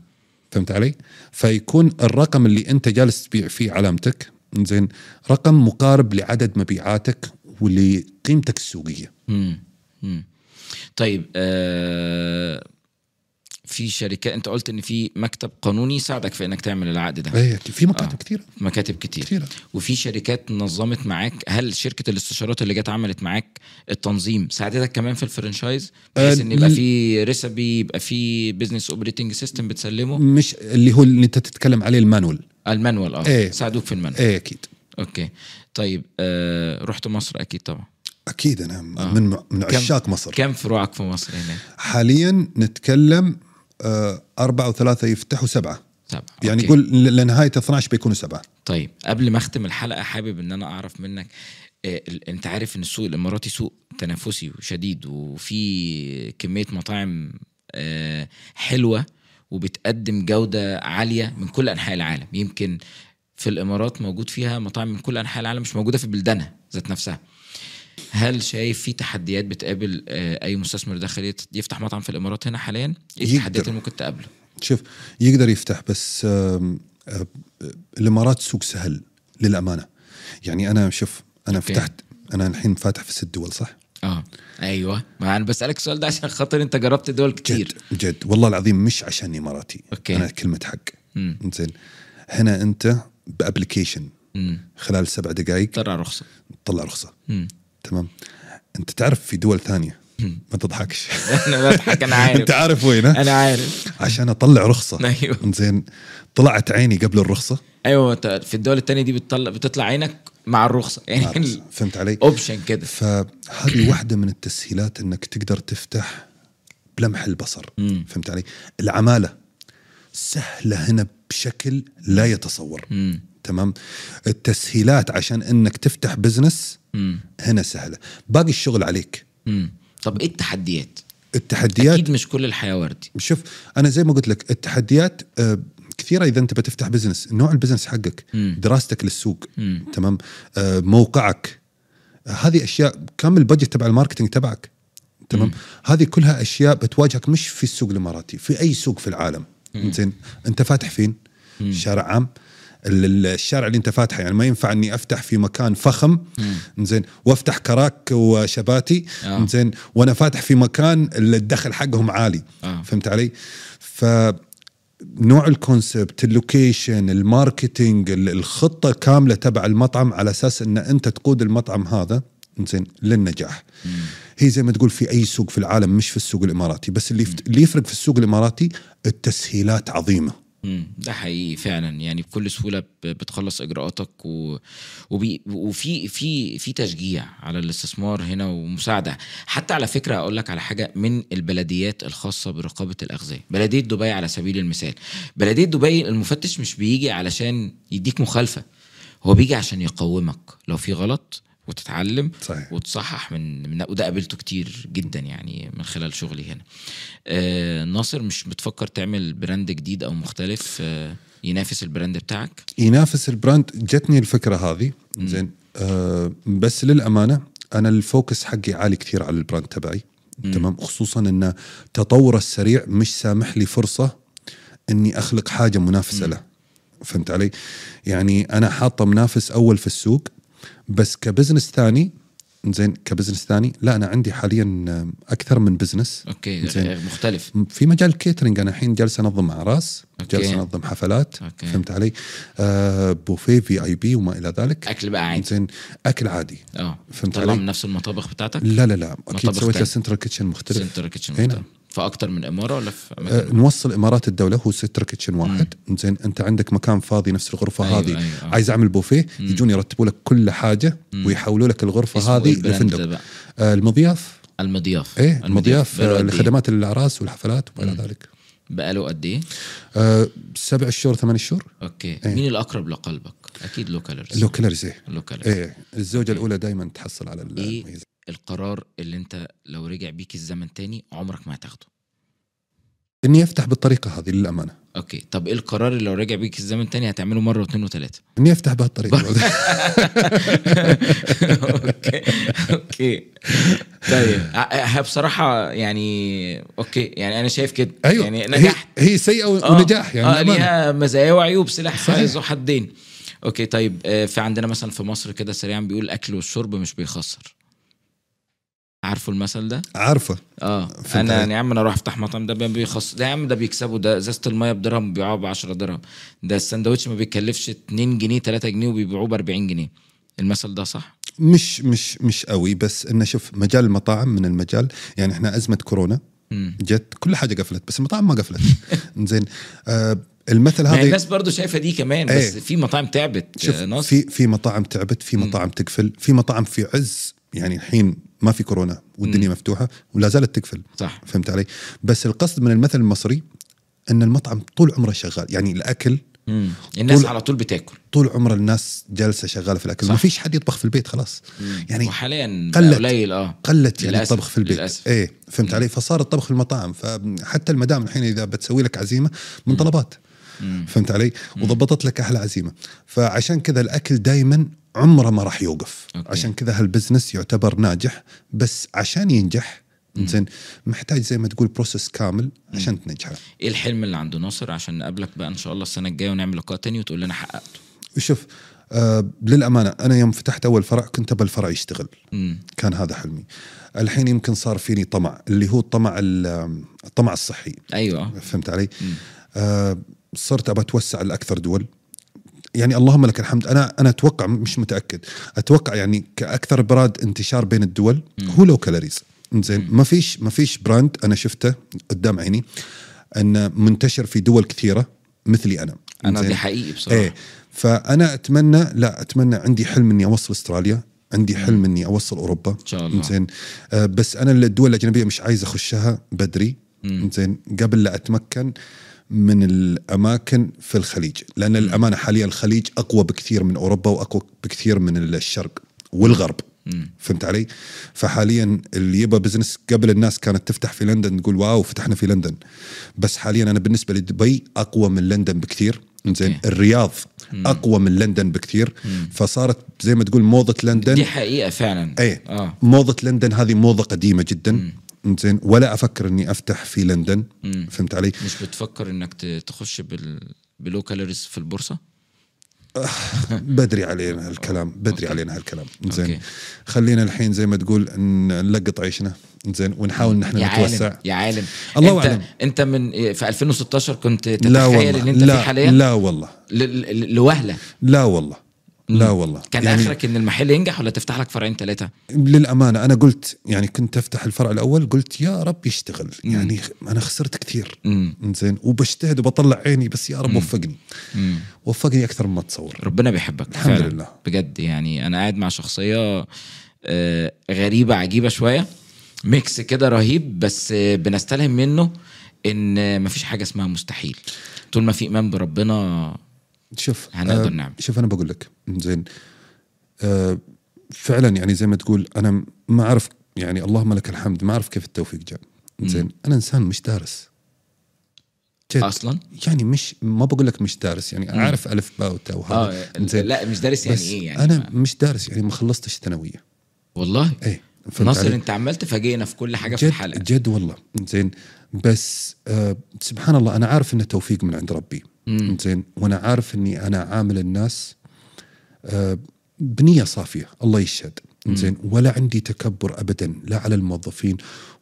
Speaker 1: فهمت علي؟ فيكون الرقم اللي انت جالس تبيع فيه علامتك زين رقم مقارب لعدد مبيعاتك ولقيمتك السوقيه
Speaker 2: مم. مم. طيب آه في شركات انت قلت ان في مكتب قانوني يساعدك في انك تعمل العقد ده
Speaker 1: ايه في مكاتب كثيره
Speaker 2: مكاتب كتير.
Speaker 1: كتيرة.
Speaker 2: وفي شركات نظمت معاك هل شركه الاستشارات اللي جت عملت معاك التنظيم ساعدتك كمان في الفرنشايز بحيث
Speaker 1: آه،
Speaker 2: ان يبقى
Speaker 1: ل-
Speaker 2: في ريسبي يبقى في بزنس اوبريتنج سيستم بتسلمه
Speaker 1: مش اللي هو اللي انت تتكلم عليه المانوال
Speaker 2: المانوال اه
Speaker 1: إيه.
Speaker 2: ساعدوك في المانوال
Speaker 1: ايه اكيد
Speaker 2: اوكي طيب آه رحت مصر اكيد طبعا
Speaker 1: اكيد انا من من
Speaker 2: كم-
Speaker 1: عشاق مصر
Speaker 2: كم فروعك في مصر هناك
Speaker 1: حاليا نتكلم آه، أربعة وثلاثة يفتحوا سبعة
Speaker 2: سبعة
Speaker 1: يعني
Speaker 2: أوكي.
Speaker 1: قول ل- لنهاية 12 بيكونوا سبعة
Speaker 2: طيب قبل ما اختم الحلقه حابب ان انا اعرف منك آه، ال- انت عارف ان السوق الاماراتي سوق تنافسي وشديد وفي كميه مطاعم آه، حلوه وبتقدم جوده عاليه من كل انحاء العالم يمكن في الامارات موجود فيها مطاعم من كل انحاء العالم مش موجوده في بلدانها ذات نفسها هل شايف في تحديات بتقابل آه، اي مستثمر داخلي يت- يفتح مطعم في الامارات هنا حاليا ايه التحديات
Speaker 1: يقدر.
Speaker 2: اللي ممكن تقابله
Speaker 1: شوف يقدر يفتح بس آم، آه، الإمارات سوق سهل للأمانة يعني أنا شوف أنا
Speaker 2: أوكي.
Speaker 1: فتحت أنا الحين فاتح في ست دول صح؟
Speaker 2: اه ايوه ما انا بسالك السؤال ده عشان خاطر انت جربت دول كتير
Speaker 1: جد جد والله العظيم مش عشان إماراتي
Speaker 2: أوكي.
Speaker 1: أنا كلمة حق
Speaker 2: مم.
Speaker 1: زين هنا أنت بأبليكيشن
Speaker 2: مم.
Speaker 1: خلال سبع دقائق
Speaker 2: طلع رخصه
Speaker 1: تطلع رخصة
Speaker 2: مم.
Speaker 1: تمام انت تعرف في دول ثانيه ما تضحكش
Speaker 2: انا بضحك انا عارف
Speaker 1: انت عارف وين ها؟
Speaker 2: انا عارف
Speaker 1: عشان اطلع رخصه
Speaker 2: أيوه.
Speaker 1: زين طلعت عيني قبل الرخصه
Speaker 2: ايوه انت في الدول التانية دي بتطلع بتطلع عينك مع الرخصه يعني
Speaker 1: فهمت علي؟
Speaker 2: اوبشن كده
Speaker 1: فهذه واحده من التسهيلات انك تقدر تفتح بلمح البصر فهمت علي؟ العماله سهله هنا بشكل لا يتصور تمام؟ التسهيلات عشان انك تفتح بزنس هنا سهله، باقي الشغل عليك
Speaker 2: مم. طب ايه التحديات؟
Speaker 1: التحديات
Speaker 2: اكيد مش كل الحياه وردي
Speaker 1: شوف انا زي ما قلت لك التحديات آه، كثيره اذا انت بتفتح بزنس نوع البزنس حقك دراستك للسوق تمام آه، موقعك هذه اشياء كامل البادجت تبع الماركتنج تبعك تمام هذه كلها اشياء بتواجهك مش في السوق الاماراتي في اي سوق في العالم زين انت فاتح فين شارع عام ال- ال- الشارع اللي انت فاتحه يعني ما ينفع اني افتح في مكان فخم زين وافتح كراك وشباتي
Speaker 2: آه.
Speaker 1: زين وانا فاتح في مكان ال- الدخل حقهم عالي
Speaker 2: آه.
Speaker 1: فهمت علي؟ ف نوع الكونسبت اللوكيشن الماركتينج ال- الخطه كامله تبع المطعم على اساس ان انت تقود المطعم هذا زين للنجاح هي زي ما تقول في اي سوق في العالم مش في السوق الاماراتي بس اللي يفت- اللي يفرق في السوق الاماراتي التسهيلات عظيمه
Speaker 2: مم. ده حقيقي فعلا يعني بكل سهوله ب- بتخلص اجراءاتك و... وبي... وفي في في تشجيع على الاستثمار هنا ومساعده حتى على فكره اقول لك على حاجه من البلديات الخاصه برقابه الاغذيه بلديه دبي على سبيل المثال بلديه دبي المفتش مش بيجي علشان يديك مخالفه هو بيجي عشان يقومك لو في غلط وتتعلم
Speaker 1: صحيح.
Speaker 2: وتصحح من, من وده قابلته كتير جدا يعني من خلال شغلي هنا آه ناصر مش بتفكر تعمل براند جديد او مختلف آه ينافس البراند بتاعك
Speaker 1: ينافس البراند جتني الفكره هذه زين آه بس للامانه انا الفوكس حقي عالي كثير على البراند تبعي تمام خصوصا ان تطوره السريع مش سامح لي فرصه اني اخلق حاجه منافسه له فهمت علي؟ يعني انا حاطه منافس اول في السوق بس كبزنس ثاني زين كبزنس ثاني لا انا عندي حاليا آه، اكثر من بزنس
Speaker 2: اوكي
Speaker 1: زين.
Speaker 2: مختلف
Speaker 1: في مجال الكيترنج انا الحين جالس انظم اعراس
Speaker 2: أوكي.
Speaker 1: جالس انظم حفلات
Speaker 2: أوكي.
Speaker 1: فهمت علي آه بوفيه في اي بي وما الى ذلك
Speaker 2: اكل بقى عادي
Speaker 1: زين اكل عادي
Speaker 2: اه
Speaker 1: فهمت
Speaker 2: طلع
Speaker 1: علي؟
Speaker 2: من نفس المطابخ بتاعتك
Speaker 1: لا لا لا اكيد
Speaker 2: مطبخ
Speaker 1: سويت له
Speaker 2: تاني.
Speaker 1: سنترال كيتشن مختلف
Speaker 2: سنتر كيتشن
Speaker 1: هنا.
Speaker 2: مختلف. في اكتر من اماره ولا في
Speaker 1: آه،
Speaker 2: اماكن
Speaker 1: نوصل امارات الدوله هو ستر كيتشن واحد زين انت عندك مكان فاضي نفس الغرفه
Speaker 2: أيوة،
Speaker 1: هذه
Speaker 2: أيوة، آه.
Speaker 1: عايز اعمل بوفيه يجون يرتبوا لك كل حاجه ويحولوا لك
Speaker 2: اسمه
Speaker 1: الغرفه
Speaker 2: إيه
Speaker 1: هذه
Speaker 2: البراند
Speaker 1: لفندق
Speaker 2: بقى؟
Speaker 1: آه المضياف
Speaker 2: المضياف
Speaker 1: ايه المضياف
Speaker 2: بقاله
Speaker 1: آه،
Speaker 2: قد إيه؟
Speaker 1: لخدمات الاعراس والحفلات وما الى ذلك
Speaker 2: بقاله قد ايه؟
Speaker 1: آه، سبع شهور ثمان شهور
Speaker 2: اوكي
Speaker 1: إيه.
Speaker 2: مين الاقرب لقلبك؟ اكيد لو كالوريز
Speaker 1: لو كلرز ايه
Speaker 2: لو كالوريز
Speaker 1: ايه الزوجه الاولى دائما تحصل على ال-
Speaker 2: إيه؟
Speaker 1: الميزه
Speaker 2: القرار اللي انت لو رجع بيك الزمن تاني عمرك ما هتاخده
Speaker 1: اني افتح بالطريقه هذه للامانه
Speaker 2: اوكي طب ايه القرار اللي لو رجع بيك الزمن تاني هتعمله مره واثنين وثلاثه
Speaker 1: اني افتح بهالطريقه
Speaker 2: يعني اوكي اوكي طيب ه- بصراحه يعني اوكي يعني انا شايف كده
Speaker 1: ايوه
Speaker 2: يعني نجحت
Speaker 1: هي, هي سيئه
Speaker 2: آه.
Speaker 1: ونجاح يعني
Speaker 2: اه
Speaker 1: للامانه
Speaker 2: ليها مزايا وعيوب سلاح حائز وحدين اوكي طيب آه، في عندنا مثلا في مصر كده سريعا بيقول الاكل والشرب مش بيخسر عارفوا المثل ده؟
Speaker 1: عارفه
Speaker 2: اه
Speaker 1: فهمت
Speaker 2: انا
Speaker 1: عليك.
Speaker 2: يا عم انا اروح افتح مطعم ده بيخص ده يا عم ده بيكسبوا ده ازازه الميه بدرهم بيبيعوها ب 10 درهم ده السندوتش ما بيكلفش 2 جنيه 3 جنيه وبيبيعوه ب 40 جنيه المثل ده صح؟
Speaker 1: مش مش مش قوي بس انه شوف مجال المطاعم من المجال يعني احنا ازمه كورونا
Speaker 2: مم.
Speaker 1: جت كل حاجه قفلت بس المطاعم ما قفلت زين آه المثل
Speaker 2: ما هي
Speaker 1: هذا
Speaker 2: الناس برضو شايفه دي كمان بس
Speaker 1: إيه.
Speaker 2: في مطاعم تعبت
Speaker 1: شوف
Speaker 2: آه، ناصر
Speaker 1: في في مطاعم تعبت في مطاعم تقفل في مطاعم في عز يعني الحين ما في كورونا والدنيا مفتوحه ولا زالت تقفل
Speaker 2: صح
Speaker 1: فهمت علي؟ بس القصد من المثل المصري ان المطعم طول عمره شغال، يعني الاكل
Speaker 2: مم. الناس
Speaker 1: طول-
Speaker 2: على طول بتاكل
Speaker 1: طول عمر الناس جالسه شغاله في الاكل،
Speaker 2: صح.
Speaker 1: ما فيش حد يطبخ في البيت خلاص. يعني
Speaker 2: وحاليا بقى
Speaker 1: قلت.
Speaker 2: قليل اه
Speaker 1: قلت يعني
Speaker 2: للأسف،
Speaker 1: الطبخ في البيت.
Speaker 2: للأسف.
Speaker 1: ايه فهمت علي؟ فصار الطبخ في المطاعم، فحتى المدام الحين اذا بتسوي لك عزيمه من طلبات. فهمت علي؟ وضبطت لك احلى عزيمه، فعشان كذا الاكل دائما عمره ما راح يوقف،
Speaker 2: أوكي.
Speaker 1: عشان كذا هالبزنس يعتبر ناجح بس عشان ينجح زين محتاج زي ما تقول بروسس كامل عشان تنجحه.
Speaker 2: ايه الحلم اللي عند ناصر عشان نقابلك بقى ان شاء الله السنه الجايه ونعمل لقاء تاني وتقول لنا حققته
Speaker 1: شوف آه للامانه انا يوم فتحت اول فرع كنت ابى الفرع يشتغل
Speaker 2: مم.
Speaker 1: كان هذا حلمي الحين يمكن صار فيني طمع اللي هو الطمع ال- الطمع الصحي
Speaker 2: ايوه آه.
Speaker 1: فهمت علي آه صرت ابى اتوسع لاكثر دول يعني اللهم لك الحمد انا انا اتوقع مش متاكد اتوقع يعني كاكثر براند انتشار بين الدول هو لو كالوريز زين ما فيش ما فيش براند انا شفته قدام عيني انه منتشر في دول كثيره مثلي انا
Speaker 2: انا
Speaker 1: إنزين؟
Speaker 2: دي حقيقي بصراحه
Speaker 1: ايه فانا اتمنى لا اتمنى عندي حلم اني اوصل استراليا عندي حلم اني اوصل اوروبا ان
Speaker 2: شاء الله.
Speaker 1: زين آه بس انا الدول الاجنبيه مش عايز اخشها بدري زين قبل لا اتمكن من الاماكن في الخليج لان الامانه حاليا الخليج اقوى بكثير من اوروبا واقوى بكثير من الشرق والغرب فهمت علي؟ فحاليا اللي يبى بزنس قبل الناس كانت تفتح في لندن تقول واو فتحنا في لندن بس حاليا انا بالنسبه لدبي اقوى من لندن بكثير زين
Speaker 2: أوكي.
Speaker 1: الرياض اقوى من لندن بكثير فصارت زي ما تقول موضه لندن
Speaker 2: دي حقيقه فعلا
Speaker 1: اي
Speaker 2: اه
Speaker 1: موضه لندن هذه موضه قديمه جدا زين ولا افكر اني افتح في لندن فهمت علي؟
Speaker 2: مش بتفكر انك ت- تخش بال بلو كالوريز في البورصه
Speaker 1: بدري علينا هالكلام بدري علينا هالكلام زين
Speaker 2: أوكي.
Speaker 1: خلينا الحين زي ما تقول ن- نلقط عيشنا زين ونحاول نحن
Speaker 2: يا
Speaker 1: نتوسع
Speaker 2: عالم يا عالم
Speaker 1: الله
Speaker 2: انت
Speaker 1: أعلم.
Speaker 2: انت من في 2016 كنت
Speaker 1: لا
Speaker 2: تتخيل
Speaker 1: والله
Speaker 2: ان انت فيه
Speaker 1: لا
Speaker 2: حاليا
Speaker 1: لا والله
Speaker 2: ل- ل- لوهله
Speaker 1: لا والله لا والله
Speaker 2: كان يعني اخرك ان المحل ينجح ولا تفتح لك فرعين ثلاثه
Speaker 1: للامانه انا قلت يعني كنت افتح الفرع الاول قلت يا رب يشتغل يعني انا خسرت كثير زين وبجتهد وبطلع عيني بس يا رب وفقني وفقني اكثر مما تصور
Speaker 2: ربنا بيحبك
Speaker 1: الحمد
Speaker 2: فعلا.
Speaker 1: لله.
Speaker 2: بجد يعني انا قاعد مع شخصيه آه، غريبه عجيبه شويه ميكس كده رهيب بس آه، بنستلهم منه ان آه، مفيش حاجه اسمها مستحيل طول ما في ايمان بربنا
Speaker 1: شوف آه،
Speaker 2: هنقدر نعمل.
Speaker 1: شوف انا بقول لك زين آه فعلا يعني زي ما تقول انا ما اعرف يعني اللهم لك الحمد ما اعرف كيف التوفيق جاء زين انا انسان مش دارس جد.
Speaker 2: أصلاً؟
Speaker 1: يعني مش ما بقول لك مش دارس يعني اعرف الف باء وتاء وهذا
Speaker 2: اه لا مش دارس يعني
Speaker 1: آه، بس
Speaker 2: ايه يعني
Speaker 1: انا مش دارس يعني ما خلصتش ثانويه
Speaker 2: والله
Speaker 1: ايه فهمت
Speaker 2: ناصر
Speaker 1: علي؟
Speaker 2: انت عمال تفاجئنا في كل حاجه في الحلقه
Speaker 1: جد جد والله زين بس آه سبحان الله انا عارف انه توفيق من عند ربي زين وانا عارف اني انا عامل الناس آه بنيه صافيه الله يشهد زين ولا عندي تكبر ابدا لا على الموظفين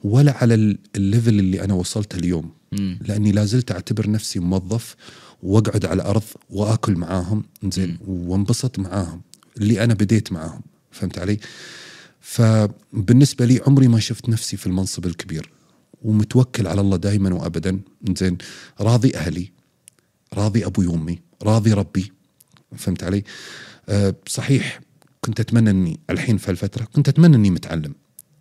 Speaker 1: ولا على ال- الليفل اللي انا وصلته اليوم لاني لا زلت اعتبر نفسي موظف واقعد على الارض واكل معاهم زين وانبسط معاهم اللي انا بديت معاهم فهمت علي؟ فبالنسبه لي عمري ما شفت نفسي في المنصب الكبير ومتوكل على الله دائما وابدا زين راضي اهلي راضي ابوي وامي راضي ربي فهمت علي أه صحيح كنت اتمنى اني الحين في الفتره كنت اتمنى اني متعلم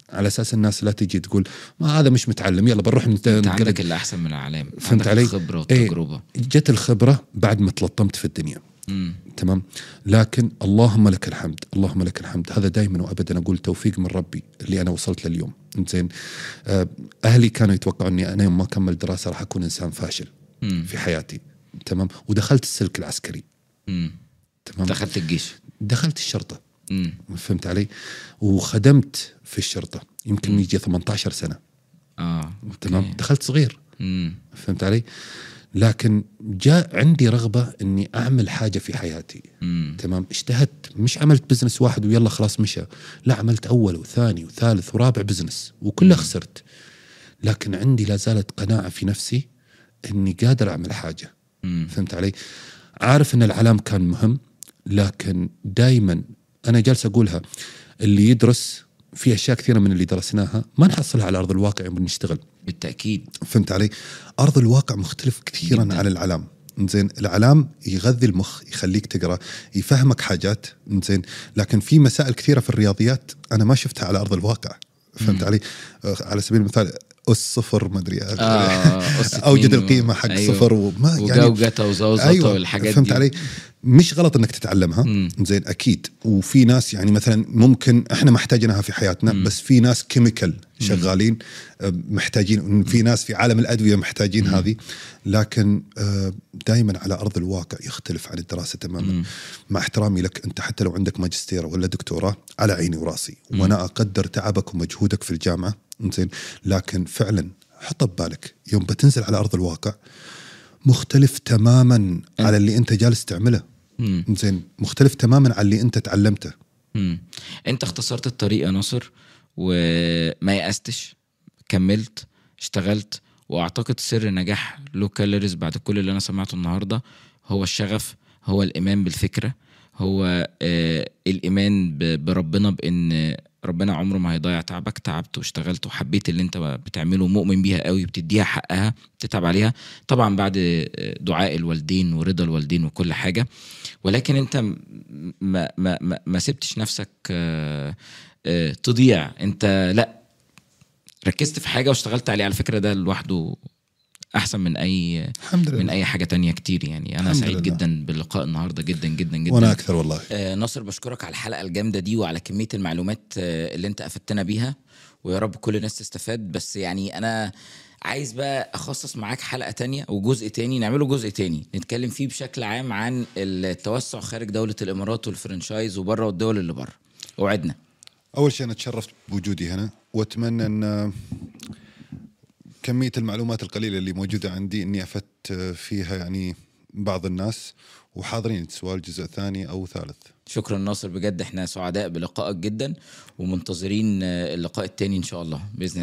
Speaker 1: على اساس الناس لا تجي تقول ما هذا مش متعلم يلا بنروح نت-
Speaker 2: انت
Speaker 1: نتقلد.
Speaker 2: عندك اللي احسن من العلام
Speaker 1: فهمت
Speaker 2: عندك
Speaker 1: علي؟
Speaker 2: الخبره والتجربه
Speaker 1: إيه جت الخبره بعد ما تلطمت في الدنيا تمام لكن اللهم لك الحمد اللهم لك الحمد هذا دائما وابدا اقول توفيق من ربي اللي انا وصلت له اليوم زين آه، اهلي كانوا يتوقعوا اني انا يوم ما اكمل دراسه راح اكون انسان فاشل في حياتي تمام ودخلت السلك العسكري
Speaker 2: مم.
Speaker 1: تمام
Speaker 2: دخلت الجيش
Speaker 1: دخلت الشرطه
Speaker 2: مم.
Speaker 1: فهمت علي وخدمت في الشرطه يمكن يجي 18 سنه
Speaker 2: اه
Speaker 1: تمام دخلت صغير
Speaker 2: مم.
Speaker 1: فهمت علي؟ لكن جاء عندي رغبه اني اعمل حاجه في حياتي
Speaker 2: مم.
Speaker 1: تمام اجتهدت مش عملت بزنس واحد ويلا خلاص مشى لا عملت اول وثاني وثالث ورابع بزنس وكله خسرت لكن عندي لا زالت قناعه في نفسي اني قادر اعمل حاجه
Speaker 2: مم.
Speaker 1: فهمت علي؟ عارف ان العلام كان مهم لكن دائما انا جالس اقولها اللي يدرس في اشياء كثيره من اللي درسناها ما نحصلها على ارض الواقع يوم نشتغل
Speaker 2: بالتاكيد
Speaker 1: فهمت علي؟ ارض الواقع مختلف كثيرا جدا. عن العلام زين العلام يغذي المخ يخليك تقرا يفهمك حاجات زين لكن في مسائل كثيره في الرياضيات انا ما شفتها على ارض الواقع فهمت علي آه، على سبيل المثال الصفر ما ادري
Speaker 2: آه، أس
Speaker 1: اوجد
Speaker 2: اتنين و-
Speaker 1: القيمه حق
Speaker 2: أيوة.
Speaker 1: صفر وما يعني
Speaker 2: وجوجتا وزوزتا والحاجات
Speaker 1: أيوة، فهمت
Speaker 2: دي.
Speaker 1: علي مش غلط انك تتعلمها زين اكيد وفي ناس يعني مثلا ممكن احنا ما احتاجناها في حياتنا مم. بس في ناس كيميكال شغالين آه، محتاجين في ناس في عالم الادويه محتاجين مم. هذه لكن دائما على ارض الواقع يختلف عن الدراسه تماما مم. مع احترامي لك انت حتى لو عندك ماجستير ولا دكتوراه على عيني وراسي مم. وانا اقدر تعبك ومجهودك في الجامعه زين لكن فعلا حطه ببالك يوم بتنزل على ارض الواقع مختلف تماما على اللي انت جالس تعمله زين مختلف تماما على اللي انت تعلمته
Speaker 2: مم. انت اختصرت الطريق يا ناصر وما يأستش كملت اشتغلت واعتقد سر نجاح لو كالوريز بعد كل اللي انا سمعته النهارده هو الشغف هو الايمان بالفكره هو آه الايمان ب- بربنا بان ربنا عمره ما هيضيع تعبك تعبت واشتغلت وحبيت اللي انت بتعمله مؤمن بيها قوي بتديها حقها بتتعب عليها طبعا بعد آه، دعاء الوالدين ورضا الوالدين وكل حاجه ولكن انت م- ما ما ما, ما سبتش نفسك آه، آه، تضيع انت لا ركزت في حاجه واشتغلت عليها على فكره ده لوحده احسن من اي
Speaker 1: الحمد
Speaker 2: من
Speaker 1: لله
Speaker 2: اي حاجه تانية كتير يعني انا
Speaker 1: الحمد
Speaker 2: سعيد
Speaker 1: لله.
Speaker 2: جدا باللقاء النهارده جدا جدا جدا
Speaker 1: وانا اكثر والله
Speaker 2: آه، ناصر بشكرك على الحلقه الجامده دي وعلى كميه المعلومات آه، اللي انت افدتنا بيها ويا رب كل الناس تستفاد بس يعني انا عايز بقى اخصص معاك حلقه تانية وجزء تاني نعمله جزء تاني نتكلم فيه بشكل عام عن التوسع خارج دوله الامارات والفرنشايز وبره والدول اللي بره اوعدنا
Speaker 1: اول شيء انا تشرفت بوجودي هنا واتمنى ان كميه المعلومات القليله اللي موجوده عندي اني افدت فيها يعني بعض الناس وحاضرين سواء الجزء ثاني او ثالث
Speaker 2: شكرا ناصر بجد احنا سعداء بلقائك جدا ومنتظرين اللقاء آه، التاني ان شاء الله باذن الله